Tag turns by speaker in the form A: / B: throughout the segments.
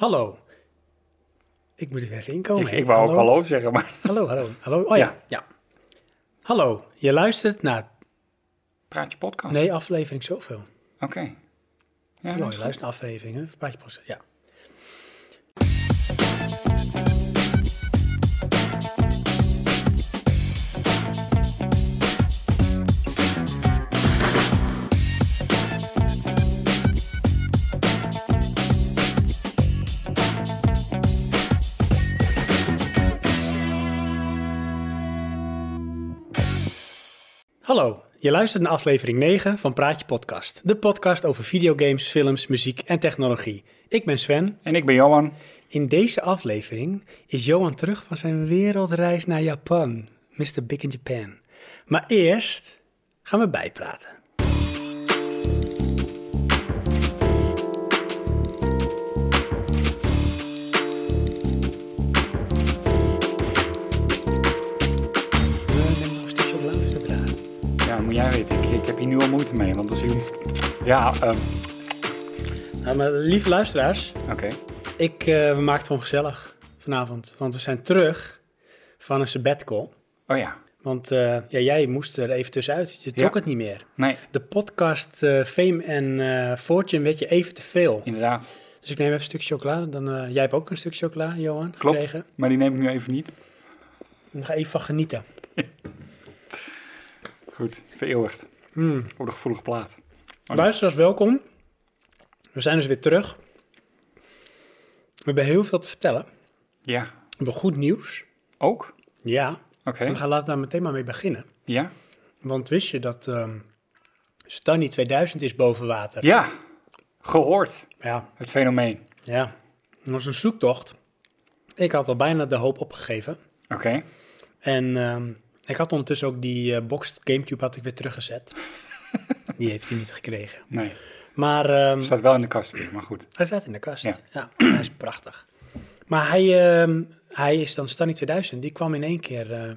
A: Hallo. Ik moet er even inkomen.
B: Ik,
A: hè?
B: ik wou ook
A: Hallo?
B: hallo zeggen, maar
A: Hallo, hallo, hallo. Oh ja. ja,
B: Ja.
A: Hallo, je luistert naar...
B: praat je podcast.
A: Nee, aflevering zoveel.
B: Oké. Ja,
A: Hallo,
B: dat is
A: je luistert naar aflevering, hè? Praatje podcast, ja. Hallo, je luistert naar aflevering 9 van Praatje Podcast. De podcast over videogames, films, muziek en technologie. Ik ben Sven.
B: En ik ben Johan.
A: In deze aflevering is Johan terug van zijn wereldreis naar Japan. Mr. Big in Japan. Maar eerst gaan we bijpraten. Eh, neem nog een stukje chocola, of is dat raar?
B: Ja, moet jij weten. Ik, ik heb hier nu al moeite mee, want als ik... Ja, ehm,
A: Nou, maar lieve luisteraars,
B: oké.
A: ik, eh, we maken het gewoon gezellig vanavond. Want we zijn terug van een sabbatical.
B: Oh ja.
A: Want eh, ja, jij moest er even tussenuit. Je trok
B: Ja.
A: het niet meer.
B: Nee,
A: De podcast eh, Fame en eh, Fortune werd je even te veel.
B: inderdaad.
A: Dus ik neem even een stuk chocola. Dan, eh, jij hebt ook een stuk chocola, Johan,
B: Klopt.
A: gekregen.
B: Maar die neem ik nu even niet.
A: Dan ga even van
B: Oh,
A: genieten.
B: Goed, vereeuwigd.
A: Hmm.
B: Op de gevoelige plaat. Oh,
A: Luisteraars, welkom. We zijn dus weer terug. We hebben heel veel te vertellen. We
B: Ja.
A: hebben goed nieuws.
B: Ook? Oké.
A: Ja. En we gaan laten daar meteen maar mee beginnen.
B: Ja?
A: Want wist je dat ehm Stanny 2000 is boven water?
B: Ja. Gehoord.
A: Ja,
B: Het fenomeen.
A: ja. Het was een zoektocht. Ik had al bijna de hoop opgegeven.
B: Oké.
A: En ehm, ik had ondertussen ook die eh, boxed Gamecube had ik weer teruggezet. die heeft hij niet gekregen.
B: Nee.
A: Maar
B: Het
A: ehm,
B: staat wel in de kast weer, maar goed.
A: hij staat in de kast. Ja,
B: Ja.
A: hij is prachtig. Maar hij, ehm, hij is dan Stanny 2000. Die kwam in één keer eh,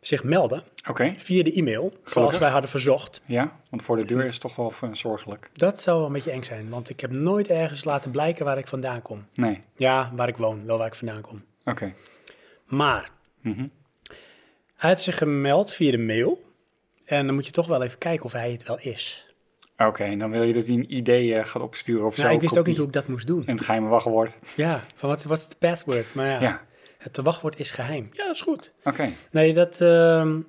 A: zich melden
B: Oké.
A: via de e-mail. Zoals
B: Gelukkig.
A: wij hadden verzocht.
B: Ja, want voor de deur is het toch wel eh, zorgelijk.
A: Dat zou wel een beetje eng zijn. Want ik heb nooit ergens laten blijken waar ik vandaan kom.
B: Nee.
A: Ja, waar ik woon, wel waar ik vandaan kom.
B: Oké.
A: Maar
B: Mhm.
A: hij had zich gemeld via de mail. En dan moet je toch wel even kijken of hij het wel is.
B: Oké, en dan wil je dat hij een idee eh, gaat opsturen of zo.
A: Nou, ik wist ook
B: kopie.
A: niet hoe ik dat moest doen.
B: En het geheime wachtwoord.
A: Ja, van wat, wat is het password? Maar ja,
B: Ja.
A: het wachtwoord is geheim. Ja, dat is goed.
B: Oké.
A: Nee, dat, ehm,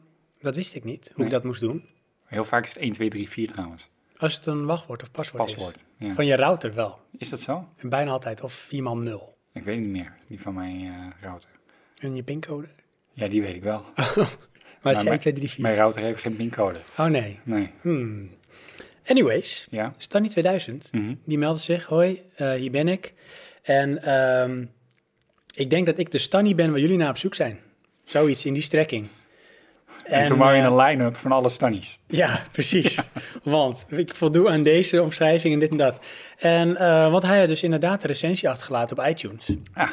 A: dat wist ik niet, hoe
B: Nee.
A: ik dat moest doen.
B: Heel vaak is het 1, 2, 3, 4 trouwens.
A: Als het een wachtwoord of paswoord,
B: Paswoord.
A: is.
B: Ja.
A: Van je router wel.
B: Is dat zo?
A: En bijna altijd. Of 4 x 0.
B: Ik weet het niet meer. Die van mijn eh, router.
A: En je pincode.
B: Ja, die weet ik wel. Nou,
A: Maar het is
B: mijn-
A: 1, 2, 3, 4.
B: Mijn router heeft geen pincode.
A: Oh nee.
B: Nee.
A: Hmm. Anyways,
B: Ja?
A: Stanny 2000,
B: Mhm.
A: die meldde zich. Hoi, eh, hier ben ik. En ehm, ik denk dat ik de Stanny ben waar jullie naar op zoek zijn. Zoiets in die strekking.
B: En, toen wou je
A: eh,
B: een line-up van alle stannies.
A: Ja, precies. Want ik voldoe aan deze omschrijving en dit en dat. En eh, want hij had dus inderdaad een recensie achtergelaten op iTunes.
B: Ah,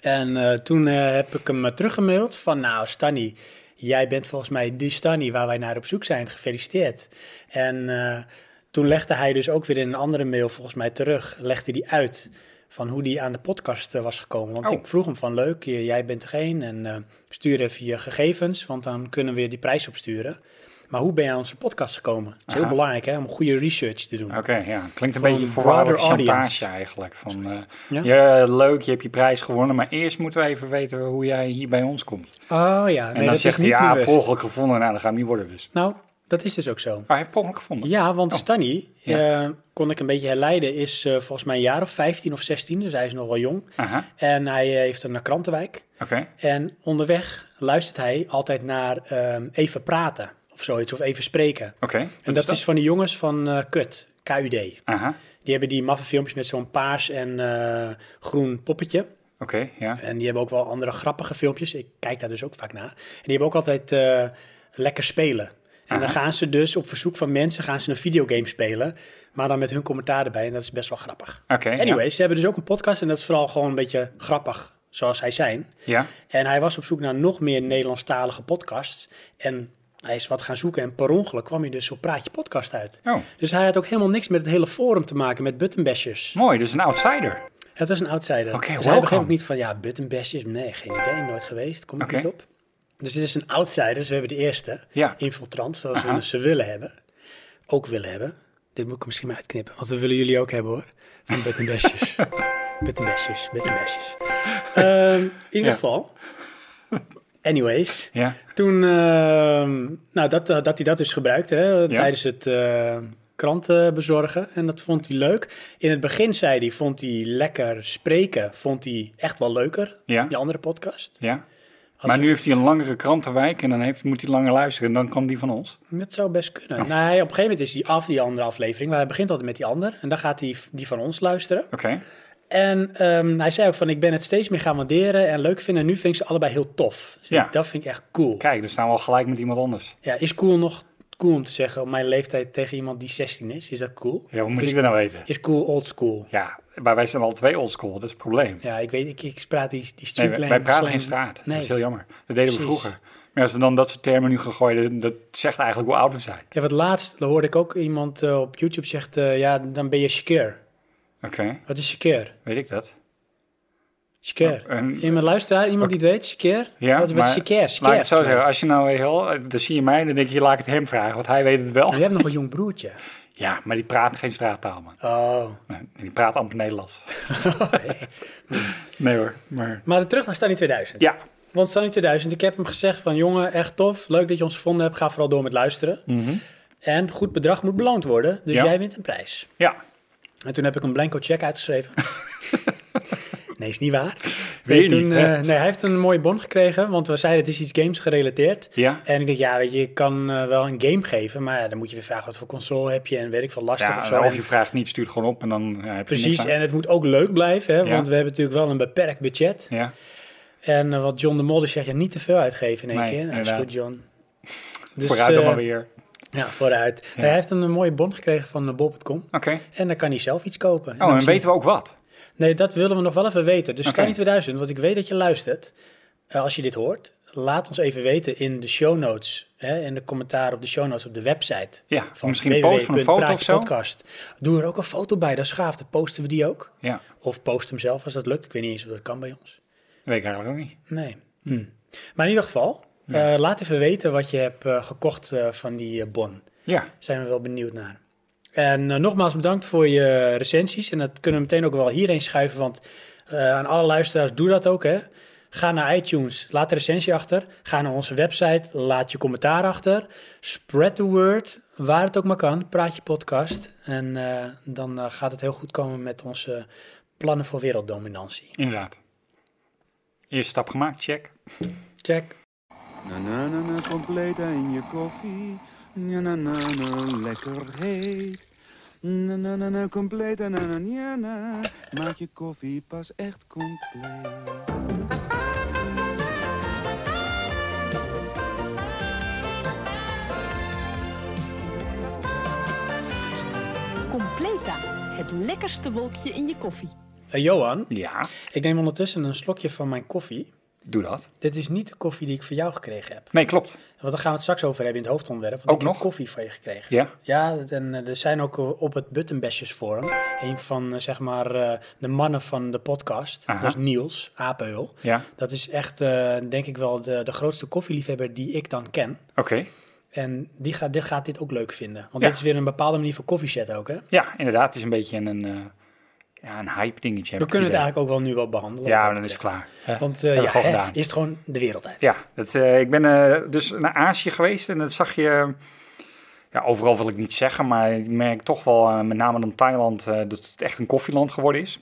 A: En eh, toen eh, heb ik hem eh, teruggemaild van, nou Stanny, jij bent volgens mij die Stanny waar wij naar op zoek zijn. Gefeliciteerd. En eh, toen legde hij dus ook weer in een andere mail volgens mij terug, legde die uit van hoe die aan de podcast eh, was gekomen. Want
B: Oh.
A: ik vroeg hem van, leuk, je- jij bent degene en eh, stuur even je gegevens, want dan kunnen we weer die prijs opsturen. Maar hoe ben je aan onze podcast gekomen? Dat is heel
B: Aha.
A: belangrijk hè, om goede research te doen.
B: oké. ja. Klinkt een
A: Voor
B: beetje
A: een
B: voorwaardig
A: broader
B: chantage
A: audience.
B: eigenlijk. Van, eh,
A: Ja?
B: ja, leuk, je hebt je prijs gewonnen, maar eerst moeten we even weten hoe jij hier bij ons komt.
A: Oh ja,
B: En
A: nee,
B: dan
A: dat
B: zegt
A: is
B: hij,
A: niet
B: ja,
A: bewust.
B: pogelijk gevonden. Nou, dat gaat hem niet worden dus.
A: Nou, dat is dus ook zo.
B: Maar hij heeft pogelijk gevonden.
A: Ja, want
B: Oh.
A: Stanny, eh, kon ik een beetje herleiden, is eh, volgens mij een jaar of 15 of 16, dus hij is nog wel jong.
B: Aha,
A: En hij eh, heeft een krantenwijk.
B: oké.
A: En onderweg luistert hij altijd naar ehm, even praten of zoiets, of even spreken.
B: Oké.
A: En dat is van die jongens van eh, KUT, KUD. Die
B: Aha, oké,
A: hebben die maffe filmpjes met zo'n paars en eh, groen poppetje.
B: ja.
A: En die hebben ook wel andere grappige filmpjes. Ik kijk daar dus ook vaak naar. En die hebben ook altijd eh, lekker spelen. En dan
B: Aha.
A: gaan ze dus op verzoek van mensen gaan ze een videogame spelen. Maar dan met hun commentaar erbij. En dat is best wel grappig.
B: Oké, ja.
A: Anyway, ze hebben dus ook een podcast. En dat is vooral gewoon een beetje grappig. Zoals hij zijn.
B: Ja,
A: En hij was op zoek naar nog meer Nederlandstalige podcasts. En hij is wat gaan zoeken. En per ongeluk kwam hij dus op Praatje Podcast uit.
B: oh,
A: Dus hij had ook helemaal niks met het hele forum te maken. Met buttonbashers.
B: mooi, dus een outsider.
A: Het Het was een outsider.
B: Oké,
A: dus hij
B: welcome.
A: begreep ook niet van, ja, buttonbashes. Nee, geen idee, nooit geweest. Kom ik
B: Oké.
A: niet op. Dus dit is een outsider, dus we hebben de eerste.
B: Ja.
A: Infiltrant, zoals
B: Aha.
A: we ze willen hebben. Ook willen hebben. Dit moet ik er misschien maar uitknippen, want we willen jullie ook hebben hoor. Van buttonbashes. buttonbashes, buttonbashes. Ehm, in ieder
B: Ja.
A: geval. Anyways.
B: Ja.
A: Toen, ehm, nou, dat, eh, dat hij dat dus gebruikte hè, tijdens het eh, kranten bezorgen. En dat vond hij leuk. In het begin zei hij, vond hij lekker spreken, vond hij echt wel leuker.
B: Ja.
A: Die andere podcast.
B: ja. Maar nu heeft hij een langere krantenwijk en dan heeft, moet hij langer luisteren. En dan kwam die van ons.
A: Dat zou best kunnen. Nou, hij- op een gegeven moment is die af, die andere aflevering. Maar hij begint altijd met die andere. En dan gaat hij v- die van ons luisteren.
B: Oké.
A: En ehm, hij zei ook van, ik ben het steeds meer gaan waarderen en leuk vinden. En nu vind ik ze allebei heel tof. Dus
B: Ja.
A: dat, dat vind ik echt cool.
B: Kijk, dan staan we al gelijk met iemand anders.
A: Ja, is cool nog cool om te zeggen op mijn leeftijd tegen iemand die 16 is? Is dat cool?
B: Ja, hoe moet
A: Of is,
B: ik dat nou weten?
A: is cool old school?
B: Ja, maar wij zijn al twee oldschool, dat is het probleem.
A: Ja, ik weet, ik, ik praat die, die
B: Nee,
A: street
B: wij,
A: slang-
B: wij praten
A: slang-
B: geen straat.
A: Nee.
B: Dat is heel jammer. Dat deden we
A: Precies.
B: vroeger. Maar als we dan dat soort termen nu gaan gooien, dat dat zegt eigenlijk hoe oud we zijn.
A: Ja, wat laatst hoorde ik ook iemand eh, op YouTube zegt, eh, ja, dan ben je Shakir.
B: Oké,
A: Wat is Shakir?
B: weet ik dat.
A: Shakir.
B: Oh, en-
A: iemand luisteraar, iemand die het weet, Shakir?
B: Ja,
A: wat, wat is
B: maar
A: Shakir?
B: Laat ik
A: Shakir.
B: het zo zeggen, als je nou heel, dan zie je mij, dan denk je, laat ik het hem vragen, want hij weet het wel.
A: Maar Oh, je hebt nog een jong broertje.
B: Ja, maar die praat geen straattaal, man.
A: Oh.
B: Nee, Die praat amper Nederlands. nee hoor, maar...
A: Maar terug naar Stanley 2000.
B: Ja,
A: Want Stanley 2000, ik heb hem gezegd van jongen, echt tof. Leuk dat je ons gevonden hebt. Ga vooral door met luisteren. En goed bedrag moet beloond worden. Dus
B: Mhm. Ja.
A: jij wint een prijs.
B: ja.
A: En toen heb ik een blanco check uitgeschreven. nee, is niet waar.
B: Weet je
A: toen,
B: niet, hè?
A: eh, nee, hij heeft een mooie bon gekregen, want we zeiden het is iets games gerelateerd.
B: Ja.
A: En ik dacht, ja, weet je, ik kan eh, wel een game geven, maar ja, dan moet je weer vragen wat voor console heb je en weet ik veel, lastig
B: ja
A: of
B: of,
A: zo. En-
B: je vraagt niet, stuurt gewoon op en dan ja, heb je niks
A: precies,
B: aan.
A: en het moet ook leuk blijven, hè,
B: Ja.
A: want we hebben natuurlijk wel een beperkt budget.
B: Ja,
A: En eh, wat John de Modder zegt, ja, niet te veel uitgeven in één
B: Nee,
A: keer. Nou, is
B: inderdaad.
A: goed, John. Dus,
B: vooruit dan
A: eh,
B: maar weer.
A: Ja, vooruit. Nee, hij heeft een, eh, mooie bon gekregen van eh, bol.com.
B: Oké.
A: En dan kan hij zelf iets kopen.
B: Oh, en weten we ook wat?
A: Nee, dat willen we nog wel even weten. Dus
B: Oké.
A: Stanley 2000, want ik weet dat je luistert. Eh, als je dit hoort, laat ons even weten in de show notes. Hè, in de commentaar op de show notes op de website.
B: Ja, misschien een post van een foto of zo?
A: www.praatjepodcast. Doe er ook een foto bij, dat is gaaf. Dan posten we die ook.
B: Ja,
A: Of post hem zelf als dat lukt. Ik weet niet eens of dat kan bij ons.
B: dat weet ik eigenlijk ook niet.
A: Nee. Hm. Maar in ieder geval, eh, laat even weten wat je hebt eh, gekocht eh, van die eh, bon
B: Ja,
A: zijn we wel benieuwd naar. En eh, nogmaals bedankt voor je recensies. En dat kunnen we meteen ook wel hierheen schuiven. Want eh, aan alle luisteraars, doe dat ook. Hè. Ga naar iTunes, laat de recensie achter. Ga naar onze website, laat je commentaar achter. Spread the word, waar het ook maar kan. Praat je podcast. En eh, dan eh, gaat het heel goed komen met onze plannen voor werelddominantie.
B: inderdaad. Eerste stap gemaakt, check.
A: Check.
C: Na na na na, compleet en je koffie. Na na na na, lekker heet. Na na na na, compleet en na na na na. Maak je koffie pas echt compleet.
D: Completa, het lekkerste wolkje in je koffie.
A: Eh, Johan,
B: Ja,
A: ik neem ondertussen een slokje van mijn koffie.
B: doe dat.
A: Dit is niet de koffie die ik voor jou gekregen heb.
B: Nee, klopt.
A: Want daar gaan we het straks over hebben in het hoofdonderwerp. Want
B: Ook
A: ik heb
B: nog?
A: koffie van je gekregen.
B: Ja,
A: Ja, en eh, er zijn ook eh, op het Buttonbashes Forum... een van, eh, zeg maar, eh, de mannen van de podcast.
B: Aha.
A: Dat is Niels Apenhul.
B: ja,
A: Dat is echt, eh, denk ik wel, de, de grootste koffieliefhebber die ik dan ken.
B: oké.
A: En die gaat, dit gaat dit ook leuk vinden. Want
B: Ja.
A: dit is weer een bepaalde manier van koffiezet ook, hè?
B: Ja, inderdaad, het is een beetje een, een, eh, ja, een hype dingetje. heb
A: We
B: ik
A: kunnen het
B: idee.
A: eigenlijk ook wel nu wel behandelen. wat
B: Ja,
A: dat
B: dan is het
A: betreft.
B: klaar. Hè?
A: Want
B: Hebben
A: eh
B: we
A: ja,
B: gewoon
A: hè,
B: gedaan.
A: is het gewoon de wereld uit.
B: Ja, dat, eh, ik ben eh, dus naar Azië geweest en dat zag je... Ja, overal wil ik niet zeggen, maar ik merk toch wel, eh, met name dan Thailand, eh, dat het echt een koffieland geworden is.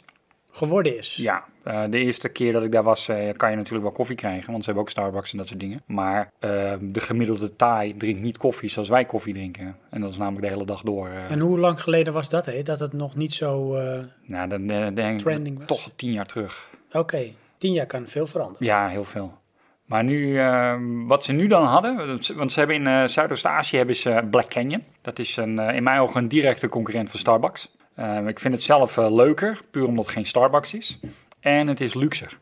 A: Geworden is.
B: Ja, eh, de eerste keer dat ik daar was, eh, kan je natuurlijk wel koffie krijgen, want ze hebben ook Starbucks en dat soort dingen. Maar eh, de gemiddelde Thai drinkt niet koffie zoals wij koffie drinken. En dat is namelijk de hele dag door. eh.
A: En hoe lang geleden was dat, hè? Dat het nog niet zo... eh,
B: nou, dan eh, denk
A: Trending was.
B: ik toch tien jaar terug.
A: Oké, tien jaar kan veel veranderen.
B: Ja, heel veel. Maar nu, eh, wat ze nu dan hadden, want ze- want ze hebben in eh, Zuidoost-Azië hebben ze eh, Black Canyon. Dat is een, eh, in mijn ogen een directe concurrent van Starbucks. Eh, ik vind het zelf eh, leuker, puur omdat het geen Starbucks is. En het is luxer.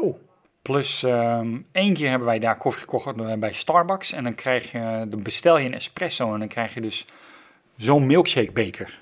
A: Oh,
B: Plus, ehm één keer hebben wij daar koffie gekocht eh, bij Starbucks. En dan, krijg je, eh, dan bestel je een espresso en dan krijg je dus zo'n milkshake beker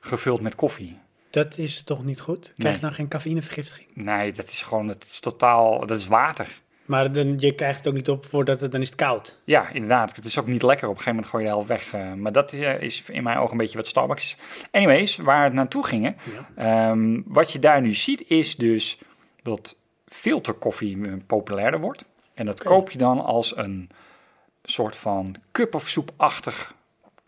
B: gevuld met koffie.
A: Dat is toch niet goed? Krijg je
B: Nee.
A: dan geen cafeïnevergiftiging?
B: Nee, dat is gewoon, dat is totaal, dat is water.
A: Maar dan, je krijgt het ook niet op voordat het, dan is het koud.
B: Ja, inderdaad. Het is ook niet lekker. Op een gegeven moment gooi je de helft weg. eh, maar dat eh, is in mijn ogen een beetje wat Starbucks is. Anyways, waar het naartoe gingen. ehm, wat je daar nu ziet is dus dat filterkoffie eh, populairder wordt. En dat
A: Oké.
B: koop je dan als een soort van cup of soepachtig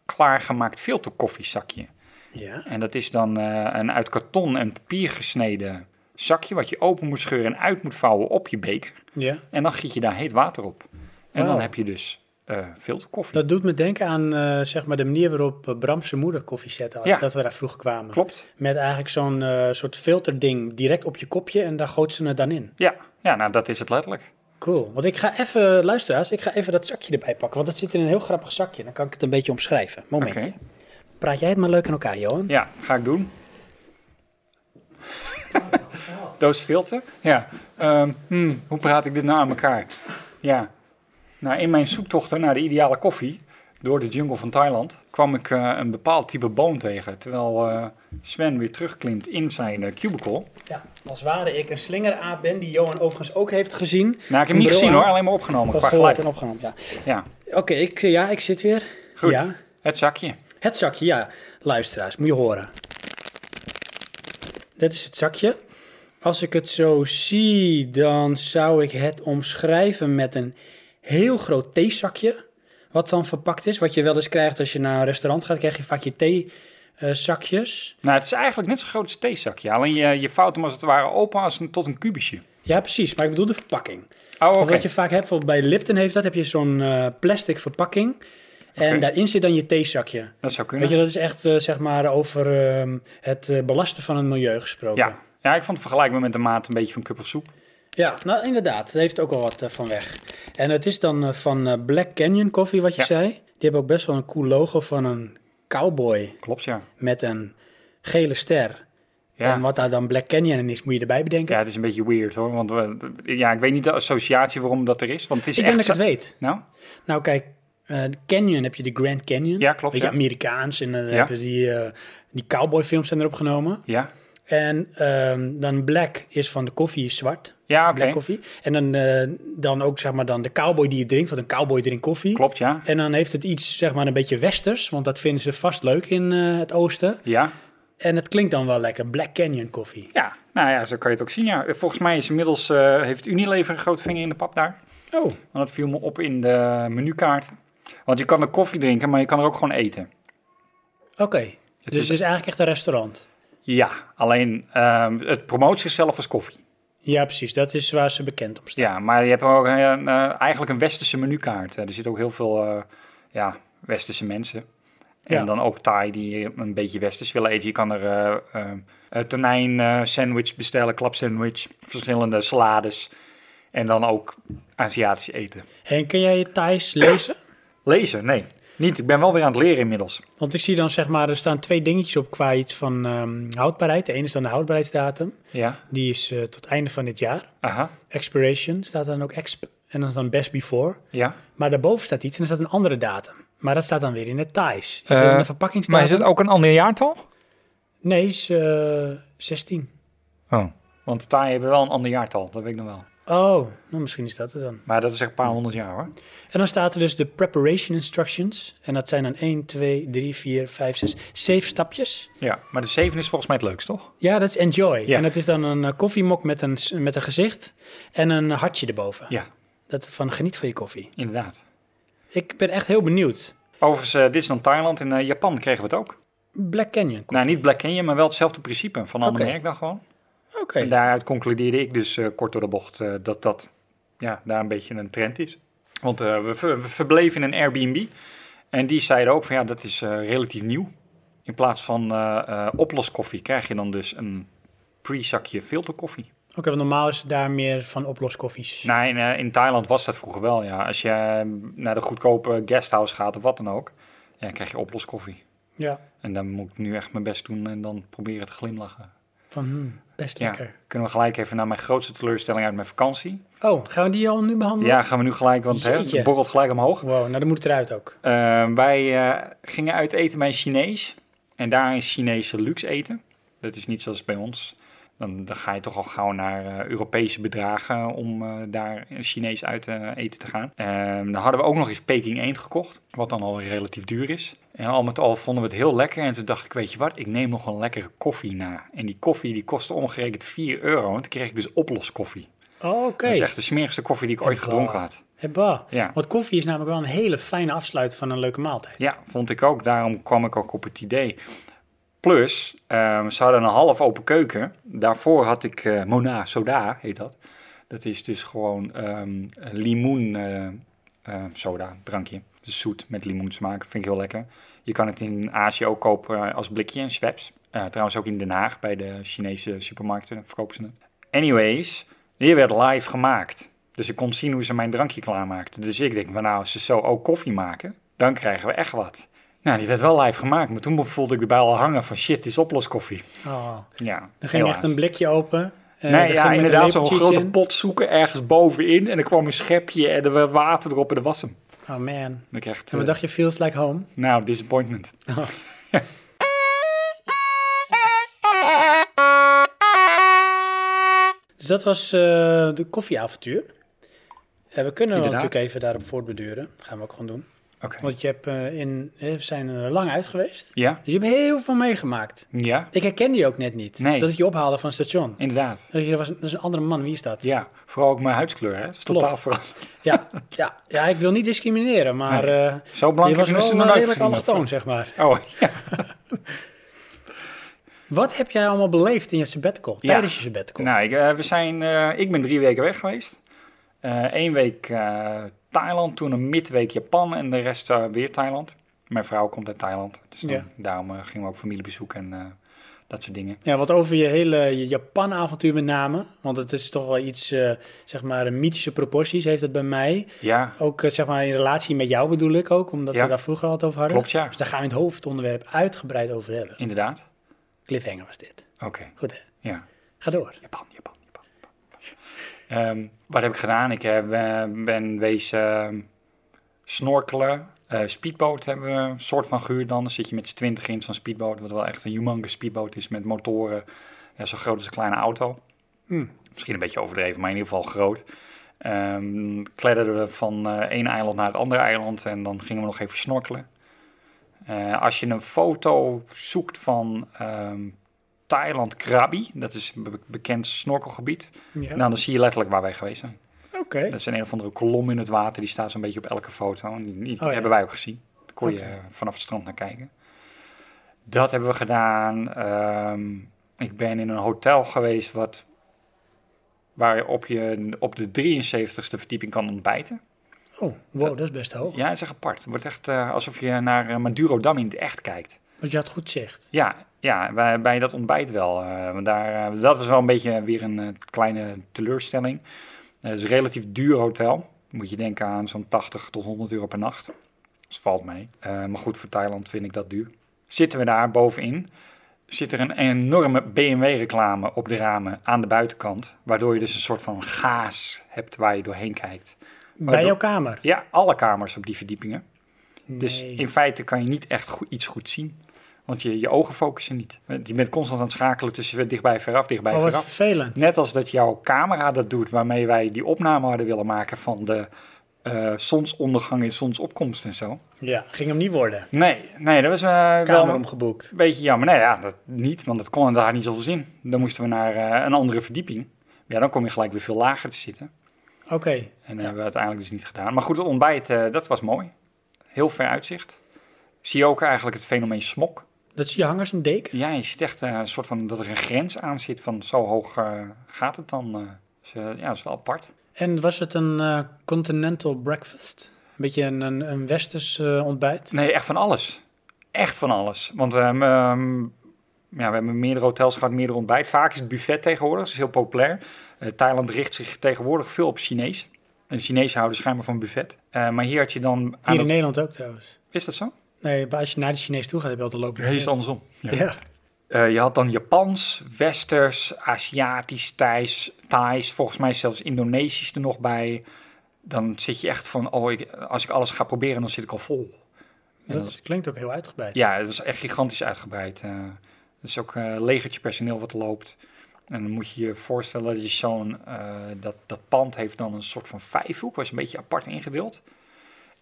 B: klaargemaakt filterkoffiezakje.
A: Ja.
B: En dat is dan eh, een uit karton en papier gesneden zakje... wat je open moet scheuren en uit moet vouwen op je beker.
A: ja.
B: En dan giet je daar heet water op. En
A: Wauw.
B: dan heb je dus eh filterkoffie.
A: Oh. Dat doet me denken aan eh, zeg maar de manier waarop eh, Bram zijn moeder koffie zette.
B: Ja.
A: Dat we daar vroeger kwamen.
B: Klopt.
A: Met eigenlijk zo'n eh, soort filterding direct op je kopje en daar gooit ze het dan in.
B: Ja. ja, nou dat is het letterlijk.
A: Cool. Want ik ga even, eh, luisteraars, ik ga even dat zakje erbij pakken. Want dat zit in een heel grappig zakje. Dan kan ik het een beetje omschrijven. Momentje.
B: Oké.
A: Praat jij het maar leuk aan elkaar, Johan?
B: Ja, ga ik doen. Doos stilte. Ja. Ehm, hmm, hoe praat ik dit nou aan elkaar? Ja. Nou, in mijn zoektochten naar de ideale koffie door de jungle van Thailand kwam ik eh, een bepaald type boom tegen. Terwijl eh, Sven weer terugklimt in zijn eh, cubicle.
A: Ja, als ware ik een slingeraap ben die Johan overigens ook heeft gezien.
B: Nou, ik heb hem
A: Een
B: niet
A: bril
B: gezien
A: aan.
B: hoor, alleen maar opgenomen
A: Of
B: qua
A: gehoord
B: geluid.
A: en opgenomen, ja.
B: Ja,
A: Oké, ik, ja, ik zit weer.
B: goed.
A: Ja.
B: Het zakje.
A: Het zakje, ja. Luisteraars, moet je horen. Dit is het zakje. Als ik het zo zie, dan zou ik het omschrijven met een heel groot theezakje. Wat dan verpakt is. Wat je wel eens krijgt als je naar een restaurant gaat, krijg je vaak je theezakjes.
B: Nou, het is eigenlijk net zo'n groot als een theezakje. Alleen je, je vouwt hem als het ware open als een, tot een kubusje.
A: ja, precies. Maar ik bedoel de verpakking.
B: Oh, oké.
A: Of wat je vaak hebt, bijvoorbeeld bij Lipton heeft dat, heb je zo'n eh, plastic verpakking. En
B: Oké.
A: daarin zit dan je theezakje.
B: Dat zou kunnen.
A: Weet je, dat is echt, eh, zeg maar, over ehm, het eh, belasten van het milieu gesproken.
B: ja. ja, ik vond het vergelijkbaar met de maat een beetje van cup of soep.
A: Ja, nou inderdaad. Het heeft ook wel wat eh, van weg. En het is dan eh, van eh, Black Canyon Coffee, wat je
B: Ja.
A: zei. Die hebben ook best wel een cool logo van een cowboy
B: Klopt, ja.
A: met een gele ster.
B: Ja.
A: En wat daar dan Black Canyon in is, moet je erbij bedenken.
B: ja, het is een beetje weird hoor. Want we, ja, ik weet niet de associatie waarom dat er is. Want het is
A: ik
B: echt...
A: denk dat ik
B: zo-
A: het weet.
B: Nou,
A: Nou kijk, eh, Canyon heb je de Grand Canyon.
B: Ja, klopt,
A: Weet je,
B: ja.
A: Amerikaans. En dan
B: Ja.
A: hebben die, eh, die cowboyfilms zijn erop genomen.
B: ja.
A: En ehm, dan black is van de koffie is zwart.
B: Ja, oké.
A: Black koffie. En dan, eh, dan ook zeg maar dan de cowboy die het drinkt, want een cowboy drinkt koffie.
B: Klopt, ja.
A: En dan heeft het iets, zeg maar, een beetje westers, want dat vinden ze vast leuk in eh, het oosten.
B: Ja.
A: En het klinkt dan wel lekker, Black Canyon koffie.
B: Ja, nou ja, zo kan je het ook zien. Ja. Volgens mij is inmiddels, eh, heeft Unilever een grote vinger in de pap daar.
A: Oh,
B: Want dat viel me op in de menukaart. Want je kan er koffie drinken, maar je kan er ook gewoon eten.
A: oké. Dus
B: is-
A: het is eigenlijk echt een restaurant.
B: Ja, alleen ehm, het promoot zichzelf als koffie.
A: Ja, precies. Dat is waar ze bekend om staan.
B: Ja, maar je hebt ook eh, een, eh, eigenlijk een westerse menukaart. Eh, Er zitten ook heel veel eh, ja, westerse mensen. En
A: Ja.
B: dan ook Thai die een beetje westers willen eten. Je kan er eh, eh, een tonijn eh, sandwich bestellen, klap sandwich, verschillende salades. En dan ook Aziatisch eten.
A: En kun jij je Thais lezen?
B: Lezen? Nee, niet. Ik ben wel weer aan het leren inmiddels.
A: Want ik zie dan, zeg maar, er staan twee dingetjes op qua iets van ehm, houdbaarheid. De ene is dan de houdbaarheidsdatum.
B: Ja,
A: Die is eh, tot einde van dit jaar.
B: aha,
A: Expiration staat dan ook exp. En dan is dan best before.
B: ja.
A: Maar daarboven staat iets en er staat een andere datum. Maar dat staat dan weer in het Thais. Is dat
B: Eh,
A: een verpakkingsdatum?
B: ook een ander jaartal?
A: Nee, is eh, 16.
B: Oh. Want Thai hebben wel een ander jaartal, dat weet ik nog wel.
A: Oh, nou misschien is dat het dan.
B: Maar dat is echt een paar honderd jaar hoor.
A: En dan staat er dus de preparation instructions. En dat zijn dan 1, 2, 3, 4, 5, 6, 7 stapjes.
B: Ja, maar de zeven is volgens mij het leukst, toch?
A: Ja, dat is enjoy.
B: Ja.
A: En dat is dan een eh, koffiemok met een, s- met een gezicht en een hartje erboven.
B: Ja,
A: Dat van geniet van je koffie.
B: inderdaad.
A: Ik ben echt heel benieuwd.
B: Overigens, eh, dit is dan Thailand. In eh, Japan kregen we het ook.
A: Black Canyon koffie.
B: Nou, niet Black Canyon, maar wel hetzelfde principe. Van een ander
A: Oké.
B: merk dan gewoon.
A: Oké.
B: En daaruit concludeerde ik dus eh, kort door de bocht eh, dat dat ja, daar een beetje een trend is. Want eh, we, ver- we verbleven in een Airbnb. En die zeiden ook van ja, dat is eh, relatief nieuw. In plaats van eh, eh, oploskoffie krijg je dan dus een pre-zakje filterkoffie.
A: Oké, want normaal is het daar meer van oploskoffies.
B: Nou, in, eh, in Thailand was dat vroeger wel, ja. Als je eh, naar de goedkope guesthouse gaat of wat dan ook, ja, dan krijg je oploskoffie.
A: Ja,
B: En dan moet ik nu echt mijn best doen en dan proberen te glimlachen.
A: van hmm, best lekker.
B: Kunnen we gelijk even naar mijn grootste teleurstelling uit mijn vakantie?
A: Oh, gaan we die al nu behandelen?
B: Ja, gaan we nu gelijk, want hè,
A: Jeetje.
B: het borrelt gelijk omhoog.
A: Wow, nou dan moet het eruit ook.
B: Ehm, Eh, wij eh, gingen uit eten bij een Chinees. En daar is Chinese luxe eten. Dat is niet zoals bij ons. Dan, dan ga je toch al gauw naar eh, Europese bedragen om eh, daar Chinees uit eh, eten te gaan. Ehm, dan hadden we ook nog eens Peking eend gekocht, wat dan al relatief duur is. En al met al vonden we het heel lekker. En toen dacht ik, weet je wat, ik neem nog een lekkere koffie na. En die koffie die kostte omgerekend 4 euro. En toen kreeg ik dus oploskoffie.
A: Oh, oké.
B: Dat is echt de smerigste koffie die ik ooit
A: Bah.
B: gedronken had.
A: Hebba.
B: Ja.
A: Want koffie is namelijk wel een hele fijne afsluit van een leuke maaltijd.
B: Ja, vond ik ook. Daarom kwam ik ook op het idee. Plus, ehm, ze hadden een half open keuken. Daarvoor had ik eh, Mona Soda, heet dat. Dat is dus gewoon ehm limoen eh, eh, soda, drankje. Dus zoet met limoensmaak, vind ik heel lekker. Je kan het in Azië ook kopen eh, als blikje in Schweppes. Eh, trouwens ook in Den Haag bij de Chinese supermarkten verkopen ze het. Anyways, die werd live gemaakt. Dus ik kon zien hoe ze mijn drankje klaarmaakten. Dus ik denk, van, nou, als ze zo ook koffie maken, dan krijgen we echt wat. Nou, die werd wel live gemaakt, maar toen voelde ik de bijl al hangen van shit, dit is oploskoffie.
A: Oh.
B: Ja,
A: Er ging echt
B: helaas.
A: een blikje open. eh, er
B: Nee,
A: ging
B: ja,
A: met een
B: inderdaad, zo'n
A: lepeltje iets
B: grote
A: in.
B: pot zoeken ergens bovenin en er kwam een schepje en er werd water erop en dat was hem.
A: Oh man.
B: Dan kreeg het,
A: En wat
B: eh,
A: dacht je, feels like home?
B: nou, disappointment.
A: Dus dat was eh, de koffieavontuur. Eh, we kunnen wel
B: Inderdaad.
A: natuurlijk even daarop voortbeduren. Dat gaan we ook gewoon doen.
B: Oké.
A: Want je hebt, eh, in, eh, we zijn er lang uit geweest.
B: Ja?
A: Dus je hebt heel veel meegemaakt.
B: Ja?
A: Ik herkende je ook net niet.
B: Nee.
A: Dat ik je ophaalde van het station.
B: Inderdaad.
A: Dat, je, dat, was, dat is een andere man, wie is dat?
B: Ja, vooral ook mijn huidskleur, hè. Het is
A: Klopt.
B: totaal veranderd.
A: ja, ja, ja, ik wil niet discrimineren, maar
B: Nee.
A: eh,
B: Zo
A: je
B: blank heb
A: was
B: ik nog
A: wel
B: nooit
A: eh, redelijk
B: gezien,
A: allochtoon,
B: dat-
A: zeg maar.
B: Oh, ja.
A: Wat heb jij allemaal beleefd in je sabbatical,
B: Ja.
A: tijdens je sabbatical?
B: Nou, ik, eh, we zijn, eh, ik ben drie weken weg geweest. Eén week eh, Thailand, toen een midweek Japan en de rest eh, weer Thailand. Mijn vrouw komt uit Thailand, dus dan-
A: Ja.
B: daarom eh, gingen we ook familiebezoek en eh, dat soort dingen.
A: Ja, wat over je hele je Japan-avontuur met name. Want het is toch wel iets, eh, zeg maar, mythische proporties heeft het bij mij.
B: Ja,
A: Ook, eh, zeg maar, in relatie met jou bedoel ik ook, omdat
B: Ja.
A: we daar vroeger al het over hadden.
B: klopt ja,
A: Dus daar gaan we het hoofdonderwerp uitgebreid over hebben.
B: inderdaad.
A: Cliffhanger was dit.
B: Oké,
A: Goed, hè?
B: ja.
A: Ga door.
B: Japan, Japan, Japan. Japan. Ehm, wat heb ik gedaan? Ik heb, eh, ben wees ehm, snorkelen. Eh speedboot hebben we een soort van gehuurd dan. Dan zit je met z'n twintig in zo'n speedboot. Wat wel echt een humongous speedboot is met motoren. Ja, zo groot als een kleine auto.
A: Hmm.
B: Misschien een beetje overdreven, maar in ieder geval groot. Ehm kledderden we van eh één eiland naar het andere eiland. En dan gingen we nog even snorkelen. Eh, als je een foto zoekt van ehm, Thailand Krabi. Dat is een be- bekend snorkelgebied.
A: Ja.
B: Nou, dan zie je letterlijk waar wij geweest zijn.
A: Oké.
B: Dat is een, een of andere kolom in het water. Die staat zo'n beetje op elke foto. En die, die
A: Oh, ja.
B: hebben wij ook gezien. Daar kon je
A: Oké.
B: eh, vanaf het strand naar kijken. Dat hebben we gedaan. Ehm, ik ben in een hotel geweest wat, waarop je op de 73ste verdieping kan ontbijten.
A: Oh, wow, dat is best hoog.
B: Ja, dat is echt apart. Het wordt echt eh, alsof je naar eh, Maduro Dam in het echt kijkt.
A: Want je had goed zicht.
B: Ja, ja bij, bij dat ontbijt wel. Eh, want daar, eh, dat was wel een beetje weer een eh, kleine teleurstelling. Eh, het is een relatief duur hotel. Moet je denken aan zo'n 80 tot 100 euro per nacht. Dus valt mee. Eh, maar goed, voor Thailand vind ik dat duur. Zitten we daar bovenin, zit er een enorme BMW-reclame op de ramen aan de buitenkant. Waardoor je dus een soort van gaas hebt waar je doorheen kijkt.
A: Bij
B: Oh, dat-
A: jouw kamer.
B: Ja, alle kamers op die verdiepingen. Dus
A: Nee.
B: in feite kan je niet echt goe- iets goed zien. Want je, je ogen focussen niet. Je bent constant aan het schakelen tussen dichtbij veraf, dichtbij
A: Oh, wat
B: veraf.
A: vervelend.
B: Net als dat jouw camera dat doet waarmee wij die opname hadden willen maken van de eh, zonsondergang en zonsopkomst en zo.
A: Ja, ging hem niet worden.
B: Nee, nee dat was eh, wel
A: Kamer
B: een
A: omgeboekt.
B: beetje jammer. Nee, ja, dat niet, want dat kon daar niet zoveel zin. Dan moesten we naar eh, een andere verdieping. Ja, dan kom je gelijk weer veel lager te zitten.
A: Oké.
B: En dat hebben we uiteindelijk dus niet gedaan. Maar goed, het ontbijt, eh, dat was mooi. Heel ver uitzicht. Zie je ook eigenlijk het fenomeen smok.
A: Dat zie je hangers een deken?
B: Ja, je ziet echt eh, een soort van dat er een grens aan zit van zo hoog eh, gaat het dan. eh. Dus, eh, ja, dat is wel apart.
A: En was het een eh, continental breakfast? Een beetje een, een, een westers eh, ontbijt?
B: Nee, echt van alles. Echt van alles. Want ehm, ehm, ja, we hebben meerdere hotels gehad, meerdere ontbijt. Vaak is het buffet tegenwoordig, dat is heel populair. Eh, Thailand richt zich tegenwoordig veel op Chinees. En Chinezen houden schijnbaar van buffet. Eh, maar hier had je dan... Aan
A: Hier in
B: dat-
A: Nederland ook trouwens.
B: Is dat zo?
A: Nee, maar als je naar de Chinees toe gaat, heb je altijd lopen.
B: Nee, is andersom.
A: Ja.
B: Eh, je had dan Japans, Westers, Aziatisch, Thais, Thais, volgens mij zelfs Indonesisch er nog bij. Dan zit je echt van, oh, ik, als ik alles ga proberen, dan zit ik al vol. En
A: dat klinkt ook heel uitgebreid.
B: ja, het was echt gigantisch uitgebreid. eh. Dus ook eh legertje personeel wat loopt. En dan moet je je voorstellen dat je zo'n, eh, dat, dat pand heeft dan een soort van vijfhoek, was een beetje apart ingedeeld.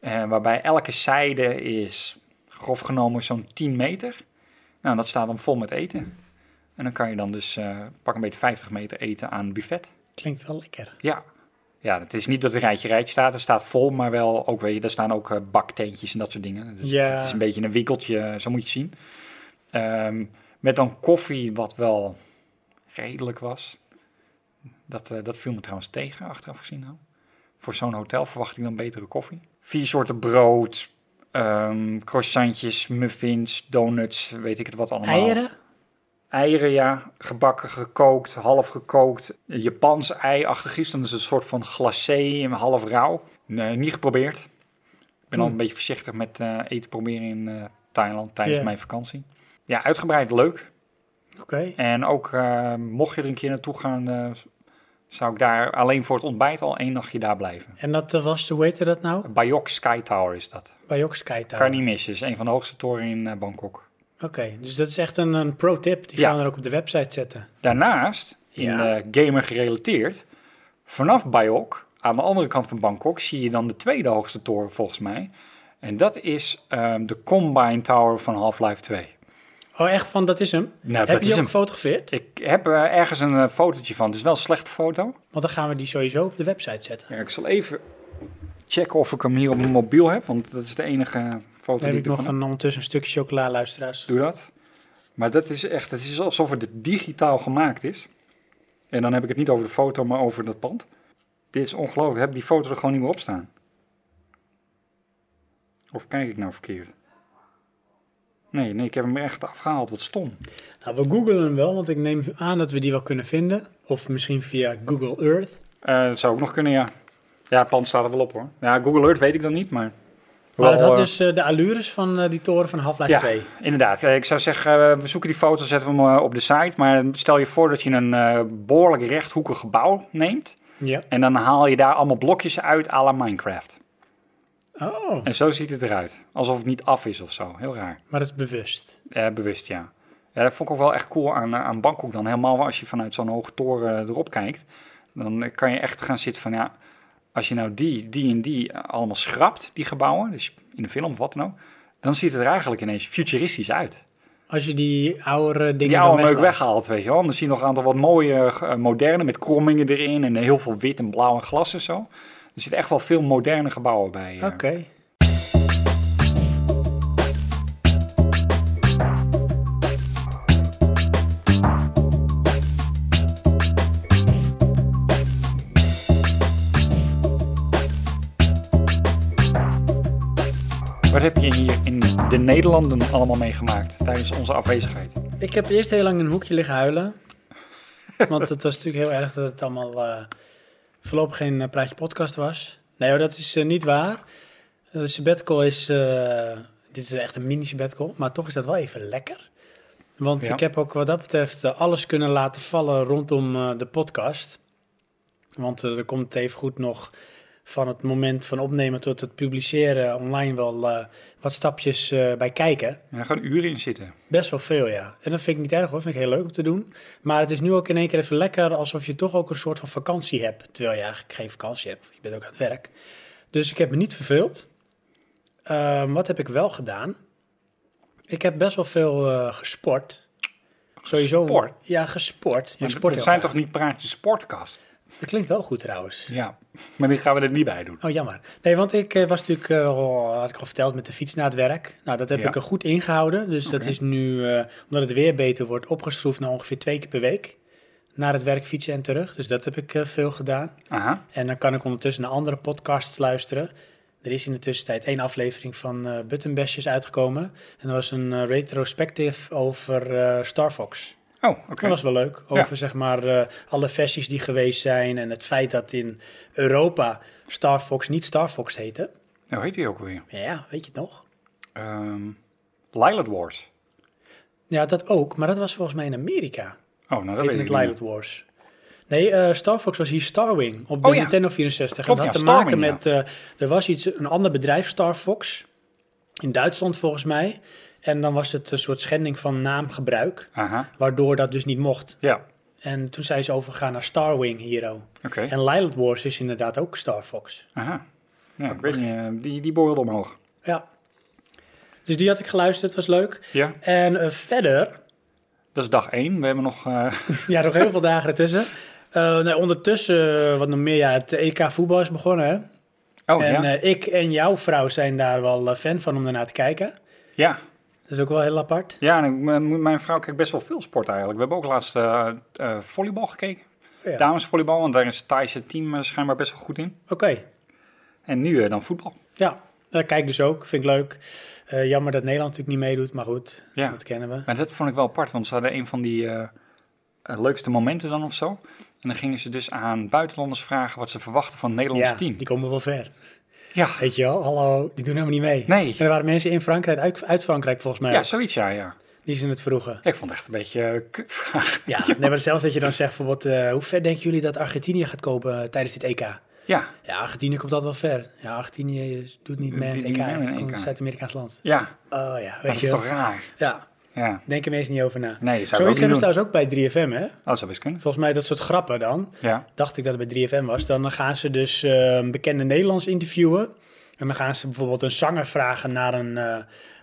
B: Eh, waarbij elke zijde is grof genomen zo'n 10 meter. Nou, dat staat dan vol met eten. En dan kan je dan dus eh, pak een beetje 50 meter eten aan buffet.
A: Klinkt wel lekker.
B: Ja. Ja, het is niet dat het rijtje rijk staat. Het staat vol, maar wel ook, weet je, daar staan ook eh, bakteentjes en dat soort dingen. Dus
A: Ja.
B: Het is een beetje een wikkeltje, zo moet je het zien. Ehm, met dan koffie, wat wel redelijk was. Dat, eh, dat viel me trouwens tegen, achteraf gezien. Nou. Voor zo'n hotel verwacht ik dan betere koffie. Vier soorten brood, ehm croissantjes, muffins, donuts, weet ik het wat allemaal.
A: Eieren?
B: Eieren, ja. Gebakken, gekookt, half gekookt. Japans ei-achtig is. Dan is het een soort van glacé, half rauw. Nee, niet geprobeerd. Ik ben al een beetje voorzichtig met eh, eten proberen in eh, Thailand tijdens
A: Ja.
B: mijn vakantie. Ja, uitgebreid leuk.
A: Oké.
B: En ook eh, mocht je er een keer naartoe gaan, eh, zou ik daar alleen voor het ontbijt al één nachtje daar blijven.
A: En dat eh, was, hoe heette dat nou?
B: Bayok Sky Tower is dat.
A: Bij Sky Tower.
B: Kan je niet missen. Is een van de hoogste toren in eh, Bangkok.
A: Oké, dus dat is echt een, een pro-tip. Die
B: Ja.
A: gaan we er ook op de website zetten.
B: Daarnaast, in
A: Ja.
B: eh, gamer gerelateerd, vanaf Bayok, aan de andere kant van Bangkok, zie je dan de tweede hoogste toren volgens mij. En dat is ehm, de Combine Tower van Half-Life 2.
A: Oh, echt van, dat is hem?
B: Nou,
A: Heb
B: dat
A: je
B: is
A: ook
B: hem.
A: gefotografeerd?
B: Ik heb eh, ergens een eh, fotootje van. Het is wel een slechte foto.
A: Want dan gaan we die sowieso op de website zetten.
B: Ja, ik zal even checken of ik hem hier op mijn mobiel heb, want dat is de enige foto
A: Dan heb
B: die
A: ik
B: ik
A: nog
B: ervan heb.
A: een, ondertussen een stukje chocola, luisteraars.
B: Doe dat. Maar dat is echt, het is alsof het digitaal gemaakt is. En dan heb ik het niet over de foto, maar over dat pand. Dit is ongelooflijk. Ik heb die foto er gewoon niet meer op staan. Of kijk ik nou verkeerd? Nee, nee, ik heb hem er echt afgehaald. Wat stom.
A: Nou, we googlen hem wel, want ik neem aan dat we die wel kunnen vinden. Of misschien via Google Earth.
B: Eh, dat zou ook nog kunnen, ja. Ja, het pand staat er wel op hoor. Ja, Google Earth weet ik dan niet, maar...
A: Maar dat
B: Wel,
A: had
B: eh,
A: dus eh, de allures van eh, die toren van Half-Life
B: Ja,
A: 2.
B: inderdaad. Eh, Ik zou zeggen, eh, we zoeken die foto, zetten we hem eh, op de site. Maar stel je voor dat je een eh, behoorlijk rechthoekig gebouw neemt.
A: Ja.
B: En dan haal je daar allemaal blokjes uit à la Minecraft.
A: Oh,
B: En zo ziet het eruit. Alsof het niet af is of zo. Heel raar.
A: maar dat is bewust.
B: Eh, bewust, ja. Ja, dat vond ik ook wel echt cool aan, eh, aan Bangkok dan. Helemaal als je vanuit zo'n hoge toren eh, erop kijkt. Dan eh, kan je echt gaan zitten van, ja... Als je nou die, die en die eh, allemaal schrapt, die gebouwen... Dus in de film of wat dan ook... Dan ziet het er eigenlijk ineens futuristisch uit.
A: Als je die oude dingen
B: Die
A: dan
B: oude meuk
A: weglaat.
B: weggehaald, weet je wel. En dan zie je nog een aantal wat mooie, eh, moderne... met krommingen erin en heel veel wit en blauw en glas en zo. Er zitten echt wel veel moderne gebouwen bij. eh.
A: Oké.
B: Wat heb je hier in de Nederlanden allemaal meegemaakt tijdens onze afwezigheid?
A: Ik heb eerst heel lang in een hoekje liggen huilen. Want het was natuurlijk heel erg dat het allemaal eh, voorlopig geen eh, praatje podcast was. Nee hoor, dat is eh, niet waar. De sabbatical is... eh, dit is echt een mini sabbatical, maar toch is dat wel even lekker. Want
B: Ja.
A: ik heb ook wat dat betreft eh, alles kunnen laten vallen rondom eh, de podcast. Want eh, er komt even goed nog van het moment van opnemen tot het publiceren online wel eh, wat stapjes eh, bij kijken.
B: En daar gaan uren in zitten.
A: Best wel veel, ja. En dat vind ik niet erg hoor, vind ik heel leuk om te doen. Maar het is nu ook in één keer even lekker alsof je toch ook een soort van vakantie hebt. Terwijl je eigenlijk geen vakantie hebt, je bent ook aan het werk. Dus ik heb me niet verveeld. Ehm, wat heb ik wel gedaan? Ik heb best wel veel eh, gesport. Sowieso.
B: Gesport?
A: Ja, gesport. Ja,
B: Maar
A: sport
B: het
A: heel
B: zijn
A: graag.
B: toch niet praatjes sportcast?
A: Dat klinkt wel goed trouwens.
B: Ja, maar die gaan we er niet bij doen.
A: Oh, jammer. Nee, want ik eh, was natuurlijk, eh, al- had ik al verteld, met de fiets naar het werk. Nou, dat heb
B: Ja.
A: ik er goed ingehouden. Dus dat
B: Oké.
A: is nu, eh, omdat het weer beter wordt, opgeschroefd naar ongeveer twee keer per week. Naar het werk fietsen en terug. Dus dat heb ik eh, veel gedaan.
B: Aha.
A: En dan kan ik ondertussen naar andere podcasts luisteren. Er is in de tussentijd één aflevering van eh Buttonbashers uitgekomen. En dat was een eh, retrospective over eh, Star Fox.
B: Oh, oké.
A: Dat was wel leuk. Over zeg maar eh, alle versies die geweest zijn. En het feit dat in Europa Star Fox niet Star Fox heette.
B: Nou heet die ook weer.
A: Ja, weet je het nog?
B: Ehm Lilith Wars.
A: Ja, dat ook. Maar dat was volgens mij in Amerika.
B: Oh, nou dat weet
A: Heette
B: ik
A: het
B: niet.
A: Lilith Wars. Nee, eh, Star Fox was hier Starwing op de
B: Oh ja.
A: Nintendo 64.
B: Klopt,
A: en dat
B: ja,
A: had te maken
B: Starwing,
A: met... eh, er was iets, een ander bedrijf, Star Fox. In Duitsland volgens mij. En dan was het een soort schending van naamgebruik,
B: Aha.
A: waardoor dat dus niet mocht.
B: Ja,
A: En toen zijn ze overgegaan naar Starwing Hero.
B: oké.
A: En Lilith Wars is inderdaad ook Star Fox.
B: Aha. Ja, ik weet niet, eh, die, die borrelde omhoog.
A: Ja. Dus die had ik geluisterd, was leuk.
B: Ja,
A: En eh, verder,
B: dat is dag één. We hebben nog... eh,
A: ja, nog heel veel dagen ertussen. Eh, nee, ondertussen, eh, wat nog meer, ja, het EK voetbal is begonnen. Hè?
B: Oh,
A: en
B: ja.
A: eh, ik en jouw vrouw zijn daar wel eh, fan van om daarnaar te kijken.
B: ja.
A: Dat is ook wel heel apart.
B: Ja, en ik- mijn, mijn vrouw kijkt best wel veel sport eigenlijk. We hebben ook laatst eh, eh, volleybal gekeken.
A: Ja.
B: Damesvolleybal, want daar is het Thaise team eh, schijnbaar best wel goed in.
A: Oké,
B: En nu eh, dan voetbal.
A: ja. Eh, kijk dus ook, vind ik leuk. Eh, jammer dat Nederland natuurlijk niet meedoet, maar goed,
B: Ja.
A: dat kennen we.
B: Maar dat vond ik wel apart, want ze hadden een van die eh, eh, leukste momenten dan of zo. En dan gingen ze dus aan buitenlanders vragen wat ze verwachten van het Nederlandse
A: Ja,
B: team.
A: die komen wel ver.
B: Ja.
A: Weet je wel, hallo, die doen helemaal niet mee.
B: Nee.
A: En er waren mensen in Frankrijk, uit, uit Frankrijk volgens mij,
B: Ja,
A: ook,
B: zoiets, ja, ja.
A: die ze het vroegen.
B: Ja, Ik vond het echt een beetje eh, kutvraag.
A: Ja, nee, maar zelfs dat je dan zegt, bijvoorbeeld, eh, hoe ver denken jullie dat Argentinië gaat kopen eh, tijdens dit EK?
B: Ja,
A: Ja, Argentinië komt dat wel ver. Ja, Argentinië eh, doet niet mee aan het
B: Doet niet
A: EK.
B: mee aan het
A: Het komt
B: EK.
A: een Zuid-Amerikaans land.
B: ja. Maar
A: Oh ja,
B: dat
A: weet je
B: is
A: wel.
B: toch raar?
A: Ja,
B: Ja.
A: denken mensen niet over na.
B: Nee, dat zou ik
A: Zoiets
B: ook niet
A: hebben
B: doen.
A: ze trouwens ook bij 3FM, hè?
B: Oh, dat zou best kunnen.
A: Volgens mij dat soort grappen dan.
B: Ja.
A: Dacht ik dat het bij 3FM was. Dan gaan ze dus eh, bekende Nederlands interviewen. En dan gaan ze bijvoorbeeld een zanger vragen naar een, eh,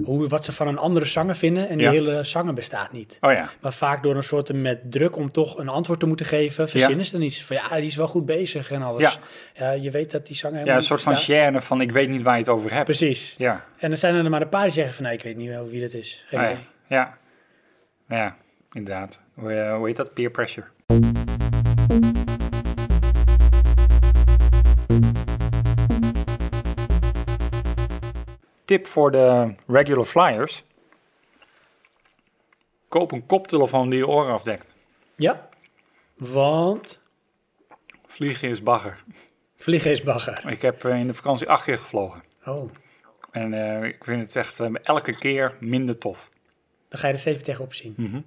A: hoe, wat ze van een andere zanger vinden. En die
B: Ja.
A: hele zanger bestaat niet.
B: Oh ja.
A: Maar vaak door een soort met druk om toch een antwoord te moeten geven, verzinnen ze dan iets. Van ja, die is wel goed bezig en alles.
B: Ja.
A: Ja, je weet dat die zanger
B: Ja,
A: helemaal
B: een
A: niet
B: soort van
A: bestaat.
B: chaîne van ik weet niet waar je het over hebt.
A: Precies.
B: Ja.
A: En dan zijn er maar een paar die zeggen van, nee, ik weet niet wel wie dat is. Geen
B: Ah, ja.
A: idee.
B: ja. Nou ja, inderdaad. Hoe, eh, hoe heet dat? Peer pressure. Tip voor de regular flyers. Koop een koptelefoon die je oren afdekt.
A: Ja, want
B: Vliegen is bagger.
A: vliegen is bagger.
B: Ik heb eh, in de vakantie acht keer gevlogen.
A: Oh,
B: En eh, ik vind het echt eh, elke keer minder tof.
A: dan ga je er steeds meer tegenop zien.
B: Mhm.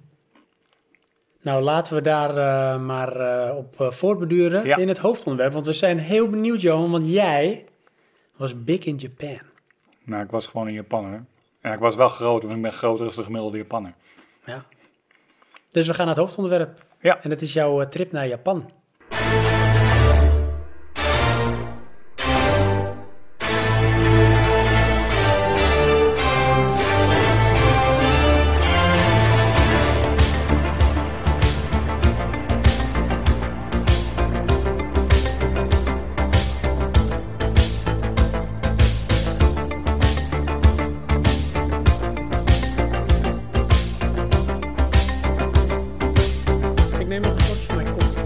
A: Nou, laten we daar eh, maar eh, op eh, voortbeduren
B: Ja.
A: in het hoofdonderwerp. Want we zijn heel benieuwd, Johan, want jij was big in Japan.
B: Nou, ik was gewoon een Japanner. En ik was wel groter, want ik ben groter dan de gemiddelde Japanner.
A: Ja. Dus we gaan naar het hoofdonderwerp.
B: Ja.
A: En dat is jouw eh, trip naar Japan. Ik neem nog een slokje van mijn koffie.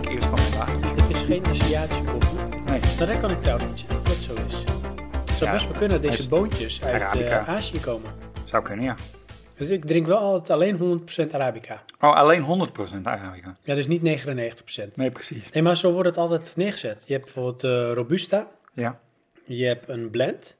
B: Ik eerst van mijn water.
A: Dit is geen Aziatische koffie.
B: Nee.
A: Nou, daar kan ik trouwens niet zeggen of dat zo is. Het zou
B: Ja,
A: best wel kunnen dat
B: hij
A: deze
B: is
A: boontjes uit eh,
B: Arabica.
A: Azië komen.
B: Zou kunnen, ja.
A: Dus ik drink wel altijd alleen 100% Arabica.
B: Oh, alleen 100% Arabica.
A: Ja, dus niet 99%.
B: Nee, precies.
A: Nee, maar zo wordt het altijd neergezet. Je hebt bijvoorbeeld eh, Robusta,
B: Ja.
A: je hebt een blend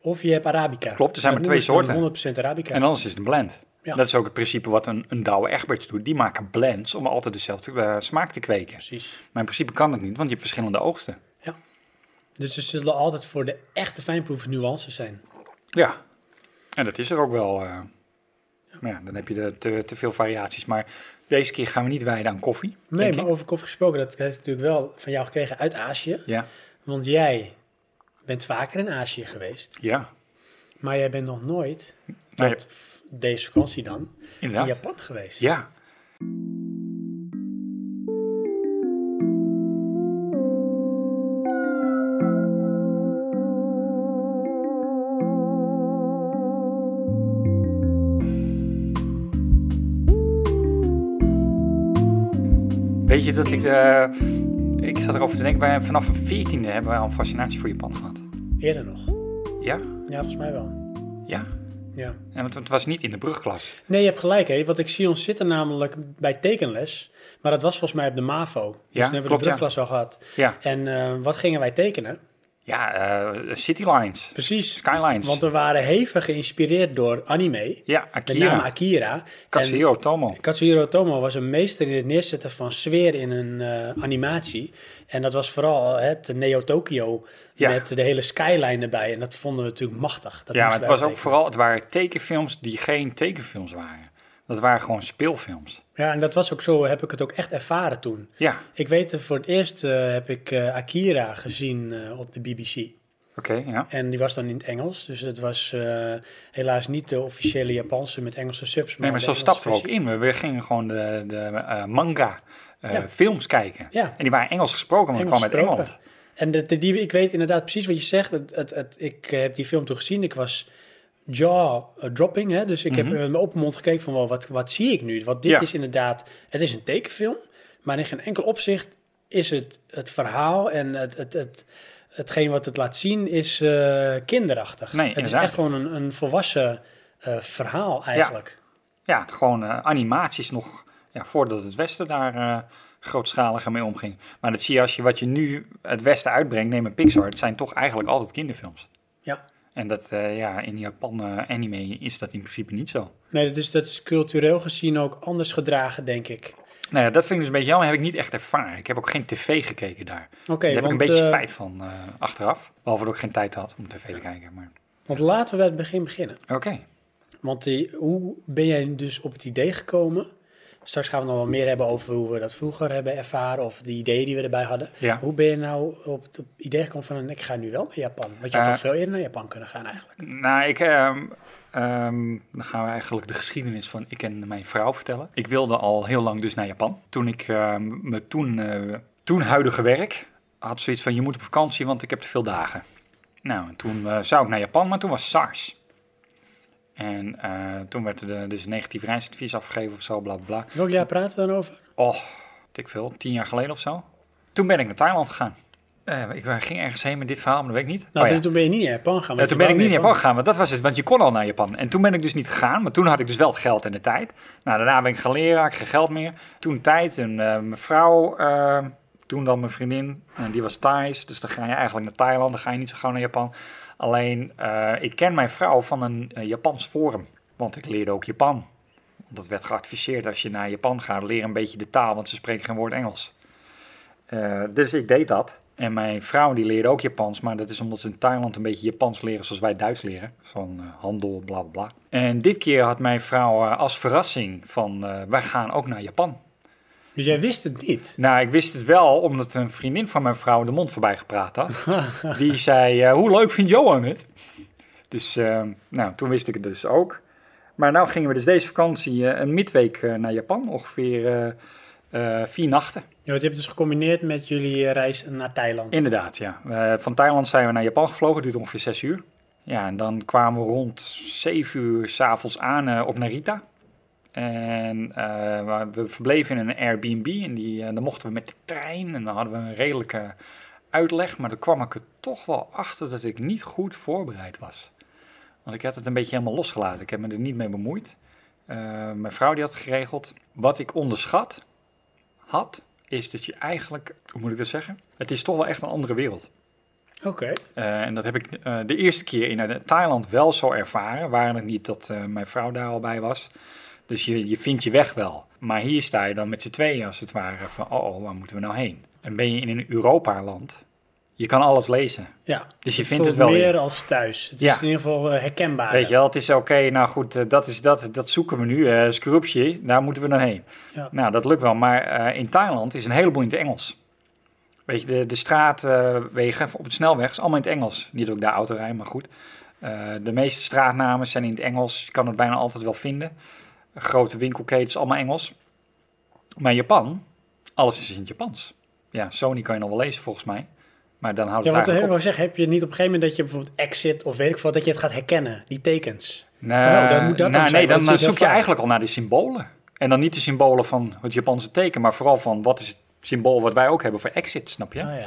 A: of je hebt Arabica.
B: Klopt, er zijn
A: Dat
B: maar twee
A: noemen ze dan
B: soorten.
A: 100% Arabica.
B: En anders is het een blend.
A: Ja.
B: Dat is ook het principe wat een, een Douwe Egberts doet. Die maken blends om altijd dezelfde eh, smaak te kweken.
A: Precies.
B: Maar in principe kan dat niet, want je hebt verschillende oogsten.
A: Dus er zullen altijd voor de echte fijnproevers nuances zijn.
B: Ja. En dat is er ook wel. eh. Maar ja, dan heb je er te, te veel variaties. Maar deze keer gaan we niet wijden aan koffie.
A: Nee,
B: denk
A: maar
B: ik.
A: over koffie gesproken, dat heb ik natuurlijk wel van jou gekregen uit Azië.
B: Ja.
A: Want jij bent vaker in Azië geweest,
B: Ja.
A: maar jij bent nog nooit, tot
B: Nee,
A: f- deze vakantie dan, in
B: inderdaad.
A: Japan geweest.
B: Ja. Weet je dat ik. eh, ik zat erover te denken, wij, vanaf een 14e hebben wij al een fascinatie voor Japan gehad.
A: Eerder nog.
B: Ja?
A: Ja, volgens mij wel.
B: Ja.
A: Ja.
B: En want het was niet in de brugklas.
A: Nee, je hebt gelijk, hè? want ik zie ons zitten namelijk bij tekenles. Maar dat was volgens mij op de MAVO. Dus
B: Ja,
A: toen hebben we
B: klopt,
A: de brugklas al gehad.
B: Ja.
A: En eh, wat gingen wij tekenen?
B: Ja, eh, City Lines.
A: Precies.
B: Skylines.
A: Want eh, we waren hevig geïnspireerd door anime.
B: ja,
A: Met name
B: Akira.
A: Akira. En
B: Katsuhiro Tomo.
A: Katsuhiro Tomo was een meester in het neerzetten van sfeer in een eh, animatie. En dat was vooral het Neo-Tokyo
B: Ja.
A: met de hele skyline erbij. En dat vonden we natuurlijk machtig. Dat
B: Ja, maar
A: moesten
B: het
A: wij
B: was ook
A: tekenen.
B: vooral, het waren tekenfilms die geen tekenfilms waren. Dat waren gewoon speelfilms.
A: Ja, en dat was ook zo, heb ik het ook echt ervaren toen.
B: Ja,
A: Ik weet, eh, voor het eerst eh, heb ik eh, Akira gezien eh, op de BBC.
B: oké, ja.
A: En die was dan in het Engels. Dus het was eh, helaas niet de officiële Japanse met Engelse subs.
B: Nee, maar
A: de
B: zo
A: Engelse
B: stapten we ook
A: versie.
B: in. We- We gingen gewoon de, de eh, manga eh,
A: Ja.
B: films kijken.
A: Ja.
B: En die waren Engels gesproken, want
A: Engels
B: het kwam uit
A: gesproken.
B: Engeland.
A: En de, de- die, ik weet inderdaad precies wat je zegt. Het, het, het- ik eh, heb die film toen gezien. Ik was jaw-dropping. Hè? Dus ik heb met mijn open mond gekeken van... Wow, wat, wat zie ik nu? Want dit
B: Mhm. Ja.
A: is inderdaad... Het is een tekenfilm. Maar in geen enkel opzicht is het het verhaal... en het, het, het, hetgeen wat het laat zien is eh, kinderachtig.
B: Nee,
A: het
B: inderdaad.
A: is echt gewoon een, een volwassen eh, verhaal eigenlijk.
B: Ja, het gewoon eh, animaties nog ja, voordat het Westen daar eh, grootschaliger mee omging. Maar dat zie je als je wat je nu het Westen uitbrengt, neem een Pixar. Het zijn toch eigenlijk altijd kinderfilms.
A: Ja.
B: En dat, eh, ja, in Japan eh, anime is dat in principe niet zo.
A: Nee, dat is, dat is cultureel gezien ook anders gedragen, denk ik.
B: Nou ja, dat vind ik dus een beetje jammer. Heb ik niet echt ervaren. Ik heb ook geen tv gekeken daar.
A: Oké,
B: daar heb ik
A: want,
B: een beetje
A: eh,
B: spijt van eh, achteraf. Behalve dat ik geen tijd had om tv te kijken. Maar
A: want laten we bij het begin beginnen.
B: oké.
A: Want die, hoe ben jij dus op het idee gekomen? Straks gaan we nog wel meer hebben over hoe we dat vroeger hebben ervaren of de ideeën die we erbij hadden.
B: Ja.
A: Hoe ben je nou op het idee gekomen van ik ga nu wel naar Japan? Want je had
B: Eh,
A: al veel eerder naar Japan kunnen gaan eigenlijk.
B: Nou, ik, ehm, ehm, dan gaan we eigenlijk de geschiedenis van ik en mijn vrouw vertellen. Ik wilde al heel lang dus naar Japan. Toen ik ehm mijn toen, eh, toen huidige werk had zoiets van je moet op vakantie, want ik heb te veel dagen. Nou, en toen eh, zou ik naar Japan, maar toen was SARS. En eh, toen werd er dus een negatief reisadvies afgegeven of zo, bla bla, bla.
A: Welk jaar praten we dan over?
B: Oh, weet ik veel, tien jaar geleden of zo. Toen ben ik naar Thailand gegaan. Eh, ik ging ergens heen met dit verhaal, maar dat weet ik niet.
A: Nou,
B: Oh ja.
A: toen- toen ben je niet naar Japan gaan.
B: Ja,
A: want
B: toen
A: je
B: ben ik
A: wou
B: niet naar Japan gegaan, want dat was het. Want je kon al naar Japan. En toen ben ik dus niet gegaan, maar toen had ik dus wel het geld en de tijd. Nou, daarna ben ik gaan leren, had ik geen geld meer. Toen tijd en eh, mijn vrouw, eh, toen dan mijn vriendin, en die was Thais. Dus dan ga je eigenlijk naar Thailand, dan ga je niet zo gauw naar Japan. Alleen, eh, ik ken mijn vrouw van een eh, Japans forum, want ik leerde ook Japan. Dat werd geadviseerd als je naar Japan gaat, leer een beetje de taal, want ze spreken geen woord Engels. Eh, dus ik deed dat. En mijn vrouw die leerde ook Japans, maar dat is omdat ze in Thailand een beetje Japans leren zoals wij Duits leren. Van eh, handel, bla bla bla. En dit keer had mijn vrouw eh, als verrassing van eh, wij gaan ook naar Japan.
A: Dus jij wist het niet.
B: Nou, ik wist het wel omdat een vriendin van mijn vrouw de mond voorbij gepraat had. Die zei, eh, hoe leuk vindt Johan het? Dus eh, nou, toen wist ik het dus ook. Maar nou gingen we dus deze vakantie eh, een midweek eh, naar Japan. Ongeveer eh, eh, vier nachten.
A: Ja, want je hebt het dus gecombineerd met jullie eh, reis naar Thailand.
B: Inderdaad, ja. Eh, van Thailand zijn we naar Japan gevlogen. Het duurde ongeveer zes uur. Ja, en dan kwamen we rond zeven uur s'avonds aan eh, op Narita. En eh, waar- we verbleven in een Airbnb. En die, eh, dan mochten we met de trein. En dan hadden we een redelijke uitleg. Maar dan kwam ik er toch wel achter dat ik niet goed voorbereid was. Want ik had het een beetje helemaal losgelaten. Ik heb me er niet mee bemoeid. Eh, mijn vrouw die had het geregeld. Wat ik onderschat had, is dat je eigenlijk... Hoe moet ik dat zeggen? Het is toch wel echt een andere wereld.
A: Oké.
B: Eh, en dat heb ik eh, de eerste keer in eh, Thailand wel zo ervaren. Waren het niet dat eh, mijn vrouw daar al bij was. Dus je, je vindt je weg wel. Maar hier sta je dan met z'n tweeën als het ware van... Oh, oh, waar moeten we nou heen? En ben je in een Europa-land. Je kan alles lezen.
A: Ja.
B: Dus je
A: Het
B: vindt het
A: voelt
B: wel
A: meer
B: weer.
A: als thuis. Het
B: Ja.
A: is in ieder geval eh, herkenbaar.
B: Weet je wel, het is oké, nou goed, eh, dat is dat, dat zoeken we nu. eh Scrubje, daar moeten we dan heen.
A: Ja.
B: Nou, dat lukt wel, maar eh, in Thailand is een heleboel in het Engels. Weet je, de, de straatwegen op de snelweg is allemaal in het Engels. Niet dat ik daar auto rijd, maar goed. Eh, de meeste straatnamen zijn in het Engels. Je kan het bijna altijd wel vinden. Grote winkelketens, allemaal Engels. Maar in Japan, alles is in het Japans. Ja, Sony kan je nog wel lezen volgens mij. Maar dan houdt
A: Ja,
B: het
A: want
B: eigenlijk
A: ik
B: op.
A: wou zeggen, heb je niet op een gegeven moment dat je bijvoorbeeld exit of weet ik veel, dat je het gaat herkennen, die tekens.
B: Nou,
A: Van, oh, dan moet dat dan zijn,
B: nou, nee,
A: want
B: dan,
A: het
B: dan
A: zit heel
B: zoek je
A: vaak.
B: eigenlijk al naar de symbolen. En dan niet de symbolen van het Japanse teken, maar vooral van wat is het symbool wat wij ook hebben voor exit, snap je?
A: Ah, ja.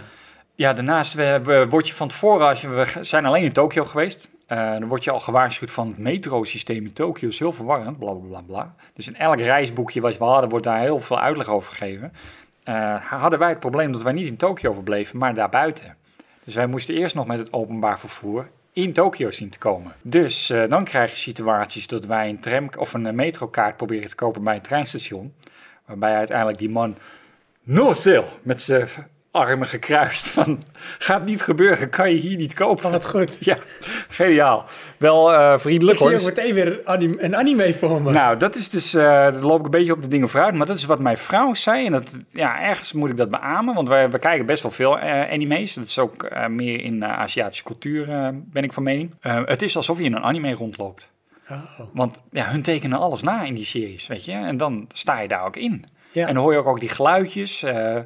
B: Ja, daarnaast we, we, word je van tevoren, als je, we g- zijn alleen in Tokio geweest, eh, dan word je al gewaarschuwd van het metrosysteem in Tokio is heel verwarrend, bla bla bla. bla. Dus in elk reisboekje wat we hadden, wordt daar heel veel uitleg over gegeven. Eh, hadden wij het probleem dat wij niet in Tokio verbleven, maar daarbuiten. Dus wij moesten eerst nog met het openbaar vervoer in Tokio zien te komen. Dus eh, dan krijg je situaties dat wij een tram of een eh, metrokaart proberen te kopen bij een treinstation. Waarbij uiteindelijk die man no sale met zijn armen gekruist van gaat niet gebeuren, kan je hier niet kopen.
A: Oh, wat goed.
B: Ja, geniaal. Wel eh,
A: Ik
B: vriendelijk hoor.
A: zie ook meteen weer anim- een anime voor me.
B: Nou, dat is dus, eh dan loop ik een beetje op de dingen vooruit, maar dat is wat mijn vrouw zei. En dat, ja, ergens moet ik dat beamen, want wij, we kijken best wel veel eh, anime's. Dat is ook eh, meer in eh, Aziatische cultuur, eh, ben ik van mening. Eh, het is alsof je in een anime rondloopt.
A: Oh,
B: Want ja, hun tekenen alles na in die series, weet je. En dan sta je daar ook in.
A: Ja.
B: En dan hoor je ook, ook die geluidjes. eh.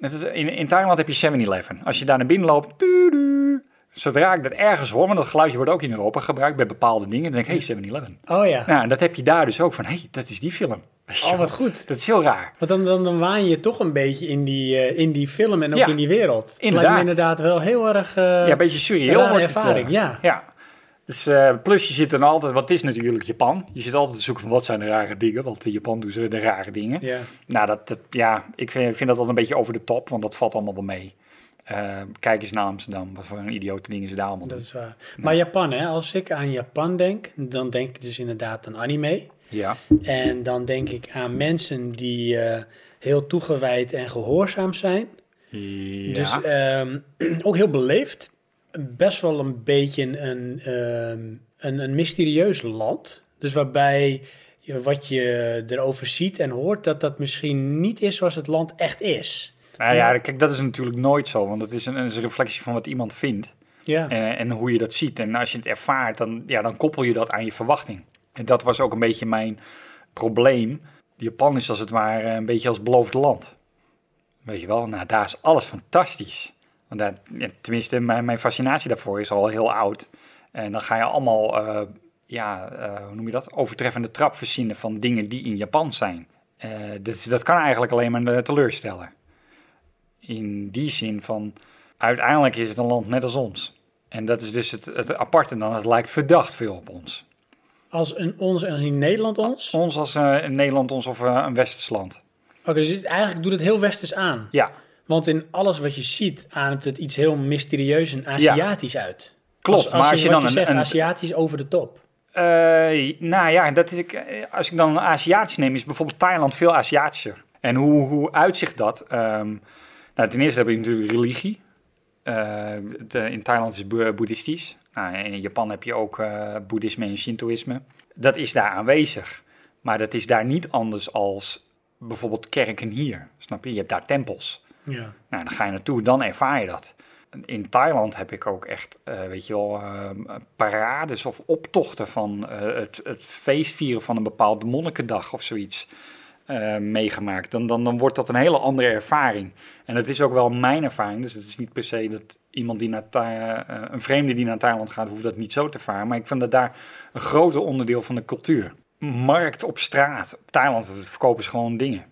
B: Het is- in, in Thailand heb je 7-Eleven. Als je daar naar binnen loopt... tudu. Zodra ik dat ergens hoor, want dat geluidje wordt ook in Europa gebruikt bij bepaalde dingen, dan denk ik, hey, 7-Eleven.
A: oh ja.
B: Nou, en dat heb je daar dus ook van, hey, dat is die film. Weet je
A: Oh,
B: wel.
A: wat goed.
B: Dat is heel raar.
A: Want dan, dan, dan waan je toch een beetje in die, eh, in die film en ook
B: Ja,
A: in die wereld. Het lijkt
B: inderdaad.
A: me inderdaad wel heel erg... eh,
B: ja, een beetje
A: een
B: surreal
A: rare
B: wordt het,
A: ervaring,
B: eh.
A: ja.
B: Dus eh, plus je zit dan altijd, wat is natuurlijk Japan? Je zit altijd te zoeken van wat zijn de rare dingen, want in Japan doen ze de rare dingen.
A: Ja.
B: Nou, dat, dat- ja, ik vind, vind dat wel een beetje over de top, want dat valt allemaal wel mee. Eh, kijk eens naar Amsterdam, wat voor een idiote dingen ze daar allemaal
A: Dat
B: doen.
A: is waar. Maar Japan, hè? als ik aan Japan denk, dan denk ik dus inderdaad aan anime.
B: Ja,
A: En dan denk ik aan mensen die eh, heel toegewijd en gehoorzaam zijn.
B: ja.
A: Dus ehm, ook heel beleefd. Best wel een beetje een, ehm, een, een mysterieus land. Dus waarbij je, wat je erover ziet en hoort, dat dat misschien niet is zoals het land echt is.
B: nou ja, kijk, dat is natuurlijk nooit zo, want het is een, het is een reflectie van wat iemand vindt.
A: Ja,
B: Eh, En, en hoe je dat ziet. En als je het ervaart, dan, ja, dan koppel je dat aan je verwachting. En dat was ook een beetje mijn probleem. Japan is als het ware een beetje als beloofd land. Weet je wel, nou, daar is alles fantastisch. Want daar, ja, tenminste, mijn, mijn fascinatie daarvoor is al heel oud. En dan ga je allemaal, eh, ja, eh, hoe noem je dat? Overtreffende trap verzinnen van dingen die in Japan zijn. Eh, dus dat kan eigenlijk alleen maar eh, teleurstellen. In die zin van, uiteindelijk is het een land net als ons. En dat is dus het, het aparte dan. Het lijkt verdacht veel op ons.
A: als een, ons en als in Nederland ons. Oké,
B: Ons als eh, een Nederland ons of eh, een Westers land.
A: dus het- eigenlijk doet het heel westers aan.
B: Ja,
A: Want in alles wat je ziet, ademt het iets heel mysterieus en Aziatisch uit.
B: klopt.
A: Als, als
B: maar
A: je,
B: als je
A: wat
B: dan
A: je
B: een,
A: zegt,
B: een-
A: Aziatisch over de top.
B: Eh, nou ja, dat is, ik- eh, als ik dan een Aziatisch neem, is bijvoorbeeld Thailand veel Aziatischer. En hoe, hoe uitzicht dat? Ehm, nou, ten eerste heb je natuurlijk religie. Eh, de- in Thailand is het boe- boeddhistisch. Nou, en in Japan heb je ook eh, boeddhisme en shintoïsme. Dat is daar aanwezig. Maar dat is daar niet anders als bijvoorbeeld kerken hier. Snap je? Je hebt daar tempels.
A: Ja.
B: Nou, dan ga je naartoe, dan ervaar je dat. In Thailand heb ik ook echt, eh, weet je wel, ehm, parades of optochten van eh, het, het feestvieren van een bepaald monnikendag of zoiets eh, meegemaakt. Dan, dan, dan wordt dat een hele andere ervaring. En dat is ook wel mijn ervaring, dus het is niet per se dat iemand die naar Tha- eh, een vreemde die naar Thailand gaat, hoeft dat niet zo te ervaren. Maar ik vind dat daar een groter onderdeel van de cultuur. Markt op straat, op Thailand verkopen ze gewoon dingen.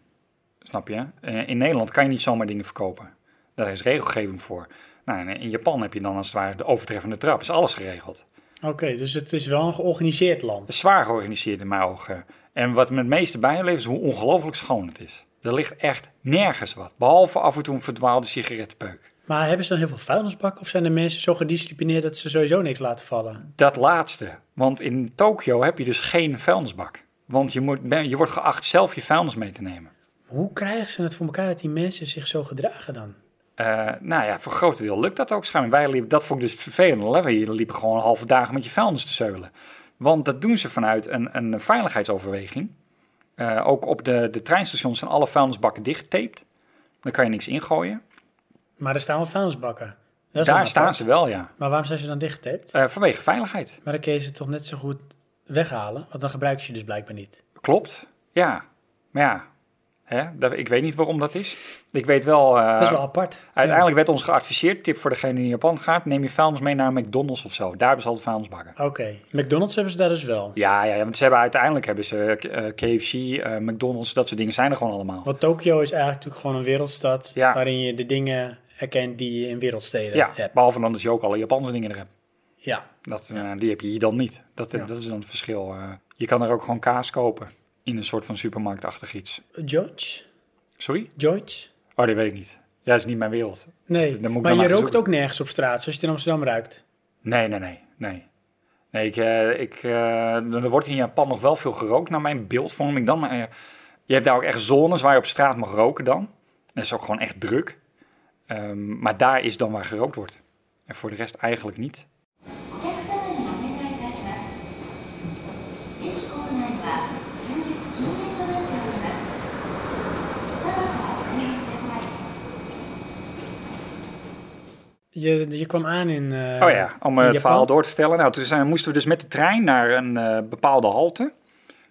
B: Snap je? Eh, In Nederland kan je niet zomaar dingen verkopen. Daar is regelgeving voor. Nou, en in Japan heb je dan als het ware de overtreffende trap. Is alles geregeld.
A: Oké, dus het is wel een georganiseerd land.
B: Zwaar georganiseerd in mijn ogen. En wat me het meeste bijbleef is hoe ongelooflijk schoon het is. Er ligt echt nergens wat. Behalve af en toe een verdwaalde sigarettenpeuk.
A: Maar hebben ze dan heel veel vuilnisbakken of zijn de mensen zo gedisciplineerd dat ze sowieso niks laten vallen?
B: Dat laatste. Want in Tokio heb je dus geen vuilnisbak. Want je, moet, ben- je wordt geacht zelf je vuilnis mee te nemen.
A: Hoe krijgen ze het voor elkaar dat die mensen zich zo gedragen dan?
B: Eh, nou ja, voor een groot deel lukt dat ook schijnbaar. Wij liepen, dat vond ik dus vervelend. Hè? Wij liepen gewoon halve dagen met je vuilnis te zeulen. Want dat doen ze vanuit een, een veiligheidsoverweging. Eh, ook op de, de treinstations zijn alle vuilnisbakken dichtgetaped. Dan kan je niks ingooien.
A: Maar er staan wel vuilnisbakken. Dat is
B: Daar
A: dan
B: staan
A: apart.
B: ze wel, ja.
A: Maar waarom zijn ze dan dichtgetaped?
B: Eh, vanwege veiligheid.
A: Maar dan kun je ze toch net zo goed weghalen, want dan gebruiken ze je dus blijkbaar niet.
B: Klopt. Ja. Maar ja. Hè? Dat, ik weet niet waarom dat is. Ik weet wel... eh,
A: Dat is wel apart.
B: Uiteindelijk werd ons geadviseerd, tip voor degene die in Japan gaat, neem je vuilnis mee naar McDonald's of zo. Daar hebben ze altijd vuilnisbakken.
A: Ja. Oké, McDonald's hebben ze daar dus wel.
B: Ja, ja, ja, want ze hebben uiteindelijk hebben ze eh, KFC, eh, McDonald's, dat soort dingen zijn er gewoon allemaal.
A: Want Tokio is eigenlijk natuurlijk gewoon een wereldstad
B: Ja.
A: waarin je de dingen herkent die je in wereldsteden
B: ja,
A: hebt.
B: behalve dan dat je ook alle Japanse dingen er hebt.
A: Ja,
B: Dat, eh, die heb je hier dan niet. Dat, dat is dan het verschil. eh. je kan er ook gewoon kaas kopen in een soort van supermarktachtig iets.
A: joints,
B: Sorry?
A: joints.
B: Oh, dat weet ik niet. Ja, dat is niet mijn wereld.
A: Nee,
B: Dat moet ik
A: maar
B: dan
A: je
B: maar
A: rookt
B: zoeken.
A: ook nergens op straat, als je het in Amsterdam ruikt.
B: Nee, nee, nee. Nee, nee ik, eh, ik, eh, er wordt in Japan nog wel veel gerookt. Naar mijn beeldvorming dan. Maar, eh, je hebt daar ook echt zones waar je op straat mag roken dan. Dat is ook gewoon echt druk. Ehm, maar daar is dan waar gerookt wordt. En voor de rest eigenlijk niet.
E: お客様にお願いいたします駅構内は終日禁煙となっておりますタバコをおやめください
A: Je, je kwam aan in. eh,
B: Oh ja, om eh,
A: in
B: het
A: Japan.
B: verhaal door te vertellen. Nou, toen zijn, moesten we dus met de trein naar een eh, bepaalde halte.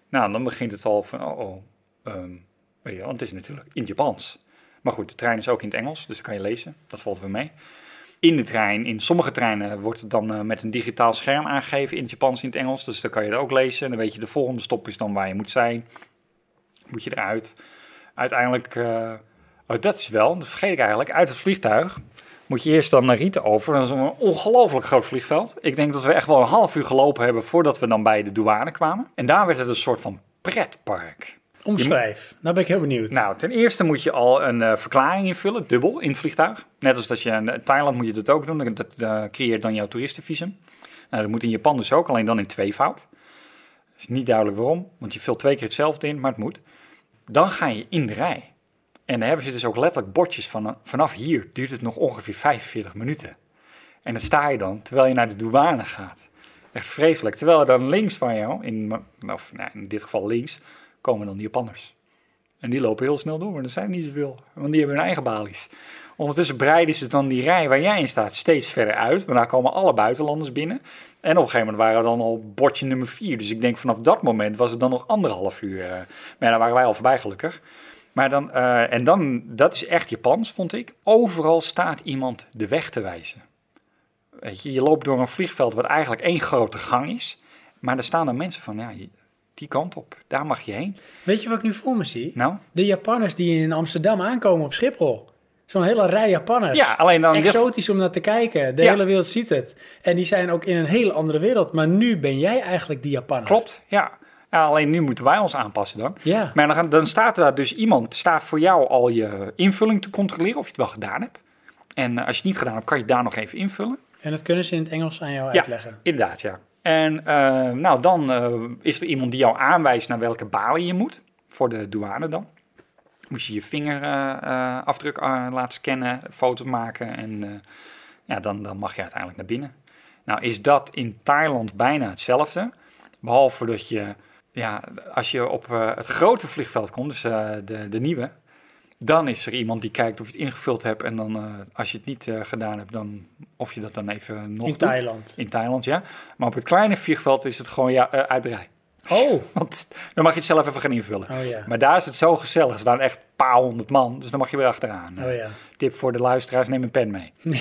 B: Nou, dan begint het al van, oh, oh ehm, weet je, want het is natuurlijk in het Japans. Maar goed, de trein is ook in het Engels, dus dat kan je lezen. Dat valt weer mee. In de trein, in sommige treinen wordt het dan eh, met een digitaal scherm aangegeven in het Japans, in het Engels. Dus dan kan je dat ook lezen. En dan weet je, de volgende stop is dan waar je moet zijn. Moet je eruit. Uiteindelijk, eh, oh, dat is wel, dat vergeet ik eigenlijk, uit het vliegtuig moet je eerst dan naar Rieten over. Dat is een ongelooflijk groot vliegveld. Ik denk dat we echt wel een half uur gelopen hebben voordat we dan bij de douane kwamen. En daar werd het een soort van pretpark.
A: Omschrijf. Nou ben ik heel benieuwd.
B: Nou, ten eerste moet je al een eh, verklaring invullen, dubbel, in het vliegtuig. Net als dat je in Thailand moet je dat ook doen. Dat eh, creëert dan jouw toeristenvisum. Nou, dat moet in Japan dus ook, alleen dan in tweevoud. Dat is niet duidelijk waarom, want je vult twee keer hetzelfde in, maar het moet. Dan ga je in de rij. En dan hebben ze dus ook letterlijk bordjes van eh, vanaf hier duurt het nog ongeveer 45 minuten. En dan sta je dan, terwijl je naar de douane gaat. Echt vreselijk. Terwijl er dan links van jou, in, of nou, in dit geval links, komen dan de Japanners. En die lopen heel snel door, en er zijn niet zoveel. Want die hebben hun eigen balies. Ondertussen breiden ze dan die rij waar jij in staat steeds verder uit. Want daar komen alle buitenlanders binnen. En op een gegeven moment waren we dan al bordje nummer vier. Dus ik denk vanaf dat moment was het dan nog anderhalf uur. eh. Maar ja, daar waren wij al voorbij gelukkig. Maar dan, eh, en dan, dat is echt Japans, vond ik. Overal staat iemand de weg te wijzen. Weet je, je loopt door een vliegveld wat eigenlijk één grote gang is. Maar er staan dan mensen van, ja, je- die kant op, daar mag je heen.
A: Weet je wat ik nu voor me zie?
B: Nou,
A: De Japanners die in Amsterdam aankomen op Schiphol. Zo'n hele rij Japanners.
B: Ja, alleen dan-
A: Exotisch om naar te kijken. De
B: Ja.
A: hele wereld ziet het. En die zijn ook in een hele andere wereld. Maar nu ben jij eigenlijk die Japanner.
B: Klopt, ja. Ja, Alleen nu moeten wij ons aanpassen dan.
A: Ja.
B: Maar dan, gaan- dan staat er dus iemand, staat voor jou al je invulling te controleren of je het wel gedaan hebt. En eh, als je het niet gedaan hebt, kan je het daar nog even invullen.
A: En dat kunnen ze in het Engels aan jou
B: Ja,
A: uitleggen.
B: inderdaad, ja. En eh, nou, dan eh, is er iemand die jou aanwijst naar welke balie je moet. Voor de douane dan. Moet je eh, je vingerafdruk eh, laten scannen, foto maken en eh, ja, dan, dan mag je uiteindelijk naar binnen. Nou is dat in Thailand bijna hetzelfde. Behalve dat je, ja, als je op eh, het grote vliegveld komt, dus eh, de, de nieuwe, dan is er iemand die kijkt of je het ingevuld hebt. En dan, eh, als je het niet eh, gedaan hebt, dan of je dat dan even nog
A: in
B: doet.
A: Thailand.
B: In Thailand, ja. Maar op het kleine vliegveld is het gewoon ja, eh, uit de rij.
A: Oh.
B: Want dan mag je het zelf even gaan invullen.
A: Oh ja.
B: Maar daar is het zo gezellig. Er staan echt een paar honderd man. Dus dan mag je weer achteraan.
A: Oh ja.
B: Tip voor de luisteraars, neem een pen mee.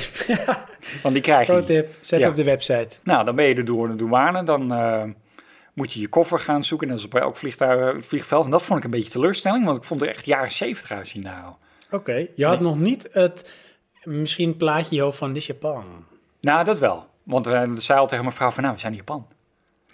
B: Want die krijg je
A: Pro
B: niet.
A: tip. Zet
B: Ja.
A: op de website.
B: Nou, dan ben je er door de douane. Dan eh, moet je je koffer gaan zoeken. En dat is op elk vliegtuig, eh, vliegveld. En dat vond ik een beetje teleurstelling. Want ik vond er echt jaren zeventig uitzien daar al.
A: Oké. Je had nog niet het misschien plaatje in je hoofd van dit is Japan.
B: Nou, dat wel. Want eh, ze zei al tegen mijn vrouw van, nou, we zijn in Japan.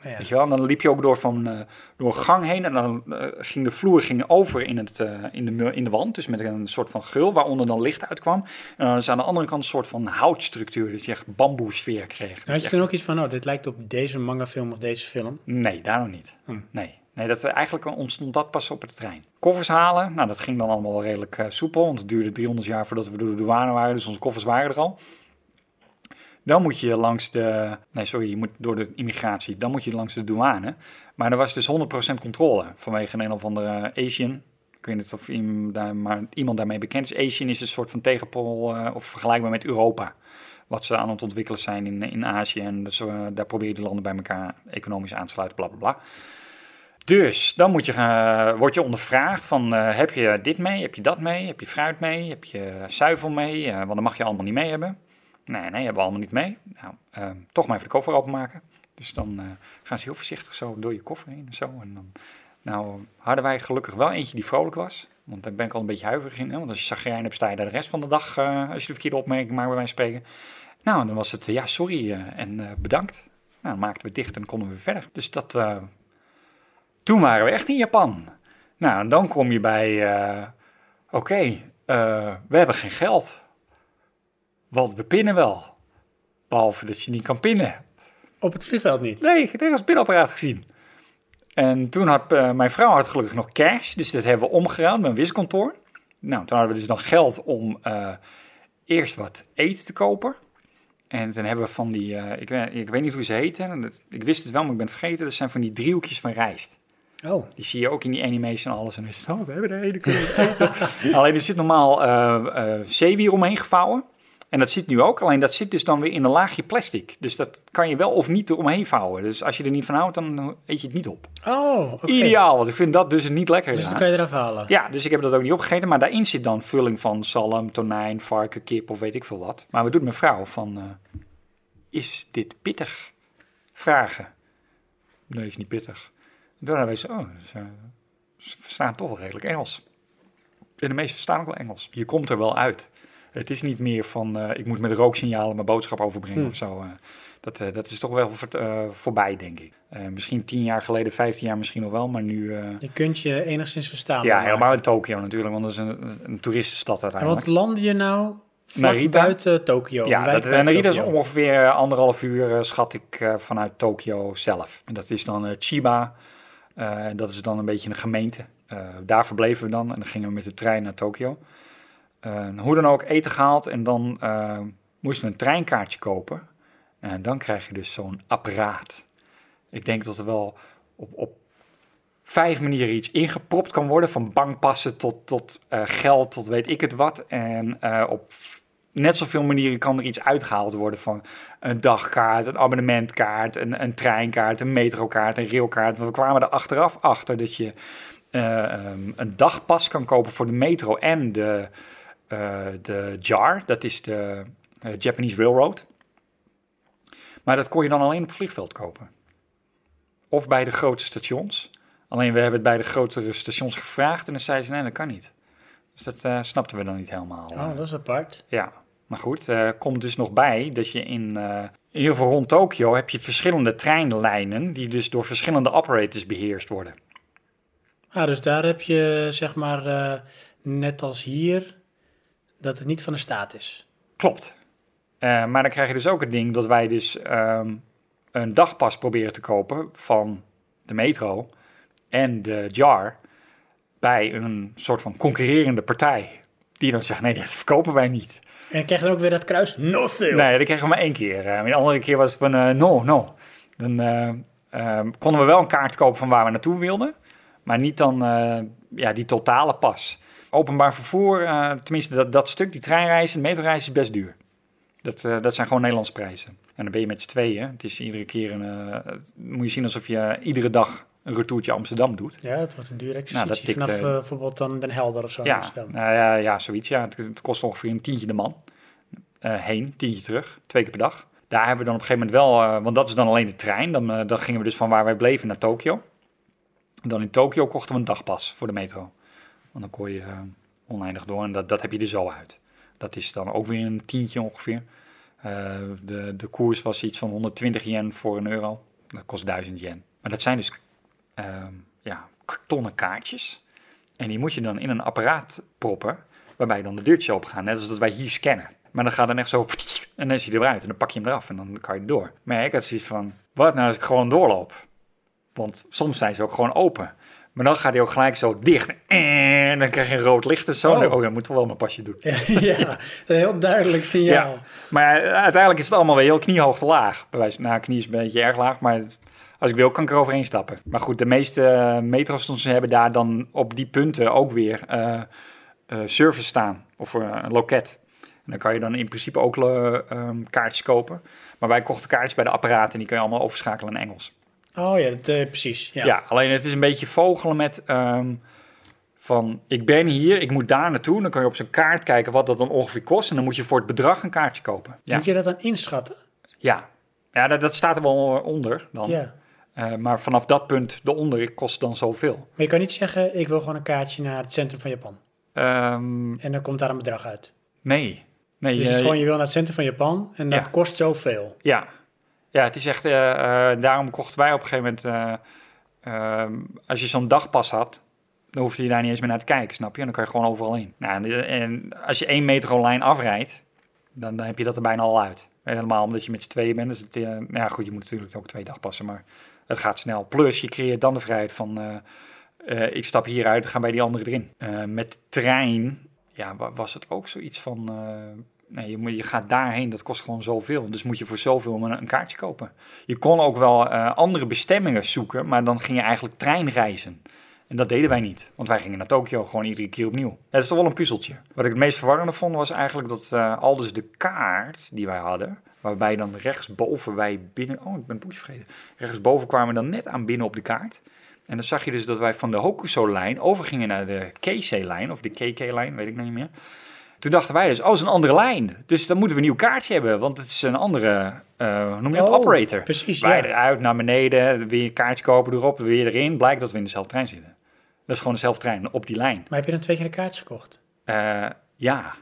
A: Nou Ja.
B: Weet je wel? En dan liep je ook door, van, eh, door een gang heen en dan eh, ging de vloer ging over in, het, eh, in, de, mu- in de wand. Dus met een soort van gul waaronder dan licht uitkwam. En dan is aan de andere kant een soort van houtstructuur. Dat je echt bamboesfeer kreeg. Dat
A: Had
B: je
A: je toen ook iets van, oh, dit lijkt op deze mangafilm of deze film?
B: Nee, daar nog niet. Nee. Nee, dat, eh, eigenlijk ontstond dat pas op de trein. Koffers halen, nou dat ging dan allemaal wel redelijk eh, soepel. Want het duurde 300 jaar voordat we door de douane waren. Dus onze koffers waren er al. Dan moet je langs de... Nee, sorry, je moet door de immigratie. Dan moet je langs de douane. Maar er was dus 100% controle. Vanwege een of andere Asian. Ik weet niet of iemand, daar, maar iemand daarmee bekend is. Asian is een soort van tegenpol eh, of vergelijkbaar met Europa wat ze aan het ontwikkelen zijn in, in Azië. En dus, eh, daar proberen die landen bij elkaar economisch aan te sluiten, bla bla bla. Dus dan moet je, gaan- word je ondervraagd van eh, heb je dit mee, heb je dat mee, heb je fruit mee, heb je zuivel mee, Eh, want dan mag je allemaal niet mee hebben. Nee, nee, hebben we allemaal niet mee. Nou, eh, toch maar even de koffer openmaken. Dus dan eh, gaan ze heel voorzichtig zo door je koffer heen en zo. En dan, nou hadden wij gelukkig wel eentje die vrolijk was. Want daar ben ik al een beetje huiverig in. Hè? Want als je chagrijn hebt, sta je daar de rest van de dag, eh, als je de verkeerde opmerking maakt bij wijze van spreken. Nou, en dan was het, eh, ja, sorry eh, en eh, bedankt. Nou, dan maakten we het dicht en konden we weer verder. Dus dat, eh, toen waren we echt in Japan. Nou, en dan kom je bij, eh, oké, eh, we hebben geen geld. Want we pinnen wel. Behalve dat je niet kan pinnen.
A: Op het vliegveld niet.
B: Nee, ik heb het pinapparaat gezien. En toen had eh, mijn vrouw had gelukkig nog cash, dus dat hebben we omgeruild met een wiskantoor. Nou, toen hadden we dus nog geld om eh, eerst wat eten te kopen. En toen hebben we van die, eh, ik, weet, ik weet niet hoe ze heten, en dat- ik wist het wel, maar ik ben het vergeten. Dat zijn van die driehoekjes van rijst.
A: Oh,
B: Die zie je ook in die animes en alles. En dan is het, oh, we hebben de hele kunnen eten. alleen er zit normaal eh eh zeewier omheen gevouwen. En dat zit nu ook, alleen dat zit dus dan weer in een laagje plastic. Dus dat kan je wel of niet eromheen vouwen. Dus als je er niet van houdt, dan eet je het niet op.
A: oh oké.
B: Ideaal, want ik vind dat dus niet lekker.
A: Dus
B: eraan.
A: dan kan je eraf halen.
B: Ja, dus ik heb dat ook niet opgegeten. Maar daarin zit dan vulling van zalm, tonijn, varken, kip of weet ik veel wat. Maar wat doet mijn vrouw van, eh, is dit pittig? Vragen. Nee, is niet pittig. Daarna weet ze, oh, ze, ze verstaan toch wel redelijk Engels. En de meesten verstaan ook wel Engels. Je komt er wel uit. Het is niet meer van, eh, ik moet met rooksignalen mijn boodschap overbrengen of zo. eh. dat, eh, dat is toch wel voor- eh, voorbij, denk ik. Eh, misschien tien jaar geleden, vijftien jaar misschien nog wel, maar nu... eh,
A: Je kunt je enigszins verstaan.
B: ja,
A: maar-
B: helemaal in Tokio natuurlijk, want dat is een, een toeristenstad
A: En
B: uiteindelijk.
A: wat land je nou vlak
B: Narita?
A: buiten Tokio?
B: ja,
A: een wijk
B: dat, en
A: buiten
B: Narita is
A: Tokio.
B: ongeveer anderhalf uur, eh, schat ik, eh, vanuit Tokio zelf. En dat is dan eh, Chiba, Eh, dat is dan een beetje een gemeente. Eh, daar verbleven we dan en dan gingen we met de trein naar Tokio. Eh, hoe dan ook, eten gehaald en dan eh, moesten we een treinkaartje kopen. En dan krijg je dus zo'n apparaat. Ik denk dat er wel op, op vijf manieren iets ingepropt kan worden. Van bankpassen tot, tot eh, geld, tot weet ik het wat. En eh, op net zoveel manieren kan er iets uitgehaald worden van een dagkaart, een abonnementkaart, een, een treinkaart, een metrokaart, een railkaart. Want we kwamen er achteraf achter dat je eh, ehm, een dagpas kan kopen voor de metro en de, eh, de JAR. Dat is de eh, Japanese Railroad. Maar dat kon je dan alleen op het vliegveld kopen. Of bij de grote stations. Alleen we hebben het bij de grotere stations gevraagd en dan zeiden ze nee, dat kan niet. Dus dat eh, snapten we dan niet helemaal.
A: Oh, dat is apart.
B: Ja, maar goed, eh komt dus nog bij dat je in, eh, in ieder geval rond Tokio heb je verschillende treinlijnen die dus door verschillende operators beheerst worden.
A: Ah, dus daar heb je, zeg maar, eh, net als hier, dat het niet van de staat is.
B: Klopt. Eh, maar dan krijg je dus ook het ding dat wij dus ehm, een dagpas proberen te kopen van de metro en de JAR bij een soort van concurrerende partij. Die dan zegt, nee, dat verkopen wij niet.
A: En krijg je dan ook weer dat kruis? No sale!
B: Nee, dat kregen we maar één keer. Eh, de andere keer was het van eh, no, no. Dan eh, eh, konden we wel een kaart kopen van waar we naartoe wilden. Maar niet dan eh, ja, die totale pas. Openbaar vervoer, eh, tenminste dat, dat stuk, die treinreizen, de metroreis is best duur. Dat, eh, dat zijn gewoon Nederlandse prijzen. En dan ben je met z'n tweeën. Het is iedere keer een... eh, het moet je zien alsof je eh, iedere dag een retourtje Amsterdam doet.
A: Ja, het wordt een duur
B: Nou, dat
A: exercitie
B: tikt,
A: vanaf
B: eh,
A: eh, bijvoorbeeld dan Den Helder of zo in
B: Ja,
A: Amsterdam.
B: nou ja, ja, zoiets. Ja. Het, het kost ongeveer een tientje de man. Eh, heen, tientje terug, twee keer per dag. Daar hebben we dan op een gegeven moment wel, eh, want dat is dan alleen de trein. Dan, eh, dan gingen we dus van waar wij bleven naar Tokio. En dan in Tokio kochten we een dagpas voor de metro. Want dan kon je eh, oneindig door en dat, dat heb je er zo uit. Dat is dan ook weer een tientje ongeveer. Eh, de, de koers was iets van 120 yen voor een euro. Dat kost 1000 yen. Maar dat zijn dus ehm, ja, kartonnen kaartjes. En die moet je dan in een apparaat proppen, waarbij dan de deurtjes open gaan. Net als dat wij hier scannen. Maar dan gaat dan echt zo... En dan is hij eruit en dan pak je hem eraf en dan kan je door. Maar ik had zoiets van, wat nou als ik gewoon doorloop? Want soms zijn ze ook gewoon open. Maar dan gaat hij ook gelijk zo dicht. En dan krijg je een rood licht en zo.
A: Oh.
B: Oh, dan moet wel mijn pasje doen.
A: ja, een heel duidelijk signaal.
B: Ja. Maar uiteindelijk is het allemaal weer heel kniehoog te laag. Bij wijze, nou, knie is een beetje erg laag, maar als ik wil kan ik er overheen stappen. Maar goed, de meeste eh, metrostations hebben daar dan op die punten ook weer eh, eh, service staan. Of eh, een loket. En dan kan je dan in principe ook le- ehm, kaartjes kopen. Maar wij kochten kaartjes bij de apparaten en die kun je allemaal overschakelen naar Engels.
A: Oh ja, dat, eh, precies. Ja.
B: Ja. alleen het is een beetje vogelen met ehm, van ik ben hier, ik moet daar naartoe. Dan kan je op zo'n kaart kijken wat dat dan ongeveer kost. En dan moet je voor het bedrag een kaartje kopen. Ja.
A: Moet je dat dan inschatten?
B: Ja, ja dat, dat staat er wel onder dan.
A: Ja.
B: Eh, maar vanaf dat punt eronder kost dan zoveel.
A: Maar je kan niet zeggen, ik wil gewoon een kaartje naar het centrum van Japan.
B: Ehm,
A: En dan komt daar een bedrag uit.
B: nee. nee
A: Dus het
B: eh,
A: is gewoon, je wil naar het centrum van Japan en dat
B: Ja.
A: kost zoveel.
B: ja. ja, het is echt... eh, eh, daarom kochten wij op een gegeven moment... eh, ehm, als je zo'n dagpas had, Dan hoefde je daar niet eens meer naar te kijken, snap je? En dan kan je gewoon overal in. Nou, en, de- en als je één metrolijn afrijdt, dan, dan heb je dat er bijna al uit. Helemaal omdat je met z'n tweeën bent. Dus het, eh, nou ja, goed, je moet natuurlijk ook twee dag passen, maar het gaat snel. Plus, je creëert dan de vrijheid van... eh, eh, ik stap hieruit, ga bij die andere erin. Eh, met de trein ja, wa- was het ook zoiets van... eh, nee, je, moet- je gaat daarheen, dat kost gewoon zoveel. Dus moet je voor zoveel maar een, een kaartje kopen. Je kon ook wel eh, andere bestemmingen zoeken, maar dan ging je eigenlijk treinreizen. En dat deden wij niet, want wij gingen naar Tokio gewoon iedere keer opnieuw. Het is toch wel een puzzeltje. Wat ik het meest verwarrende vond was eigenlijk dat eh al dus de kaart die wij hadden, waarbij dan rechtsboven wij binnen... Oh, ik ben het boekje vergeten. Rechtsboven kwamen we dan net aan binnen op de kaart. En dan zag je dus dat wij van de Hokuso-lijn overgingen naar de KC-lijn, of de KK-lijn, weet ik nog niet meer. Toen dachten wij dus, oh, het is een andere lijn. Dus dan moeten we een nieuw kaartje hebben, want het is een andere, eh, hoe noem je dat,
A: Oh,
B: operator.
A: precies,
B: Wij
A: ja.
B: eruit, naar beneden, weer een kaartje kopen, erop, weer erin. Blijkt dat we in dezelfde trein zitten. Dat is gewoon dezelfde trein, op die lijn.
A: Maar heb je dan twee keer een kaartje gekocht?
B: Eh, ja.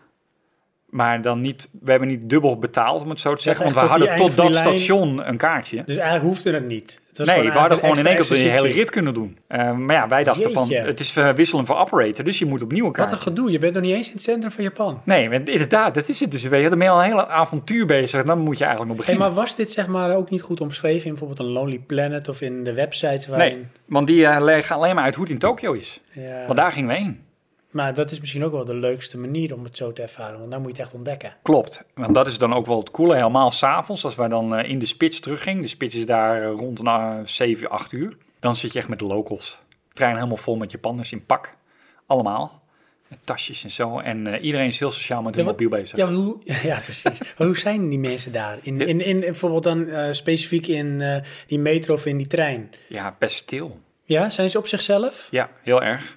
B: Maar dan niet, we hebben niet dubbel betaald, om het zo te zeggen.
A: echt
B: Want we
A: tot die
B: hadden tot
A: eind van
B: dat
A: die lijn-
B: station een kaartje.
A: Dus eigenlijk hoefde het niet. Het was
B: Nee, we hadden
A: eigenlijk
B: gewoon in één keer
A: extra
B: de hele
A: exercitie.
B: rit kunnen doen. Eh, maar ja, wij dachten
A: Jeetje.
B: van, het is eh, wisselen voor operator, dus je moet opnieuw een
A: Wat
B: kaartje.
A: een gedoe, je bent nog niet eens in het centrum van Japan.
B: Nee, maar inderdaad, dat is het dus. weer. Dan ben je al een hele avontuur bezig en dan moet je eigenlijk nog
A: Hey,
B: beginnen.
A: maar was dit zeg maar ook niet goed omschreven in bijvoorbeeld een Lonely Planet of in de websites
B: nee,
A: waarin...
B: want die eh, leggen alleen maar uit hoe het in Tokio is.
A: Ja.
B: Want daar gingen we heen.
A: Maar dat is misschien ook wel de leukste manier om het zo te ervaren, want dan moet je het echt ontdekken.
B: Klopt, want dat is dan ook wel het coole. Helemaal s'avonds, als wij dan eh, in de spits teruggingen. De spits is daar eh, rond na 7, 8 uur. Dan zit je echt met de locals. Trein helemaal vol met Japanners in pak. Allemaal. Met tasjes en zo. En eh, iedereen is heel sociaal met hun
A: Ja, wat-
B: mobiel bezig.
A: Ja, hoe, ja precies. Maar hoe zijn die mensen daar? In, in, in, in bijvoorbeeld dan eh, specifiek in eh, die metro of in die trein.
B: Ja, best stil.
A: Ja, zijn ze op zichzelf?
B: Ja, heel erg.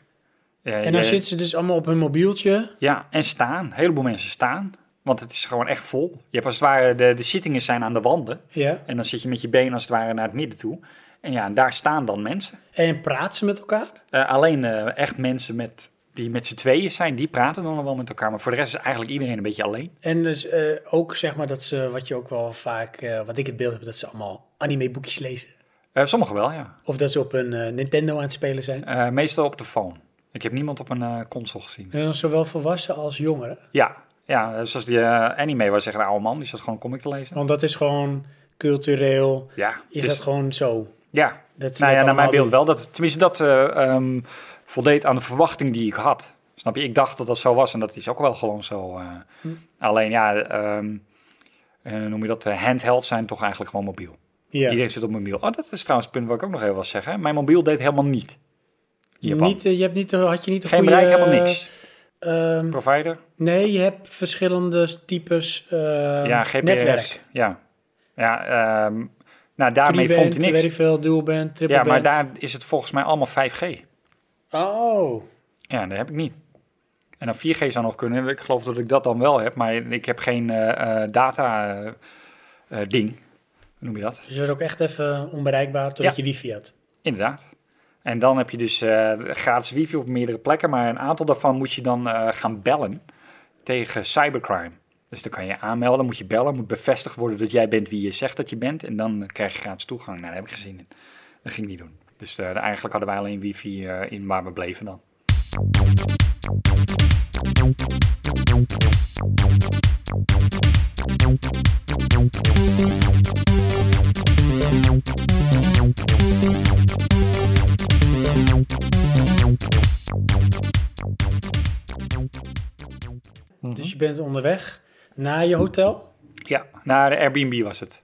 B: Eh,
A: En dan
B: je-
A: zitten ze dus allemaal op hun mobieltje.
B: Ja, en staan. Een heleboel mensen staan. Want het is gewoon echt vol. Je hebt als het ware, de, de zittingen zijn aan de wanden.
A: Ja.
B: En dan zit je met je benen als het ware naar het midden toe. En ja, en daar staan dan mensen.
A: En praten ze met elkaar?
B: Eh, alleen eh, echt mensen met, die met z'n tweeën zijn, die praten dan wel met elkaar. Maar voor de rest is eigenlijk iedereen een beetje alleen.
A: En dus eh, ook zeg maar dat ze, wat je ook wel vaak, eh, wat ik het beeld heb, dat ze allemaal anime boekjes lezen.
B: Eh, sommigen wel, ja.
A: Of dat ze op een eh, Nintendo aan het spelen zijn.
B: Eh, meestal op de phone. Ik heb niemand op een eh, console gezien.
A: En dan zowel volwassen als jongeren.
B: Ja, ja eh, zoals die eh, anime waar zeggen, een oude man, die zat gewoon een comic te lezen.
A: Want dat is gewoon cultureel.
B: Ja,
A: Is
B: dus-
A: dat gewoon zo?
B: Ja,
A: Dat ze dat
B: nou ja, naar mijn
A: allemaal
B: beeld
A: doen.
B: wel. Dat, tenminste, dat eh, ehm, voldeed aan de verwachting die ik had. Snap je? Ik dacht dat dat zo was en dat is ook wel gewoon zo. eh.
A: Hm.
B: Alleen ja, ehm, eh, noem je dat? eh, handheld zijn toch eigenlijk gewoon mobiel.
A: Ja.
B: Iedereen zit op mobiel. Oh, dat is trouwens het punt wat ik ook nog even wil zeggen. Mijn mobiel deed helemaal niet. in Japan.
A: Niet, eh, je hebt niet, de- had je niet een
B: Geen
A: goede...
B: bereik, helemaal niks.
A: ehm,
B: Provider?
A: nee, je hebt verschillende types eh,
B: ja, GPS.
A: netwerk.
B: Ja. Ja, ehm, nou daarmee
A: Tri-band,
B: vond hij
A: weet ik
B: niks.
A: veel, dualband, triple
B: Ja, maar
A: band.
B: daar is het volgens mij allemaal 5G.
A: Oh,
B: Ja, dat heb ik niet. En dan 4G zou nog kunnen. Ik geloof dat ik dat dan wel heb, maar ik heb geen eh, eh, data eh, eh, ding. Hoe noem je dat?
A: dus dat is ook echt even onbereikbaar totdat je
B: Ja.
A: wifi had.
B: Inderdaad. En dan heb je dus eh, gratis wifi op meerdere plekken, maar een aantal daarvan moet je dan eh, gaan bellen tegen cybercrime. Dus dan kan je aanmelden, moet je bellen, moet bevestigd worden dat jij bent wie je zegt dat je bent. En dan krijg je gratis toegang. Nou, daar heb ik gezien in. Dat ging ik niet doen. Dus eh, eigenlijk hadden wij alleen wifi eh, in waar we bleven dan. Mhm.
A: Dus je bent onderweg naar je hotel. Oké.
B: Ja, naar de Airbnb was het.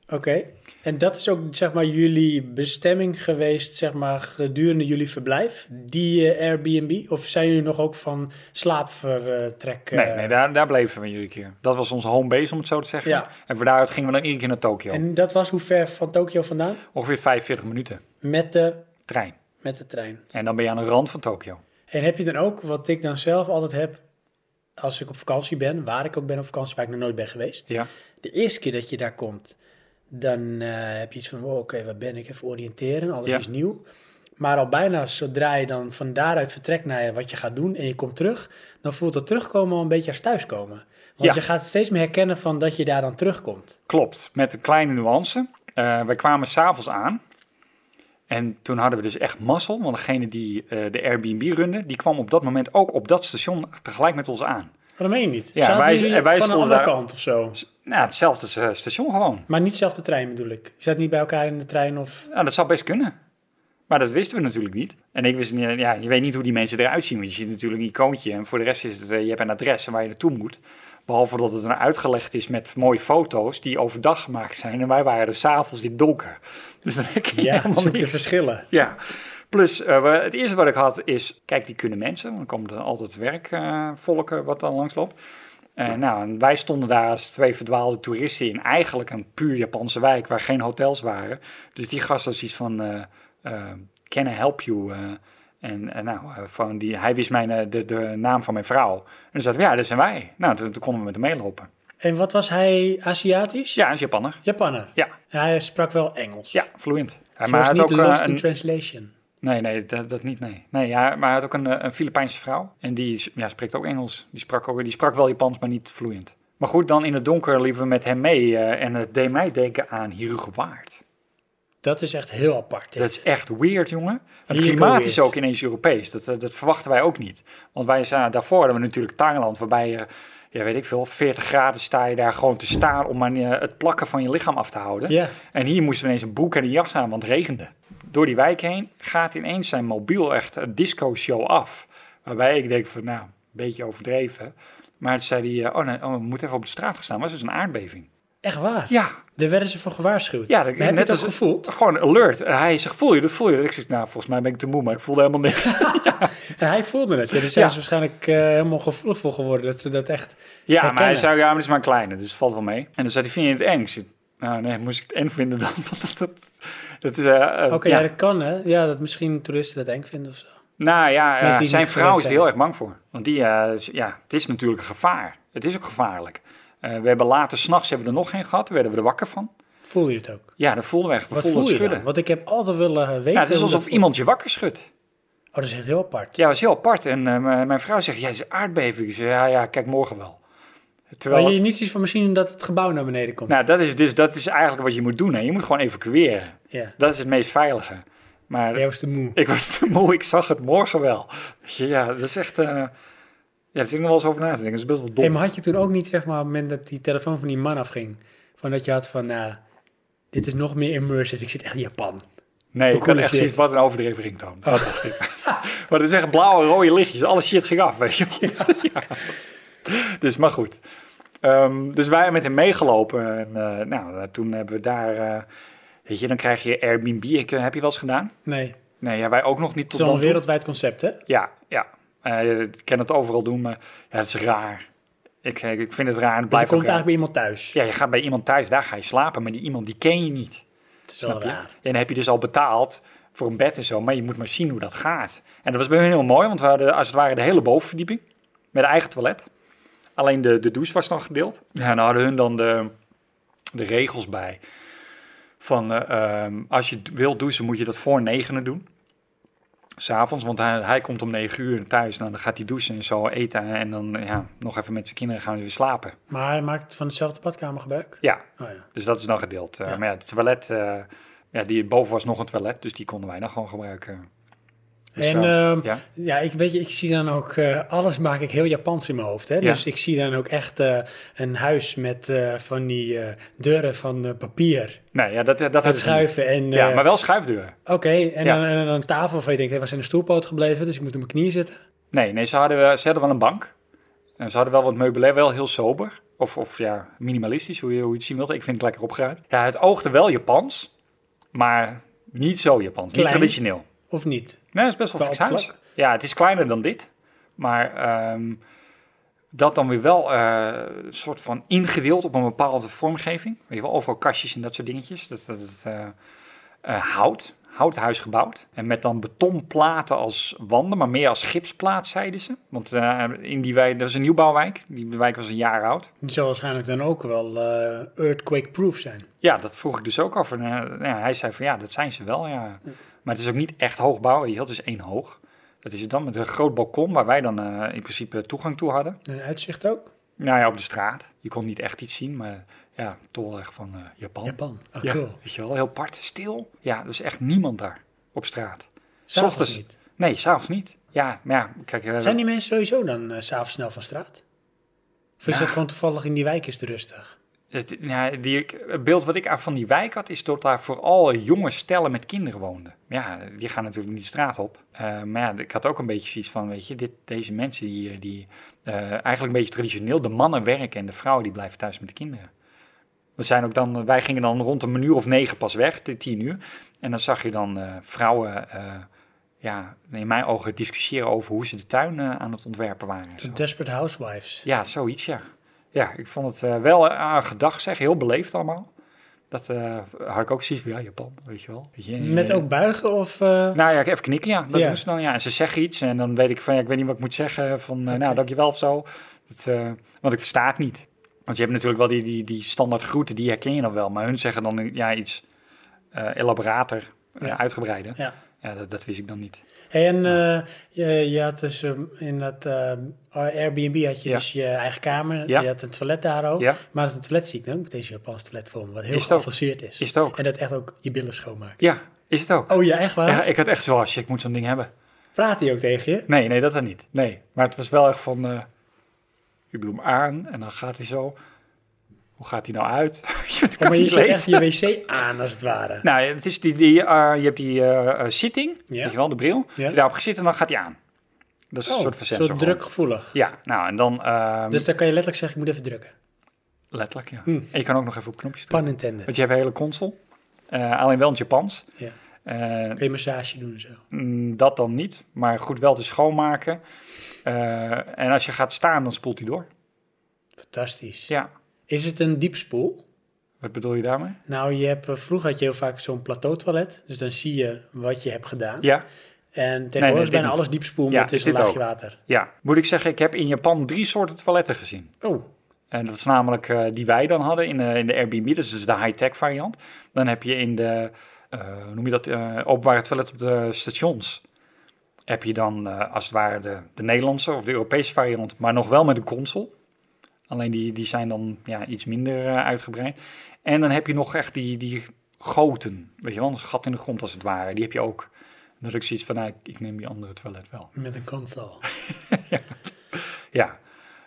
A: En dat is ook zeg maar jullie bestemming geweest, zeg maar gedurende jullie verblijf, die eh, Airbnb? Of zijn jullie nog ook van slaapvertrek? eh,
B: Nee, nee daar, daar bleven we iedere keer. Dat was onze home base, om het zo te zeggen.
A: Ja.
B: En van daaruit gingen we dan iedere keer naar Tokio.
A: En dat was hoe ver van Tokio vandaan?
B: Ongeveer 45 minuten
A: Met de,
B: trein.
A: met de trein.
B: En dan ben je aan de rand van Tokio.
A: En heb je dan ook, wat ik dan zelf altijd heb, als ik op vakantie ben, waar ik ook ben op vakantie, waar ik nog nooit ben geweest.
B: Ja.
A: De eerste keer dat je daar komt, dan eh, heb je iets van, oh, oké, waar ben ik? Even oriënteren, alles
B: Ja.
A: is nieuw. Maar al bijna zodra je dan van daaruit vertrekt naar wat je gaat doen en je komt terug, dan voelt dat terugkomen al een beetje als thuiskomen. Want
B: Ja.
A: je gaat steeds meer herkennen van dat je daar dan terugkomt.
B: Klopt, met een kleine nuance. Eh, wij kwamen s'avonds aan. En toen hadden we dus echt mazzel, want degene die eh, de Airbnb runde, die kwam op dat moment ook op dat station tegelijk met ons aan.
A: Maar dat meen je niet.
B: Ja,
A: Zaten
B: wij-
A: jullie
B: en wij
A: van de
B: stonden
A: andere
B: daar-
A: kant of zo.
B: Dus, nou, hetzelfde eh, station gewoon.
A: Maar niet zelf de trein bedoel ik. Je zat niet bij elkaar in de trein of...
B: Nou, dat zou best kunnen. Maar dat wisten we natuurlijk niet. En ik wist niet, ja, je weet niet hoe die mensen eruit zien. Want je ziet natuurlijk een icoontje. En voor de rest is het, eh, je hebt een adres en waar je naartoe moet. Behalve dat het dan uitgelegd is met mooie foto's die overdag gemaakt zijn. En wij waren er s'avonds in het donker. Dus dan heb je
A: Ja,
B: helemaal
A: zoek de
B: niks.
A: verschillen.
B: Ja. Plus, eh, we- het eerste wat ik had is, kijk, die kunnen mensen. Want dan komt er altijd werkvolk wat dan langsloopt. Eh, nou, en wij stonden daar als twee verdwaalde toeristen in eigenlijk een puur Japanse wijk waar geen hotels waren. Dus die gast was iets van, eh eh, can I help you? eh, en eh, nou, eh, van die, hij wist mijn, eh, de, de naam van mijn vrouw. En toen zaten we, ja, dat zijn wij. Nou, toen, toen konden we met hem meelopen.
A: En wat was hij? Aziatisch?
B: Ja, hij is Japanner.
A: Japanner?
B: Ja,
A: En hij sprak wel Engels?
B: ja, fluent.
A: Hij
B: Eh, hij
A: was
B: had
A: niet
B: eh,
A: lost in
B: een-
A: translation.
B: Nee, nee, dat, dat niet, nee. nee ja, maar hij had ook een, eh, een Filipijnse vrouw. En die s- ja, spreekt ook Engels. Die sprak, ook, die sprak wel Japans, maar niet vloeiend. Maar goed, dan in het donker liepen we met hem mee. eh, en het deed mij denken aan Hierige Waard.
A: Dat is echt heel apart. dit.
B: Dat is echt weird, jongen. Het
A: Heerlijk
B: klimaat is
A: weird.
B: ook ineens Europees. Dat, eh, dat verwachten wij ook niet. Want wij zijn daarvoor hadden we natuurlijk Thailand, waarbij je, ja, weet ik veel, 40 graden sta je daar gewoon te staan om maar eh, het plakken van je lichaam af te houden.
A: Ja.
B: En hier moesten we ineens een broek en een jas aan, want het regende. Door die wijk heen gaat ineens zijn mobiel echt een disco-show af. Waarbij ik denk van, nou, een beetje overdreven. Maar toen zei hij, eh, oh, nee, oh, we moeten even op de straat gaan staan. was dus een aardbeving.
A: Echt waar?
B: Ja,
A: Daar werden ze voor gewaarschuwd.
B: ja,
A: Maar heb je dat
B: als-
A: gevoeld?
B: Gewoon alert. En hij zegt, voel je dat, voel je dat? Ik zeg, nou, volgens mij ben ik te moe, maar ik voelde helemaal niks.
A: En hij voelde het. Ja, daar zijn
B: Ja.
A: ze waarschijnlijk eh, helemaal gevoelig voor geworden. Dat ze dat echt
B: ja, maar hij
A: herkennen.
B: zei, ja, maar het is maar een kleine, dus het valt wel mee. En dan zei hij, vind je het eng? Ik zeg, nou nee, moest ik het eng vinden dan? Want dat, dat, dat is... eh, eh,
A: Oké,
B: ja.
A: ja. dat kan hè. Ja, dat misschien toeristen dat eng vinden of zo.
B: Nou ja, eh,
A: Mensen die
B: zijn
A: niet
B: vrouw is er
A: gewend
B: heel erg bang voor. Want die, eh, is- ja, het is natuurlijk een gevaar. Het is ook gevaarlijk. Eh, we hebben later, s'nachts hebben we er nog geen gehad. Daar werden we er wakker van.
A: Voel je het ook?
B: Ja, dat voelden we echt. We
A: Wat
B: voelden
A: voel je
B: het
A: dan?
B: schudden.
A: Want ik heb altijd willen weten...
B: Ja, het is
A: hoe
B: alsof
A: dat-
B: iemand je wakker schudt.
A: Oh, dat is echt heel apart.
B: Ja, was heel apart. En eh, mijn- mijn vrouw zegt, ja, het is een aardbeving. Ik zeg, ja, ja, kijk morgen wel.
A: Waar
B: Terwijl,
A: je niet ziet van misschien dat het gebouw naar beneden komt.
B: nou, dat is dus dat is eigenlijk wat je moet doen. Hè. Je moet gewoon evacueren.
A: ja.
B: Dat is het meest veilige. Maar
A: Jij was te moe.
B: ik was te moe, ik zag het morgen wel. Ja, dat is echt... eh, ja, daar zit ik nog wel eens over na te denken. Dat is best wel dom.
A: Hey, maar had je toen ook niet, zeg maar, op het moment dat die telefoon van die man afging... van dat je had van, nou, dit is nog meer immersive. Ik zit echt in Japan.
B: nee,
A: hoe
B: ik
A: cool
B: had
A: is dit?
B: echt
A: Oh,
B: zoiets, wat een overdreven ringtoon. Dat dacht ik. maar dat is echt blauwe, rode lichtjes. Alle shit ging af, weet je wel. Ja. Dus, maar goed. Ehm, dus wij met hem meegelopen. En eh, nou, eh, toen hebben we daar... eh, weet je, dan krijg je Airbnb. Ik, eh, heb je wel eens gedaan?
A: Nee, het
B: Nee, ja, wij ook nog niet
A: is
B: tot
A: al
B: dan
A: een
B: toe.
A: wereldwijd concept, hè?
B: Ja, ja. Eh, ik kan het overal doen, maar ja, het is raar. Ik, eh, ik ik vind het raar en het
A: Dus je
B: blijft
A: komt
B: ook raar.
A: eigenlijk bij iemand thuis.
B: Ja, je gaat bij iemand thuis, daar ga je slapen, maar die iemand die ken je niet.
A: het is wel
B: Snap je?
A: raar.
B: En dan heb je dus al betaald voor een bed en zo, maar je moet maar zien hoe dat gaat. En dat was bij hun heel mooi, want we hadden als het ware de hele bovenverdieping met een eigen toilet. Alleen de, de douche was dan gedeeld. Ja, en dan hadden hun dan de, de regels bij. Van eh, ehm, als je wilt douchen, moet je dat voor negenen doen. S'avonds, want hij, hij komt om negen uur thuis. Nou, dan gaat hij douchen en zo eten. En dan ja, nog even met zijn kinderen gaan we weer slapen.
A: Maar hij maakt van hetzelfde badkamer gebruik?
B: Ja,
A: Oh ja.
B: dus dat is dan gedeeld. Eh,
A: Ja.
B: Maar ja, het toilet, eh, ja, die boven was nog een toilet, dus die konden wij dan gewoon gebruiken. Dus
A: En
B: trouwens,
A: ehm,
B: ja.
A: ja, ik weet je, ik zie dan ook, eh, alles maak ik heel Japans in mijn hoofd. Hè?
B: Ja.
A: Dus ik zie dan ook echt eh, een huis met eh, van die eh, deuren van eh, papier.
B: Nee, ja, dat, dat,
A: Met
B: dat hebben ze niet.
A: schuiven en...
B: Ja,
A: eh,
B: maar wel schuifdeuren.
A: Oké, en,
B: Ja.
A: dan, en dan een tafel van je denkt, hé, waar zijn de stoelpoot gebleven? Dus ik moet op mijn knieën zitten.
B: Nee, nee ze, hadden, wel- ze hadden wel een bank. En ze hadden wel wat meubilair, wel heel sober. Of, of ja, minimalistisch, hoe je, hoe je het zien wilt. Ik vind het lekker opgeruimd. Ja, het oogde wel Japans, maar niet zo Japans.
A: Klein.
B: Niet traditioneel.
A: Of niet?
B: Nee, dat is best wel
A: Qua
B: fix huis.
A: oppervlak.
B: Ja, het is kleiner dan dit. Maar ehm, dat dan weer wel eh, een soort van ingedeeld op een bepaalde vormgeving. Weet je wel, overal kastjes en dat soort dingetjes. Dat, dat, dat, eh, eh, hout, houthuis gebouwd. En met dan betonplaten als wanden, maar meer als gipsplaat, zeiden ze. Want eh, in die wijk, dat is een nieuwbouwwijk. Die wijk was een jaar oud.
A: Die zal waarschijnlijk dan ook wel eh, earthquake-proof zijn.
B: Ja, dat vroeg ik dus ook af. En, eh, nou ja, hij zei van ja, dat zijn ze wel. Ja. Maar het is ook niet echt hoog bouwen. Weet je wel. Het is één hoog. Dat is het dan met een groot balkon waar wij dan eh, in principe toegang toe hadden.
A: En uitzicht ook?
B: Nou ja, op de straat. Je kon niet echt iets zien, maar ja, toch wel echt van eh, Japan.
A: Japan. Oh,
B: Ja,
A: cool.
B: weet je wel, heel apart, stil. Ja, dus echt niemand daar. op straat.
A: S'avonds
B: Ochtends.
A: niet.
B: Nee, s'avonds niet. Ja, maar ja, kijk. eh,
A: Zijn die mensen sowieso dan eh, s s'avonds snel van straat? Of is
B: Ja.
A: dat gewoon toevallig in die wijk is het rustig?
B: Het, ja, die, het beeld wat ik van die wijk had, is dat daar vooral jonge stellen met kinderen woonden. Ja, die gaan natuurlijk niet de straat op. Eh, maar ja, ik had ook een beetje zoiets van, weet je, dit, deze mensen die, hier- die eh, eigenlijk een beetje traditioneel, de mannen werken en de vrouwen die blijven thuis met de kinderen. We zijn ook dan, wij gingen dan rond een uur of negen pas weg, t- tien uur. En dan zag je dan eh, vrouwen, eh, ja, in mijn ogen discussiëren over hoe ze de tuin eh, aan het ontwerpen waren. en zo.
A: Desperate Housewives.
B: Ja, zoiets, ja. Ja, ik vond het eh, wel eh, aan gedag zeg, heel beleefd allemaal. Dat eh, had ik ook zoiets van, ja, Japan, weet je wel. Weet je,
A: Met
B: eh,
A: ook buigen of... eh,
B: Nou ja, even knikken, ja. Dat
A: Ja.
B: doen ze dan, ja. En ze zeggen iets en dan weet ik van, ja, ik weet niet wat ik moet zeggen. Van, eh, nou, dankjewel of zo. Dat, eh, want ik versta het niet. Want je hebt natuurlijk wel die, die, die standaard groeten, die herken je dan wel. Maar hun zeggen dan ja, iets eh, elaborater, eh,
A: Ja.
B: uitgebreider. Ja,
A: ja.
B: dat, dat wist ik dan niet.
A: Hey, en eh, je, je had dus eh, in dat eh, Airbnb had je
B: Ja.
A: dus je eigen kamer.
B: Ja.
A: Je had een toilet daar ook.
B: Ja.
A: Maar het toilet zie ik dan ook meteen zo'n Japans toilet voor me, wat heel
B: Is het ook?
A: geavanceerd is.
B: Is het ook?
A: En dat echt ook je billen schoonmaakt.
B: Ja, is het ook.
A: Oh ja, echt waar?
B: Ja, ik had echt zo, oh, shit, ik moet zo'n ding hebben.
A: Praat hij ook tegen je?
B: Nee, nee, dat dan niet. Nee, maar het was wel echt van... eh, ik doe hem aan en dan gaat hij zo... Hoe gaat hij nou uit? je weet, ik kan
A: maar je
B: niet
A: zet echt
B: lezen.
A: je wc aan als het ware.
B: Nou, het is die, die, eh, je hebt die eh, eh, zitting,
A: Ja.
B: weet je wel, de bril.
A: Ja.
B: Als je daarop gaat zitten, dan gaat hij aan. Dat is
A: Oh,
B: een soort van sensor.
A: soort
B: gewoon.
A: drukgevoelig.
B: Ja, nou, en dan... ehm,
A: Dus dan kan je letterlijk zeggen, ik moet even drukken.
B: Letterlijk, ja.
A: Hmm.
B: En je kan ook nog even op knopjes drukken.
A: Pan intended.
B: Want je hebt een hele console. Eh, alleen wel in het Japans.
A: Ja.
B: Eh,
A: Kun je massage doen en zo.
B: mm, dat dan niet, maar goed wel te schoonmaken. Eh, en als je gaat staan, dan spoelt hij door.
A: Fantastisch.
B: Ja,
A: Is het een diepspoel?
B: wat bedoel je daarmee?
A: Nou, je hebt, eh, vroeger had je heel vaak zo'n plateautoilet. Dus dan zie je wat je hebt gedaan.
B: Ja,
A: En tegenwoordig
B: nee,
A: is
B: dit
A: bijna
B: niet.
A: alles diepspoel
B: Ja,
A: met dus
B: is
A: een
B: dit
A: laagje
B: ook.
A: water.
B: ja. Moet ik zeggen, ik heb in Japan drie soorten toiletten gezien.
A: Oh,
B: En dat is namelijk eh, die wij dan hadden in, eh, in de Airbnb, dus dat is de high-tech variant. Dan heb je in de, eh, hoe noem je dat, eh, openbare toilet op de stations. Heb je dan eh, als het ware de, de Nederlandse of de Europese variant, maar nog wel met een console. Alleen die, die zijn dan ja, iets minder eh, uitgebreid. En dan heb je nog echt die, die goten, weet je wel, een gat in de grond als het ware. Die heb je ook. En Dat ik zoiets van, nou, ik- ik neem die andere toilet wel.
A: met een console.
B: Ja,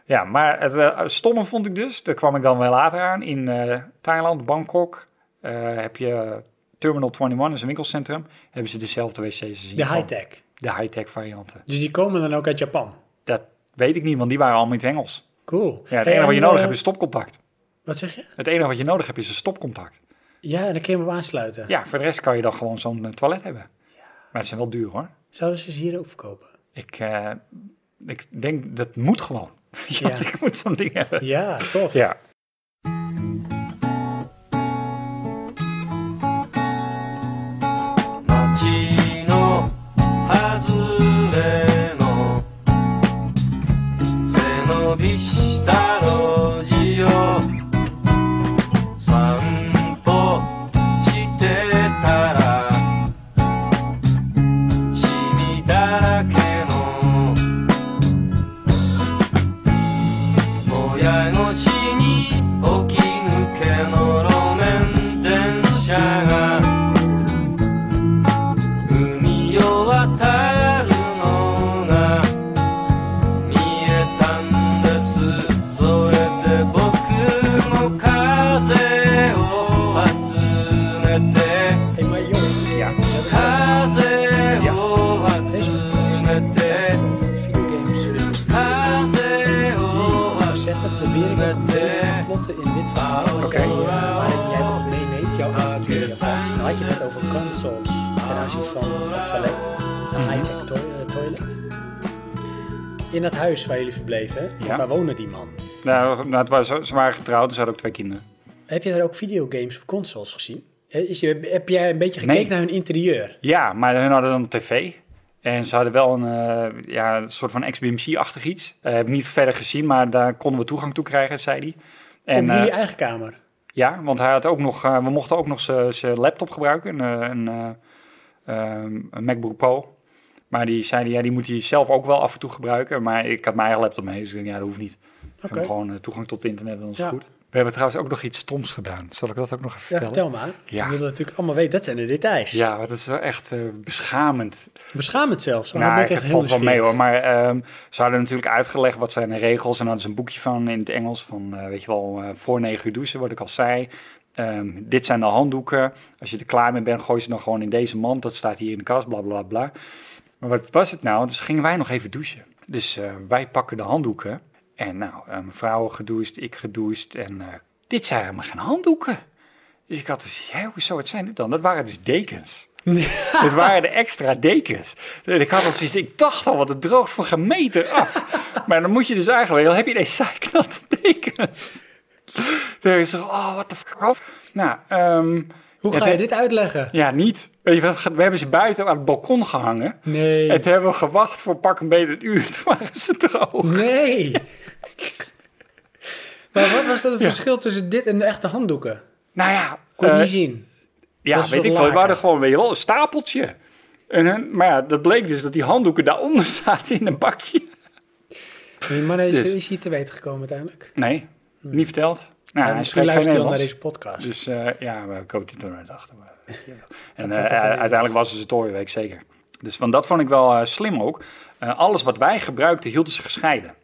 B: ja maar het eh, stomme vond ik dus, daar kwam ik dan wel later aan, in eh, Thailand, Bangkok, eh, heb je Terminal 21, is een winkelcentrum, hebben ze dezelfde wc's gezien.
A: De high-tech.
B: De high-tech varianten.
A: Dus die komen dan ook uit Japan.
B: Dat weet ik niet, want die waren allemaal in het Engels.
A: Cool.
B: Ja,
A: Hey,
B: het enige wat je
A: en,
B: nodig
A: eh,
B: hebt is stopcontact.
A: Wat zeg je?
B: Het enige wat je nodig hebt is een stopcontact.
A: Ja, en dan kun je hem op aansluiten.
B: Ja, voor de rest kan je dan gewoon zo'n eh, toilet hebben. Maar het zijn wel duur hoor.
A: Zouden ze ze hier ook verkopen?
B: Ik, eh, ik denk, dat moet gewoon. Ja,
A: Ja.
B: ik moet zo'n ding hebben.
A: Ja, tof.
B: Ja.
F: 街の外れの背伸びした路地を散歩してたらシミだらけの親越しに起き抜けの路面電車が海を渡るのが見えたんですそれで僕も風を集めて
A: Hey, maar joh,
B: ja.
F: 風を集めて
A: voor videogames.
F: 風を集
A: Zetten probeer ik ook een
F: め
A: beetje
F: て
A: te plotten in dit verhaal.
B: Oké.
A: Oké. waarin jij ons meeneemt, jouw avontuur in Japan. Dan had je het over consoles ten aanzien van het toilet,
B: Mhm.
A: de high-tech to- eh, toilet. In dat huis waar jullie verbleven, hè? want
B: Ja.
A: daar woonde die man.
B: Nou, nou, het was, ze waren getrouwd en ze hadden ook twee kinderen.
A: Heb je daar ook videogames of consoles gezien? Eh, Is je, heb jij een beetje gekeken
B: Nee.
A: naar hun interieur?
B: Ja, maar hun hadden dan een tv. En ze hadden wel een, eh, ja, een soort van XBMC-achtig iets. Eh, heb ik niet verder gezien, maar daar konden we toegang toe krijgen, zei hij. En
A: Op jullie
B: eh,
A: eigen kamer.
B: ja, want hij had ook nog, eh, we mochten ook nog zijn laptop gebruiken, een, eh, een, eh, ehm, een MacBook Pro. Maar die zei, hij, ja, die moet hij zelf ook wel af en toe gebruiken. Maar ik had mijn eigen laptop mee, dus ik denk, ja, dat hoeft niet. We hebben gewoon eh, toegang tot het internet, dan is het
A: Ja.
B: goed. We hebben trouwens ook nog iets stoms gedaan. Zal ik dat ook nog even
A: Ja,
B: vertellen?
A: vertel maar.
B: Ja.
A: Dat we dat natuurlijk allemaal weten. Dat zijn de details.
B: Ja, want het is wel echt eh, beschamend.
A: Beschamend zelfs. want dan
B: nou,
A: ben
B: ik
A: ik echt
B: het
A: heel
B: valt wel mee
A: nieuwsgierig.
B: hoor. Maar ehm ze hadden natuurlijk uitgelegd wat zijn de regels. En dan is een boekje van in het Engels. Van eh, weet je wel, eh, voor negen uur douchen, wat ik al zei. Ehm, dit zijn de handdoeken. Als je er klaar mee bent, gooi ze dan gewoon in deze mand. Dat staat hier in de kast, bla bla bla. Maar wat was het nou? Dus gingen wij nog even douchen. Dus eh, wij pakken de handdoeken. En nou, eh, mijn vrouw gedoucht, ik gedoucht. En eh, dit zijn helemaal geen handdoeken. Dus ik had dus, hè, hoezo, wat zijn dit dan? Dat waren dus dekens. Het waren de extra dekens. En ik had al zoiets, ik dacht al, wat het droog voor een meter af. maar dan moet je dus eigenlijk, dan heb je deze zijknatte dekens. Toen heb ik gezegd, oh, what the fuck. Nou, ehm,
A: Hoe
B: het-
A: ga je dit uitleggen?
B: ja, niet. Weet je wat, We hebben ze buiten aan het balkon gehangen.
A: Nee.
B: En toen hebben we gewacht voor pak een beter een uur. Toen waren ze droog.
A: Nee. maar wat was dat het verschil tussen dit en de echte handdoeken?
B: Nou ja,
A: Kon je
B: eh,
A: niet zien.
B: ja
A: was een
B: weet
A: soort
B: ik veel.
A: laken.
B: Het waren gewoon, weet je wel, een stapeltje. En, hun- maar ja, dat bleek dus dat die handdoeken daaronder zaten in een bakje.
A: Die man is,
B: dus-
A: is hier te weten gekomen uiteindelijk.
B: Nee, niet verteld. Nou,
A: Ja,
B: hij
A: misschien
B: spreekt geen
A: luistert hij wel naar
B: Nederlands.
A: deze podcast.
B: Dus eh, ja, maar ik hoop dat hij er nooit achter. Maar, En eh,
A: gaat toch wel niet
B: uiteindelijk was het een torenweek, zeker. Dus van dat vond ik wel eh, slim ook. Eh, alles wat wij gebruikten, hielden ze gescheiden.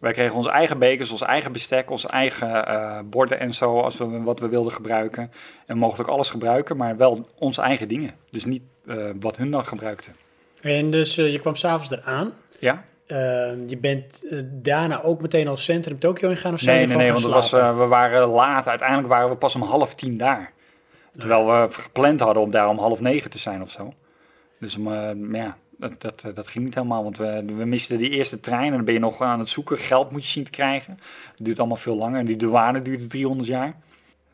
B: Wij kregen onze eigen bekers, ons eigen bestek, onze eigen eh, borden en zo, als we wat we wilden gebruiken. En we mochten ook alles gebruiken, maar wel onze eigen dingen. Dus niet eh, wat hun dan gebruikten.
A: En dus eh, je kwam s'avonds eraan.
B: Ja?
A: Eh, je bent eh, daarna ook meteen al centrum Tokio ingegaan of zijn
B: Nee,
A: jullie
B: nee, nee,
A: gewoon
B: want het
A: gaan
B: was, eh, we waren laat. Uiteindelijk waren we pas om half tien daar. Terwijl we gepland hadden om daar om half negen te zijn of zo. Dus om, eh, maar ja, dat, dat, eh, dat ging niet helemaal. Want we, we misten die eerste trein en dan ben je nog aan het zoeken. Geld moet je zien te krijgen. Dat duurt allemaal veel langer. En die douane duurde 300 jaar.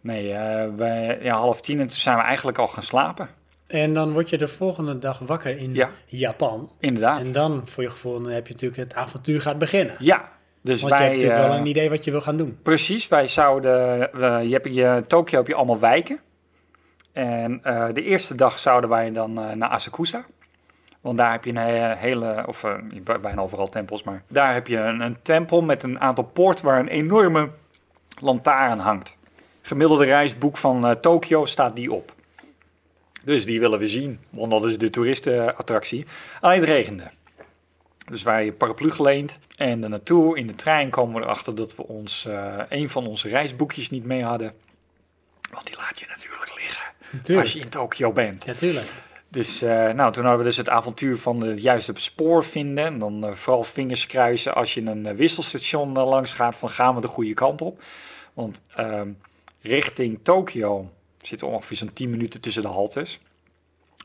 B: Nee, eh, wij, ja, half tien en toen zijn we eigenlijk al gaan slapen.
A: En dan word je de volgende dag wakker in
B: eh, Ja.
A: Japan.
B: Inderdaad.
A: En dan, voor je gevoel, dan heb je natuurlijk het avontuur gaat beginnen.
B: Ja, dus
A: Want
B: wij...
A: je hebt natuurlijk
B: eh,
A: wel een idee wat je wil gaan doen.
B: Precies, wij zouden. eh, je hebt in je, Tokio heb je allemaal wijken. En eh, de eerste dag zouden wij dan eh, naar Asakusa. Want daar heb je een he- hele, of eh, niet bij- bijna overal tempels, maar daar heb je een, een tempel met een aantal poorten waar een enorme lantaarn hangt. Gemiddelde reisboek van eh, Tokio staat die op. Dus die willen we zien, want dat is de toeristenattractie. Alleen het regende. Dus wij hebben paraplu geleend en er naartoe. In de trein komen we erachter dat we ons, eh, een van onze reisboekjes niet mee hadden. Want die laat je natuurlijk liggen
A: Natuurlijk.
B: als je in Tokio bent.
A: Ja, tuurlijk.
B: Dus eh, nou, toen hadden we dus het avontuur van het juiste spoor vinden. En dan eh, vooral vingers kruisen als je een eh, wisselstation eh, langs gaat van gaan we de goede kant op. Want ehm, richting Tokio zit ongeveer zo'n 10 minuten tussen de haltes.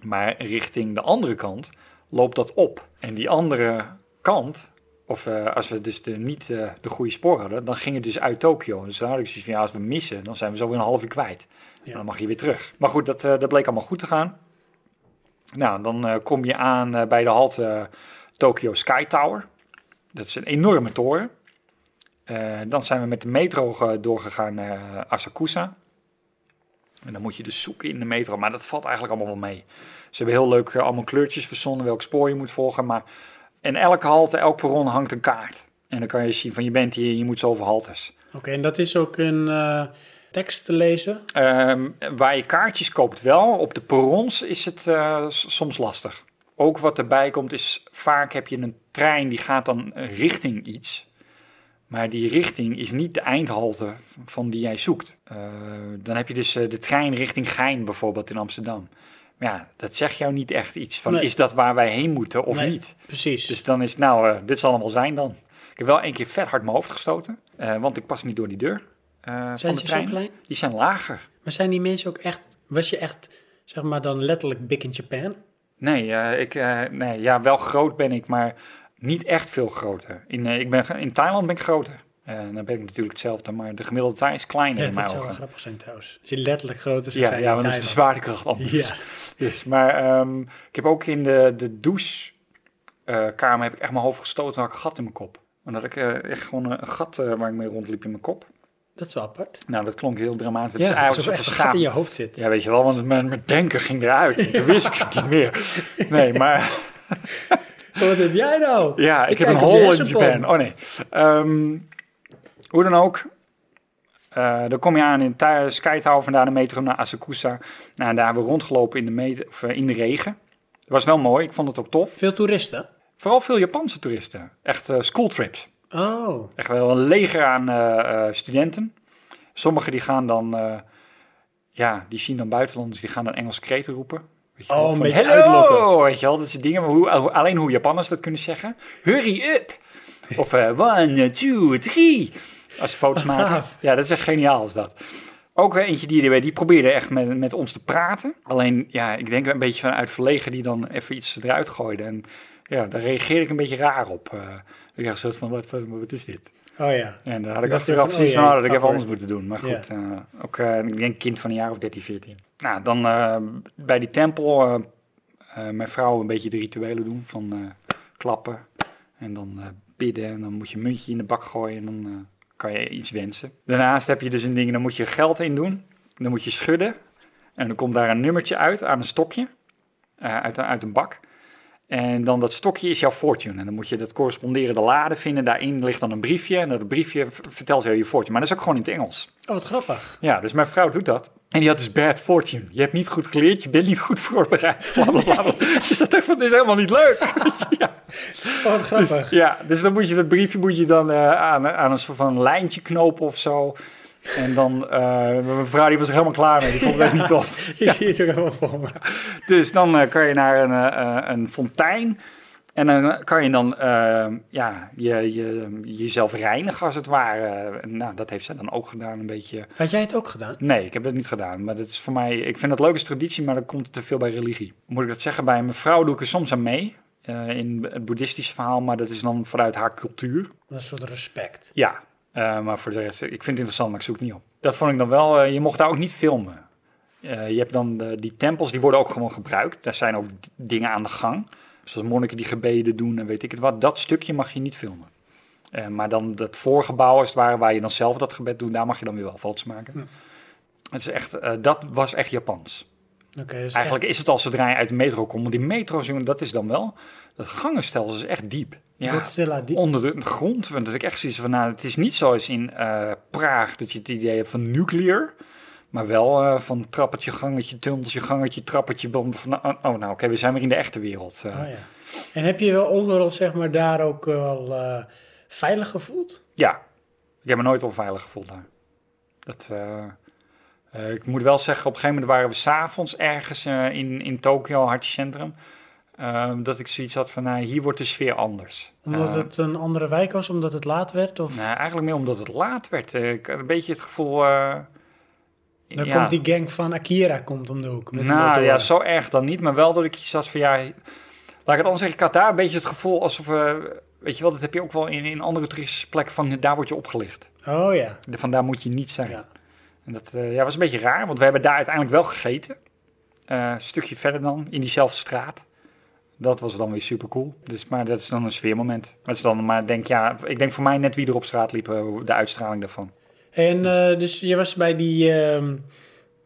B: Maar richting de andere kant loopt dat op. En die andere kant, of eh, als we dus de, niet eh, de goede spoor hadden, dan ging het dus uit Tokio. Dus dan had ik zoiets van, ja, als we missen, dan zijn we zo weer een half uur kwijt. En dan mag je weer terug. Maar goed, dat, eh, dat bleek allemaal goed te gaan. Nou, dan eh, kom je aan eh, bij de halte Tokyo Sky Tower. Dat is een enorme toren. Eh, dan zijn we met de metro ge- doorgegaan naar eh, Asakusa. En dan moet je dus zoeken in de metro, maar dat valt eigenlijk allemaal wel mee. Ze hebben heel leuk eh, allemaal kleurtjes verzonnen, welk spoor je moet volgen. Maar in elke halte, elk perron hangt een kaart. En dan kan je zien van je bent hier, je moet zoveel haltes.
A: Oké, en dat is ook een eh, tekst te lezen.
B: Ehm, waar je kaartjes koopt wel, op de perrons is het eh, s- soms lastig. Ook wat erbij komt is, vaak heb je een trein die gaat dan eh, richting iets. Maar die richting is niet de eindhalte van die jij zoekt. Eh, dan heb je dus eh, de trein richting Gein bijvoorbeeld in Amsterdam. Maar ja, dat zegt jou niet echt iets van
A: Nee.
B: is dat waar wij heen moeten of
A: Nee,
B: niet.
A: Precies.
B: Dus dan is, nou, eh, dit zal allemaal zijn dan. Ik heb wel één keer vet hard mijn hoofd gestoten, eh, want ik pas niet door die deur. eh, van de
A: ze zo
B: trein.
A: klein?
B: Die zijn lager.
A: maar zijn die mensen ook echt, was je echt, zeg maar dan letterlijk big in Japan?
B: Nee, eh, ik, eh, nee ja, wel groot ben ik, maar niet echt veel groter. In, eh, ik ben, ge- in Thailand ben ik groter. Eh, En dan ben ik natuurlijk hetzelfde, maar de gemiddelde Thai is kleiner
A: Ja,
B: in
A: dat
B: mijn
A: zou wel
B: ogen.
A: grappig zijn trouwens. Als je letterlijk groter zou
B: Ja,
A: zijn
B: ja,
A: in
B: want dat is de
A: Thailand.
B: zwaartekracht anders.
A: Ja.
B: Dus, maar ehm, ik heb ook in de, de douchekamer heb ik echt mijn hoofd gestoten en had ik een gat in mijn kop. Omdat ik eh, echt gewoon een gat eh, waar ik mee rondliep in mijn kop.
A: Dat is wel apart.
B: Nou, dat klonk heel dramatisch. Het
A: ja,
B: is eigenlijk een
A: alsof
B: soort
A: er echt
B: van
A: een gat in
B: schaam.
A: je hoofd zit.
B: Ja, weet je wel, want mijn, mijn denken ging eruit. En Toen wist ik het niet meer. Nee, maar...
A: Wat heb jij nou?
B: Ja, ik, heb een
A: kijk op
B: hol in
A: Jessepon.
B: Japan. Oh nee. Ehm, Hoe dan ook, eh, dan kom je aan in Ta- Sky Tower, vandaar de metro naar Asakusa. Nou, daar hebben we rondgelopen in de, met- of, eh, in de regen. Dat was wel mooi, ik vond het ook tof.
A: Veel toeristen?
B: Vooral veel Japanse toeristen. Echt eh, schooltrips.
A: Oh,
B: Echt wel een leger aan eh, eh, studenten. Sommigen die gaan dan, eh, ja, die zien dan buitenlanders, die gaan dan Engels kreten roepen. Weet je
A: Oh,
B: wel,
A: een
B: van,
A: beetje
B: "Hello!"
A: uitlokken.
B: Weet je wel, dat soort dingen. Maar hoe, al- alleen hoe Japanners dat kunnen zeggen. Hurry up! Of eh, one, two, three. Als ze foto's
A: Wat
B: maken.
A: gaaf.
B: Ja, dat is echt geniaal is dat. Ook weer eentje die, die probeerde echt met, met ons te praten. Alleen, ja, ik denk een beetje vanuit verlegen die dan even iets eruit gooide. En ja, daar reageerde ik een beetje raar op. Eh, ik dacht zo van, wat, wat, wat is dit?
A: oh ja.
B: En daar had ik
A: dacht
B: achteraf
A: van,
B: precies
A: oh
B: van,
A: jee,
B: oh, dat had ik even
A: awkward.
B: anders moeten doen. Maar
A: Ja.
B: goed, eh, ook, eh, ik denk kind van een jaar of 13, 14. Nou, dan eh, bij die tempel, eh, eh, mijn vrouw een beetje de rituelen doen van eh, klappen en dan eh, bidden. En dan moet je een muntje in de bak gooien en dan eh, kan je iets wensen. Daarnaast heb je dus een ding, dan moet je geld in doen. Dan moet je schudden en dan komt daar een nummertje uit aan een stokje, eh, uit, uit een bak. En dan dat stokje is jouw fortune. En dan moet je dat corresponderende lade vinden. Daarin ligt dan een briefje. En dat briefje v- vertelt jou je fortune. Maar dat is ook gewoon in het Engels.
A: Oh, wat grappig.
B: Ja, dus mijn vrouw doet dat. En die had dus bad fortune. Je hebt niet goed geleerd, je bent niet goed voorbereid. Blablabla. Ze zat echt van, dit is helemaal niet leuk. ja.
A: Oh, wat grappig.
B: ja, dus dan moet je dat briefje moet je dan eh, aan, aan een soort van lijntje knopen of zo. En dan, eh, mijn vrouw die was er helemaal klaar mee. Die vond het echt niet tof.
A: Je ziet het ook helemaal voor me.
B: Dus dan eh, kan je naar een, eh, eh, een fontein. En dan kan je dan eh, ja, je, je, jezelf reinigen als het ware. En, Nou, dat heeft zij dan ook gedaan een beetje.
A: Had jij het ook gedaan?
B: Nee, ik heb dat niet gedaan. Maar dat is voor mij, ik vind dat leuk als traditie, maar dan komt het te veel bij religie. Moet ik dat zeggen? Bij mijn vrouw doe ik er soms aan mee. eh, in het boeddhistische verhaal, maar dat is dan vanuit haar cultuur.
A: Een soort respect.
B: Ja, eh, maar voor de rest, ik vind het interessant, maar ik zoek het niet op. Dat vond ik dan wel, eh, je mocht daar ook niet filmen. Eh, je hebt dan eh, die tempels, die worden ook gewoon gebruikt. Daar zijn ook d- dingen aan de gang. Zoals monniken die gebeden doen en weet ik het wat. Dat stukje mag je niet filmen. Eh, maar dan dat voorgebouw als het ware, waar je dan zelf dat gebed doet, daar mag je dan weer wel foto's maken. Het is echt, eh, dat was echt Japans.
A: Oké, dus
B: Eigenlijk is het al zodra je uit de metro komt. Want die metro's, jongen, dat is dan wel... Dat gangenstelsel is echt diep. Ja,
A: Godzilla diep.
B: Onder de grond. Want dat ik echt zoiets van... Nou, het is niet zoals in eh, Praag dat je het idee hebt van nuclear. Maar wel eh, van trappetje, gangetje, tunneltje, gangetje, trappetje. bom, Van, oh, oh, nou oké, we zijn weer in de echte wereld. eh.
A: Oh, ja. En heb je wel overal zeg maar daar ook wel eh, veilig gevoeld?
B: Ja, ik heb me nooit onveilig gevoeld daar. Dat, eh, eh, ik moet wel zeggen, op een gegeven moment waren we s'avonds ergens eh, in, in Tokio, hartje centrum. ehm, dat ik zoiets had van, nou, hier wordt de sfeer anders.
A: Omdat
B: Eh,
A: het een andere wijk was, omdat het laat werd? Of
B: nou, eigenlijk meer omdat het laat werd. Eh, ik had een beetje het gevoel... eh,
A: dan
B: ja.
A: komt die gang van Akira komt om de hoek met de
B: Nou
A: motoren.
B: ja, zo erg dan niet. Maar wel dat ik iets had van ja. Laat ik het anders zeggen. Ik had daar een beetje het gevoel alsof. eh, weet je wel, dat heb je ook wel in, in andere toeristische plekken. Van daar word je opgelicht.
A: Oh ja.
B: De- Van daar moet je niet zijn.
A: Ja.
B: En dat eh, ja, was een beetje raar. Want we hebben daar uiteindelijk wel gegeten. Eh, een stukje verder dan. In diezelfde straat. Dat was dan weer super cool. Dus, maar dat is dan een sfeermoment. Maar, het is dan, maar ik denk, ja, ik denk voor mij net wie er op straat liep. eh, de uitstraling daarvan.
A: En eh, dus je was bij die, ehm,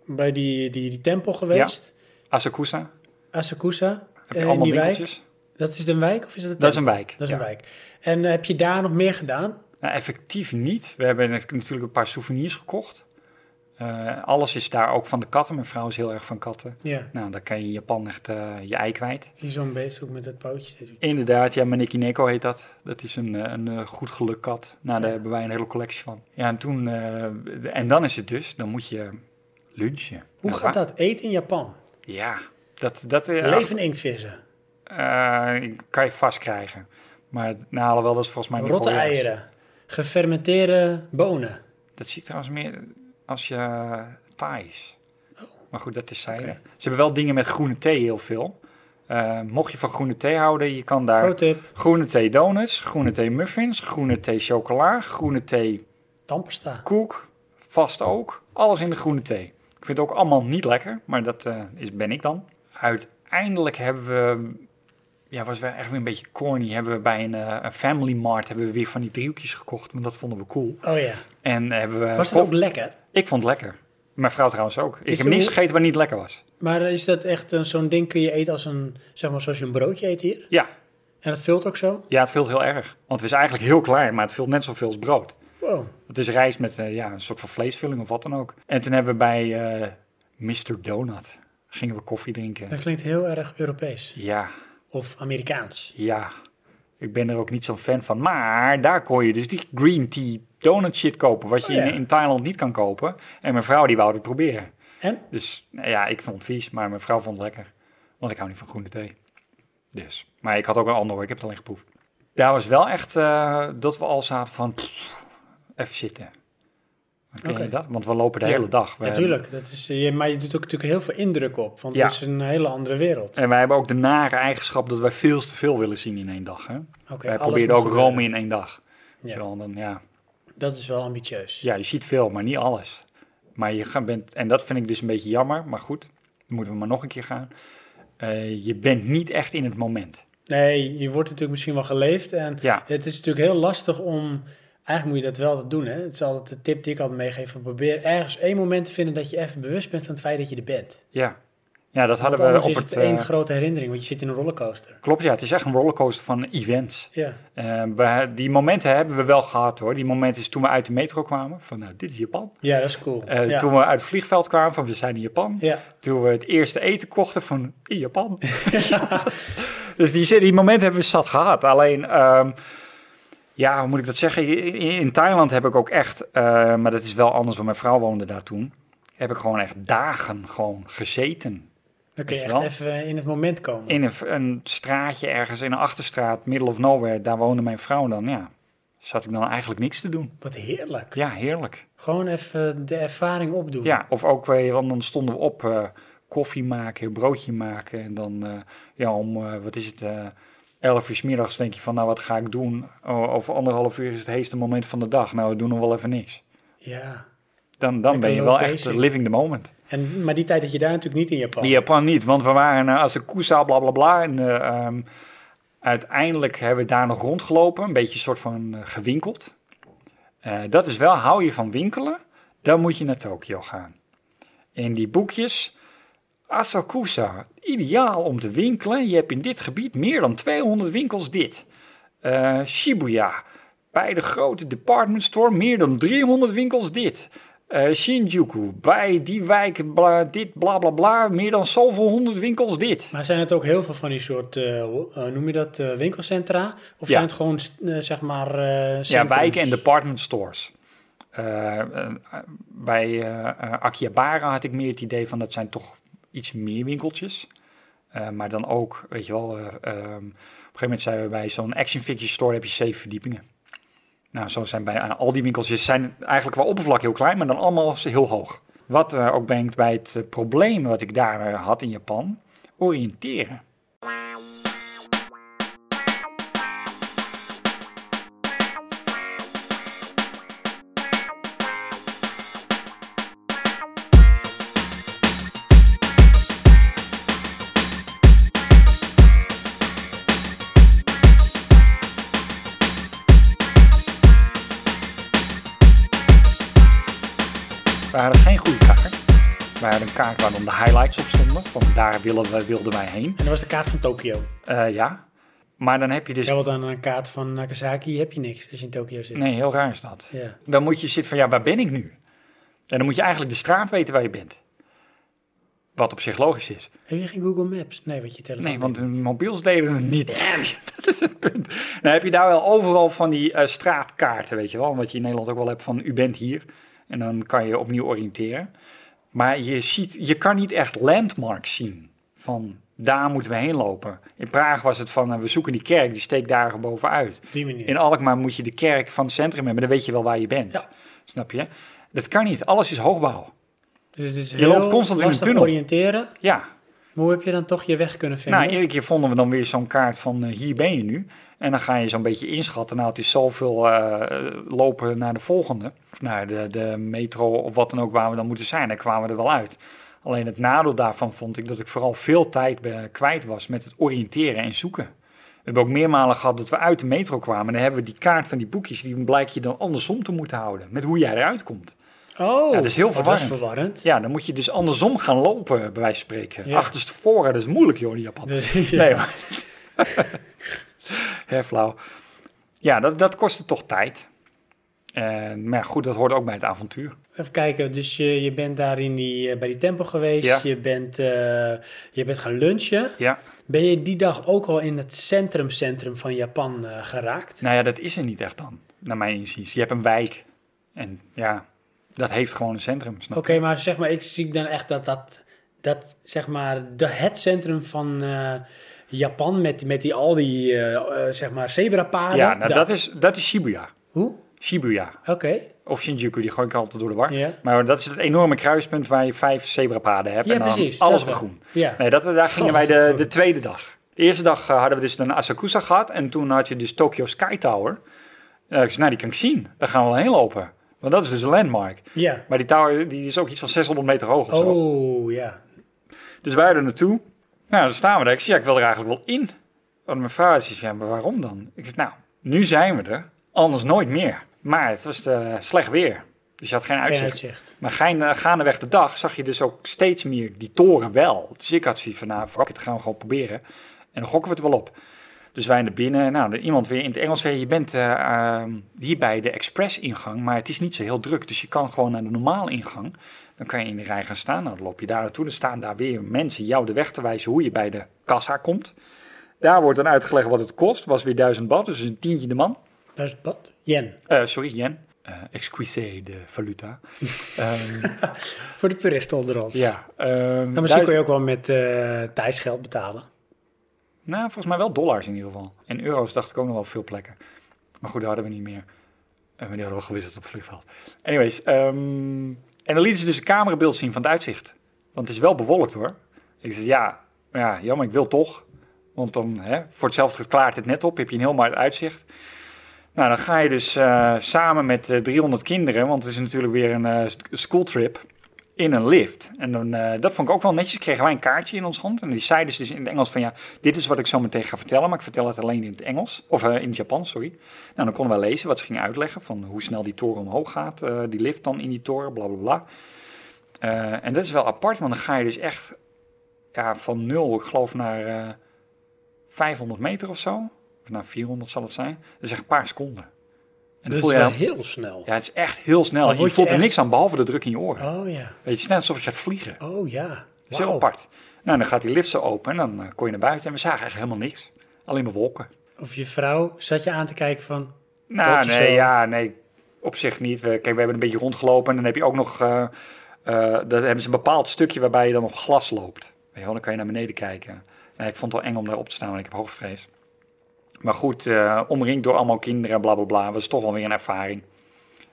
A: bij die, die, die tempel geweest,
B: Asakusa.
A: Asakusa,
B: Heb
A: eh,
B: je
A: in
B: allemaal
A: die
B: winkeltjes?
A: wijk. Dat is een wijk of is dat een
B: Dat is een
A: tempel?
B: wijk.
A: Dat is
B: ja.
A: een wijk. En eh, heb je daar nog meer gedaan?
B: Nou, effectief niet. We hebben natuurlijk een paar souvenirs gekocht. Eh, alles is daar ook van de katten. Mijn vrouw is heel erg van katten.
A: Ja,
B: Nou, dan kan je in Japan echt eh, je ei kwijt.
A: hier zo'n beest ook met dat pootje. steeds.
B: Inderdaad, ja, Maneki Neko heet dat. Dat is een, eh, een eh, goed geluk kat. Nou, daar hebben wij een hele collectie van. Ja, en toen... eh, en dan is het dus, dan moet je lunchen.
A: Hoe gaat dat? Eten in Japan?
B: Ja, dat... dat eh,
A: Leven inktvissen,
B: eh, kan je vast krijgen. Maar nou, alhoewel, dat is volgens mij...
A: rotte
B: Nicole Jas.
A: eieren, gefermenteerde bonen.
B: Dat zie ik trouwens meer als je eh, Thai is.
A: Oh.
B: Maar goed, dat is zij. Ze hebben wel dingen met groene thee heel veel. Eh, mocht je van groene thee houden, je kan daar
A: Pro tip,
B: groene thee donuts, groene thee muffins, groene thee chocola, groene thee
A: tandpasta.
B: koek, vast ook. Alles in de groene thee. Ik vind het ook allemaal niet lekker, maar dat eh, is, ben ik dan. Uiteindelijk hebben we, ja, was wel echt weer een beetje corny, hebben we bij een, eh, een family mart hebben we weer van die driehoekjes gekocht, want dat vonden we cool.
A: Oh ja,
B: En eh, hebben we
A: was dat ook lekker?
B: ik vond het lekker. Mijn vrouw trouwens ook. Ik
A: Is
B: heb
A: er-
B: niks gegeten wat niet lekker was.
A: Maar is dat echt een- zo'n ding kun je eten als een, zeg maar zoals je een broodje eet hier?
B: Ja,
A: En dat vult ook zo?
B: ja het vult heel erg. Want het is eigenlijk heel klein, maar het vult net zoveel als brood.
A: Wow. Wow.
B: Het is rijst met eh, ja, een soort van vleesvulling of wat dan ook. En toen hebben we bij eh, Mr. Donut gingen we koffie drinken.
A: Dat klinkt heel erg Europees.
B: Ja,
A: Of Amerikaans.
B: ja. Ik ben er ook niet zo'n fan van. Maar daar kon je dus die green tea donut shit kopen. Wat je
A: Oh, ja.
B: in, in Thailand niet kan kopen. En mijn vrouw die wou het proberen.
A: En?
B: Dus nou ja, ik vond het vies. Maar mijn vrouw vond het lekker. Want ik hou niet van groene thee. Dus. Maar ik had ook een ander hoor. Ik heb het alleen geproefd. Daar was wel echt eh, dat we al zaten van... pff, even zitten. Ken
A: Oké.
B: je dat? Want we lopen de hele dag. We-
A: Natuurlijk, dat is, eh, je- maar je doet ook natuurlijk heel veel indruk op, want
B: Ja.
A: het is een hele andere wereld.
B: En wij hebben ook de nare eigenschap dat wij veel te veel willen zien in één dag. Hè?
A: Oké,
B: wij
A: alles
B: proberen
A: moet
B: ook
A: gebeuren.
B: Rome in één dag.
A: Ja.
B: Zo, dan, ja. Dus
A: Dat is wel ambitieus.
B: ja, je ziet veel, maar niet alles. Maar je ga- bent, en dat vind ik dus een beetje jammer, maar goed, dan moeten we maar nog een keer gaan. Eh, je bent niet echt in het moment.
A: Nee, je wordt natuurlijk misschien wel geleefd. En
B: Ja.
A: het is natuurlijk heel lastig om. Eigenlijk moet je dat wel altijd doen. Hè? Het is altijd de tip die ik altijd meegeef. van Probeer ergens één moment te vinden dat je even bewust bent van het feit dat je er bent.
B: Ja, ja dat
A: Want
B: hadden we
A: anders
B: op
A: is
B: het.
A: het één
B: eh,
A: grote herinnering, want je zit in een rollercoaster.
B: klopt, ja, het is echt een rollercoaster van events.
A: Ja,
B: Eh, we- die momenten hebben we wel gehad hoor. Die momenten is toen we uit de metro kwamen: van nou, dit is Japan.
A: ja dat is cool.
B: Eh,
A: ja.
B: Toen we uit het vliegveld kwamen: van we zijn in Japan.
A: Ja.
B: Toen we het eerste eten kochten van in Japan. dus die, zin- die momenten hebben we zat gehad. Alleen, ehm, ja, hoe moet ik dat zeggen? In, in Thailand heb ik ook echt, eh, maar dat is wel anders, want mijn vrouw woonde daar toen. Heb ik gewoon echt dagen gewoon gezeten.
A: Dan kun
B: weet
A: je
B: je
A: echt
B: wel.
A: even in het moment komen.
B: In een, een straatje ergens, in een achterstraat, middle of nowhere. Daar woonde mijn vrouw dan, ja. Zat ik dan eigenlijk niks te doen.
A: Wat heerlijk.
B: Ja, heerlijk.
A: Gewoon even de ervaring opdoen.
B: Ja, of ook, eh, want dan stonden we op eh, koffie maken, broodje maken. En dan, eh, ja, om, eh, wat is het, eh 11 uur 's middags denk je van, nou, wat ga ik doen? O- over anderhalf uur is het heetste moment van de dag. Nou, we doen nog wel even niks.
A: Ja.
B: Dan, dan ben je
A: wel
B: wel
A: bezig.
B: echt eh, living the moment.
A: En, maar die tijd dat je daar natuurlijk niet in Japan.
B: Die Japan niet, want we waren eh, als de koesa, bla bla bla. En eh, ehm, uiteindelijk hebben we daar nog rondgelopen, een beetje soort van eh, gewinkeld. Eh, dat is wel, hou je van winkelen, dan moet je naar Tokio gaan. In die boekjes, Asakusa, ideaal om te winkelen. Je hebt in dit gebied meer dan 200 winkels dit. Eh, Shibuya, bij de grote department store meer dan 300 winkels dit. Eh, Shinjuku, bij die wijk bla, dit bla bla bla, meer dan zoveel honderd winkels dit.
A: Maar zijn het ook heel veel van die soort, eh, ho- eh, noem je dat, eh, winkelcentra? Of zijn het gewoon, st- eh, zeg maar, eh
B: Ja,
A: centrums?
B: wijken en department stores. Eh, eh, bij eh, eh, Akihabara had ik meer het idee van dat zijn toch iets meer winkeltjes. Eh, maar dan ook, weet je wel, eh, ehm, op een gegeven moment zijn we bij zo'n action figure store heb je zeven verdiepingen. Nou, zo zijn bij aan al die winkeltjes zijn eigenlijk wel oppervlak heel klein, maar dan allemaal ze heel hoog. Wat eh, ook brengt bij het eh, probleem wat ik daar eh, had in Japan, oriënteren. We hadden geen goede kaart. We hadden een kaart waar dan de highlights op stonden, van daar willen we, wilden wij heen.
A: En dat was de kaart van Tokio.
B: Eh, ja. Maar dan heb je dus...
A: Ja, want aan een kaart van Nagasaki heb je niks als je in Tokio zit.
B: Nee, heel raar is dat.
A: Ja.
B: Dan moet je zitten van, ja, waar ben ik nu? En dan moet je eigenlijk de straat weten waar je bent. Wat op zich logisch is.
A: Heb je geen Google Maps? Nee, wat je telefoon
B: Nee, want
A: deed.
B: hun mobiels deden het niet. dat is het punt. Dan heb je daar wel overal van die eh, straatkaarten, weet je wel. Wat je in Nederland ook wel hebt van, u bent hier. En dan kan je opnieuw oriënteren. Maar je, ziet, je kan niet echt landmarks zien. Van, daar moeten we heen lopen. In Praag was het van, eh, we zoeken die kerk, die steekt daar bovenuit.
A: Op die manier.
B: In Alkmaar moet je de kerk van het centrum hebben, dan weet je wel waar je bent.
A: Ja.
B: Snap je? Dat kan niet. Alles is hoogbouw.
A: dus het is
B: je
A: heel
B: loopt constant in een
A: lastig
B: tunnel.
A: oriënteren.
B: Ja.
A: Maar hoe heb je dan toch je weg kunnen vinden?
B: Nou, iedere keer vonden we dan weer zo'n kaart van eh, hier ben je nu. En dan ga je zo'n beetje inschatten. Nou, het is zoveel eh, lopen naar de volgende. Of naar de, de metro of wat dan ook waar we dan moeten zijn. Daar kwamen we er wel uit. Alleen het nadeel daarvan vond ik dat ik vooral veel tijd eh, kwijt was met het oriënteren en zoeken. We hebben ook meermalen gehad dat we uit de metro kwamen. En dan hebben we die kaart van die boekjes. Die blijkt je dan andersom te moeten houden. Met hoe jij eruit komt.
A: oh,
B: Ja, dat is heel
A: oh, dat is
B: verwarrend.
A: verwarrend.
B: Ja, dan moet je dus andersom gaan lopen, bij wijze van spreken.
A: Ja.
B: Achterstevoren, dat is moeilijk, joh, in Japan.
A: Dus- ja.
B: Nee, maar... Hè, flauw. Ja, dat, dat kostte toch tijd. En En, maar ja, goed, dat hoort ook bij het avontuur.
A: Even kijken, dus je, je bent daar in die, eh, bij die tempel geweest.
B: Ja.
A: Je, bent, eh, je bent gaan lunchen.
B: Ja.
A: Ben je die dag ook al in het centrum, centrum van Japan eh, geraakt?
B: Nou ja, dat is er niet echt dan, naar mijn inziens. Je hebt een wijk en ja, dat heeft gewoon een centrum, snap
A: Oké, maar zeg maar, ik zie dan echt dat dat, dat zeg maar, de, het centrum van eh, Japan met, met die, al die, eh, eh, zeg maar, zebrapaden.
B: Ja, nou, dat, is, dat is Shibuya.
A: Hoe?
B: Shibuya.
A: Oké.
B: Of Shinjuku, die gooi ik altijd door de war.
A: Ja.
B: Maar dat is het enorme kruispunt waar je vijf zebrapaden hebt.
A: Ja,
B: en dan
A: precies,
B: alles
A: dat wel.
B: op groen.
A: Ja.
B: Nee, dat, daar gingen wij
A: Alles op
B: de,
A: groen.
B: de tweede dag. De eerste dag eh, hadden we dus dan Asakusa gehad. En toen had je dus Tokyo Sky Tower. Eh, ik zei, nou, die kan ik zien. Daar gaan we wel heen lopen. Want dat is dus een landmark.
A: Ja.
B: Maar die tower die is ook iets van 600 meter hoog of zo.
A: Oh, ja.
B: Dus wij er naartoe. Nou, dan staan we daar. Ik zie, ja, ik wil er eigenlijk wel in. Want mijn vrouw zei, ja, maar waarom dan? Ik zeg, nou, nu zijn we er. Anders nooit meer. Maar het was eh, slecht weer. Dus je had geen
A: Geen
B: uitzicht.
A: uitzicht.
B: Maar gein, eh, gaandeweg de dag zag je dus ook steeds meer die toren wel. Dus ik had zoiets van, nou, fuck it, gaan we gewoon proberen. En dan gokken we het wel op. Dus wij naar binnen. Nou, er- iemand weer in het Engels zei, je bent eh, ehm, hier bij de express-ingang, maar het is niet zo heel druk. Dus je kan gewoon naar de normale ingang. Dan kan je in de rij gaan staan. Nou, dan loop je daar naartoe. Dan staan daar weer mensen jou de weg te wijzen hoe je bij de kassa komt. Daar wordt dan uitgelegd wat het kost. Was weer duizend bad, dus een tientje de man.
A: Dat is wat? Yen.
B: Eh, sorry, yen. Eh excusez de valuta. Ehm,
A: Voor de puristen onder ons.
B: ja, ehm,
A: Maar Nou, misschien
B: duizend-
A: kun je ook wel met eh Thais geld betalen.
B: Nou, volgens mij wel dollars in ieder geval. En euro's dacht ik ook nog wel op veel plekken. Maar goed, daar hadden we niet meer. En we die hadden we gewisseld op het vliegveld. Anyways, ehm, en dan lieten ze dus een camerabeeld zien van het uitzicht. Want het is wel bewolkt hoor. Ik zei, ja, maar ja jammer, ik wil toch. Want dan, hè, voor hetzelfde klaart het net op, heb je een heel mooi uitzicht. Nou, dan ga je dus eh, samen met eh, 300 kinderen, want het is natuurlijk weer een eh, st- schooltrip, in een lift. En dan, eh, dat vond ik ook wel netjes, kregen wij een kaartje in ons hand. En die zei dus, dus in het Engels van, ja, dit is wat ik zo meteen ga vertellen, maar ik vertel het alleen in het Engels. Of eh, in het Japans, sorry. Nou, dan konden wij lezen wat ze gingen uitleggen, van hoe snel die toren omhoog gaat, eh, die lift dan in die toren, bla bla bla. Eh, en dat is wel apart, want dan ga je dus echt ja, van nul, ik geloof, naar eh, 500 meter of zo. Of naar 400 zal het zijn. Dat is echt een paar seconden. En dan
A: Dat is
B: voel je nou?
A: wel
B: dan-
A: heel snel.
B: ja, het is echt heel snel.
A: Dan
B: Je
A: word je
B: voelt er
A: echt-
B: niks aan, behalve de druk in je oren.
A: Oh ja.
B: Weet je, het is net alsof je gaat vliegen. Dat
A: Oh ja.
B: is heel
A: Wauw.
B: apart. Nou, dan gaat die lift zo open en dan eh, kon je naar buiten. En we zagen echt helemaal niks. Alleen maar wolken.
A: Of je vrouw zat je aan te kijken van...
B: Nou,
A: Dat eh, je
B: nee,
A: zo-
B: ja, nee, op zich niet. We, kijk, we hebben een beetje rondgelopen en dan heb je ook nog... eh eh, dan hebben ze een bepaald stukje waarbij je dan op glas loopt. Weet je wel, dan kan je naar beneden kijken. Nou, ik vond het wel eng om daar op te staan, want ik heb hoogvrees. Maar goed, eh, omringd door allemaal kinderen, bla bla bla. Was toch wel weer een ervaring.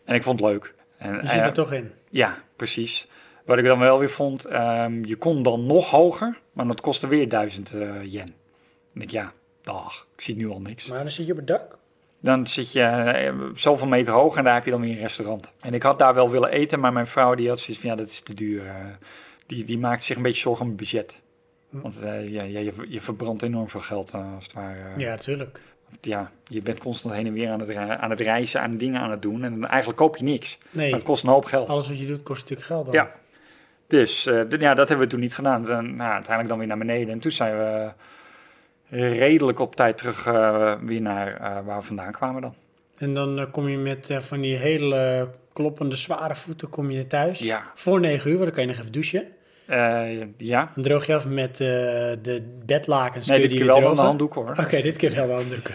B: En ik vond het leuk. En,
A: Je zit
B: eh,
A: er toch in.
B: Ja, precies. Wat ik dan wel weer vond, ehm, je kon dan nog hoger, maar dat kostte weer 1000 eh, yen. Dan denk ik, ja, dag, ik zie nu al niks.
A: Maar dan zit je op het dak.
B: Dan zit je eh, zoveel meter hoog en daar heb je dan weer een restaurant. En ik had daar wel willen eten, maar mijn vrouw die had zoiets van, ja, dat is te duur. eh. die, die maakt zich een beetje zorgen om het budget.
A: Hm.
B: Want eh, ja, ja, je, je verbrandt enorm veel geld, eh, als het ware. eh.
A: Ja, natuurlijk.
B: Ja, je bent constant heen en weer aan het, re- aan het reizen, aan dingen aan het doen. En eigenlijk koop je niks.
A: Nee.
B: Maar het kost een hoop geld.
A: Alles wat je doet kost natuurlijk geld dan.
B: Ja. Dus eh, d- ja, dat hebben we toen niet gedaan. Dan, nou, uiteindelijk dan weer naar beneden. En toen zijn we redelijk op tijd terug eh, weer naar eh, waar we vandaan kwamen dan.
A: En dan eh, kom je met eh, van die hele eh, kloppende zware voeten kom je thuis.
B: Ja.
A: Voor negen uur, want dan kan je nog even douchen.
B: Eh, ja.
A: Dan droog je af met eh, de bedlakens.
B: Nee,
A: kun je
B: dit
A: die weer
B: keer wel een
A: drogen.
B: handdoek hoor.
A: Oké, dit keer wel de handdoeken.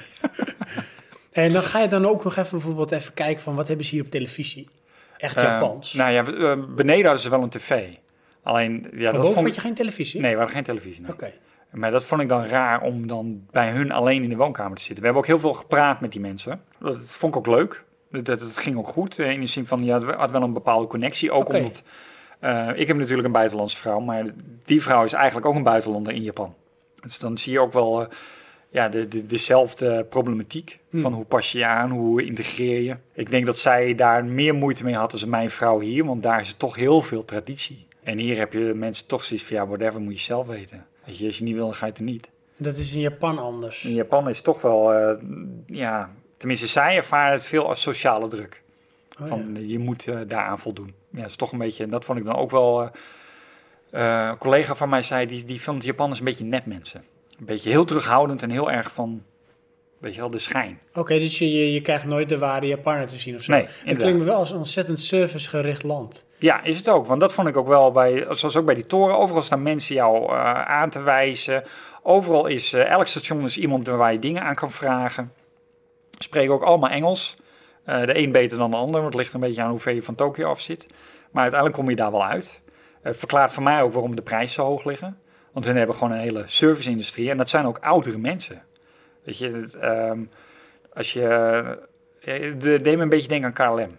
A: en dan ga je dan ook nog even bijvoorbeeld even kijken van wat hebben ze hier op televisie? Echt
B: Eh,
A: Japans.
B: nou ja, we- eh, beneden hadden ze wel een tv. Alleen, ja,
A: maar
B: dat
A: boven
B: vond
A: had je geen televisie?
B: Nee, we hadden geen televisie. nee.
A: Oké.
B: Maar dat vond ik dan raar om dan bij hun alleen in de woonkamer te zitten. We hebben ook heel veel gepraat met die mensen. Dat vond ik ook leuk. Dat, dat, dat ging ook goed. Eh, In de zin van, je had, had wel een bepaalde connectie. Ook
A: Oké.
B: omdat, eh, ik heb natuurlijk een buitenlandse vrouw. Maar die vrouw is eigenlijk ook een buitenlander in Japan. Dus dan zie je ook wel eh, ja, de, de, dezelfde problematiek. Van hoe pas je je aan, hoe integreer je. Ik denk dat zij daar meer moeite mee had dan mijn vrouw hier. Want daar is toch heel veel traditie. En hier heb je mensen toch zoiets van, ja, whatever, moet je zelf weten. Weet je, als je niet wil, dan ga je het er niet.
A: Dat is in Japan anders.
B: In Japan is toch wel, eh, ja, tenminste zij ervaren het veel als sociale druk.
A: Oh,
B: van
A: ja.
B: eh, je moet eh, daaraan voldoen. Ja, dat is toch een beetje, en dat vond ik dan ook wel. eh, eh, een collega van mij zei, die, die vond Japanners een beetje net mensen. Een beetje heel terughoudend en heel erg van, Weet je wel, de schijn.
A: Oké, dus je, je, je krijgt nooit de ware Japaner te zien of zo.
B: Nee,
A: het
B: inderdaad.
A: klinkt me wel als een ontzettend servicegericht land.
B: Ja, is het ook. Want dat vond ik ook wel bij, zoals ook bij die toren. Overal staan mensen jou eh, aan te wijzen. Overal is, eh, elk station is iemand waar je dingen aan kan vragen. Spreken ook allemaal Engels. Eh, de een beter dan de ander, want het ligt een beetje aan hoe ver je van Tokio af zit. Maar uiteindelijk kom je daar wel uit. Het verklaart voor mij ook waarom de prijzen zo hoog liggen. Want hun hebben gewoon een hele service-industrie. En dat zijn ook oudere mensen. Weet je, het, ehm, als je... eh, de- Deed me een beetje denken aan KLM.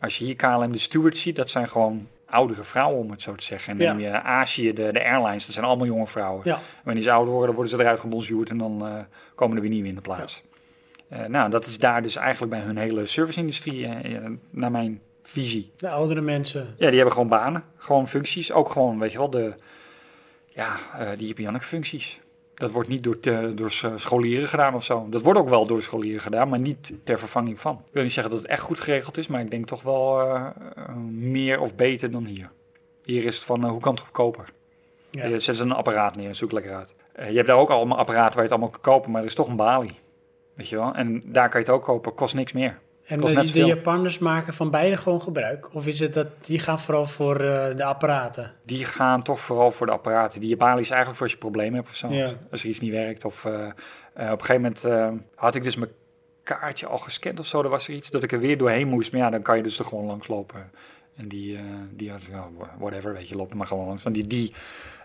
B: Als je hier KLM de stewards ziet, dat zijn gewoon oudere vrouwen, om het zo te zeggen. En
A: Ja.
B: dan neem je Azië, de, de airlines, dat zijn allemaal jonge vrouwen.
A: Ja.
B: Wanneer ze ouder worden, dan worden ze eruit gebonzuurd en dan eh, komen er weer nieuwe in de plaats. Eh, nou, dat is daar dus eigenlijk bij hun hele service-industrie, eh, eh, naar mijn visie.
A: De oudere mensen.
B: Ja, die hebben gewoon banen, gewoon functies. Ook gewoon, weet je wel, de, ja, eh die Jippianneke-functies. Dat wordt niet door, te- door s- eh, scholieren gedaan of zo. Dat wordt ook wel door scholieren gedaan, maar niet ter vervanging van. Ik wil niet zeggen dat het echt goed geregeld is, maar ik denk toch wel eh, eh, meer of beter dan hier. Hier is het van, eh, hoe kan het goedkoper?
A: Ja.
B: Je zet ze een apparaat neer en zoek lekker uit. Eh, je hebt daar ook allemaal apparaten waar je het allemaal kan kopen, maar er is toch een balie. Weet je wel? En daar kan je het ook kopen, kost niks meer.
A: En
B: kost
A: de,
B: net
A: de
B: zoveel.
A: Japanners maken van beide gewoon gebruik? Of is het dat die gaan vooral voor eh, de apparaten?
B: die gaan toch vooral voor de apparaten. Die Bali is eigenlijk voor als je problemen hebt of zo.
A: Ja.
B: Als er iets niet werkt. Of eh, eh, op een gegeven moment eh, had ik dus mijn kaartje al gescand of zo. Er was er iets dat ik er weer doorheen moest. Maar ja, dan kan je dus er gewoon langs lopen. En die, eh, die had, ja, whatever, weet je, loop er maar gewoon langs. Want die, die,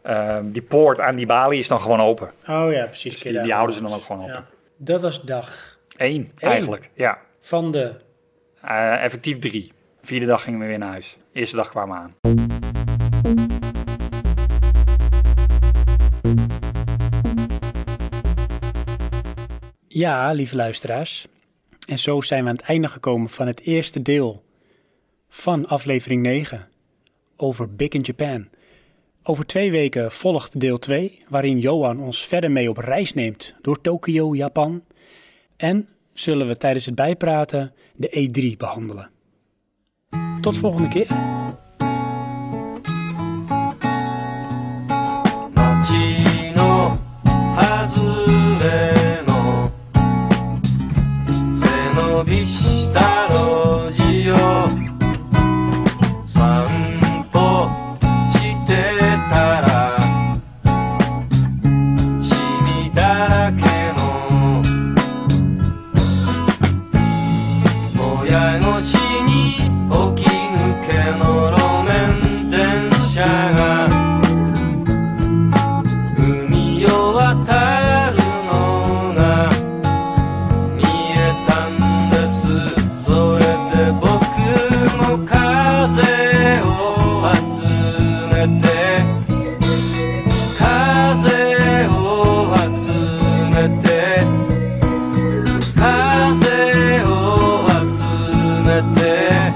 B: eh, die poort aan die balie is dan gewoon open.
A: Oh ja, precies. kun
B: Dus
A: je
B: die,
A: daar
B: die houden ze dan ook
A: langs.
B: gewoon open.
A: Ja. Dat was dag
B: Eén,
A: Eén?
B: eigenlijk. Ja,
A: van de...
B: Eh, effectief drie. Vierde dag gingen we weer naar huis. Eerste dag kwamen we aan.
A: Ja, lieve luisteraars. En zo zijn we aan het einde gekomen van het eerste deel van aflevering 9 over Big in Japan. Over twee weken volgt deel 2, waarin Johan ons verder mee op reis neemt door Tokio, Japan. En zullen we tijdens het bijpraten de E3 behandelen. Tot volgende keer.
F: 街の外れの背伸びした路地を散歩してたらシミだらけの親越しに起き抜けの路面電車が海を渡るのが見えたんですそれで僕も風を集めて風を集めて風を集めて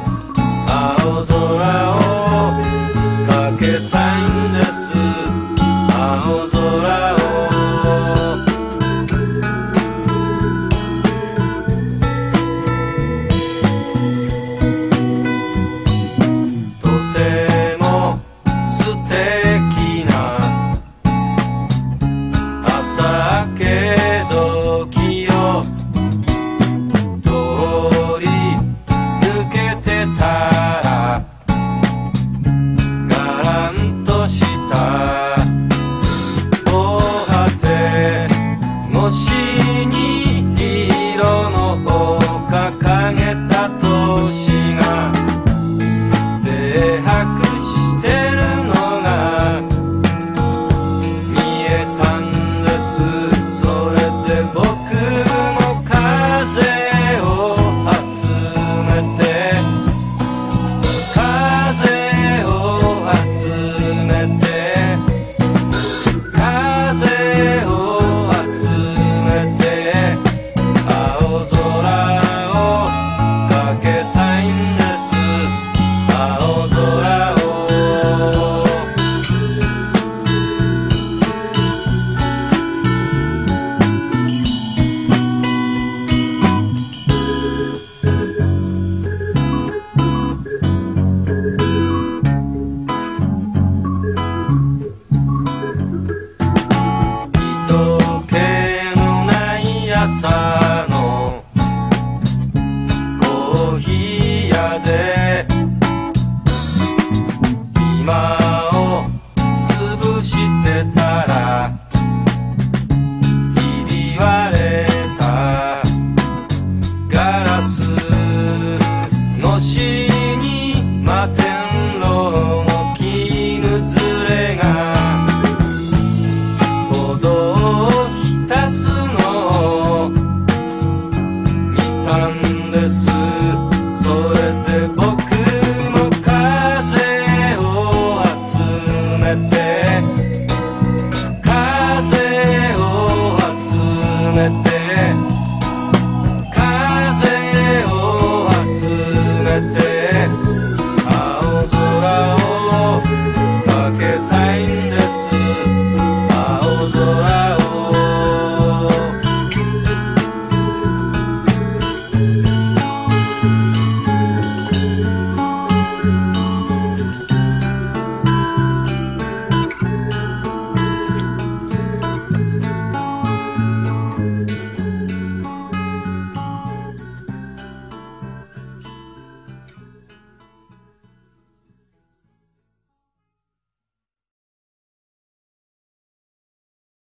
F: 青空をかけたいんです青空をとても素敵な朝明け時を通り抜けてたらガランとした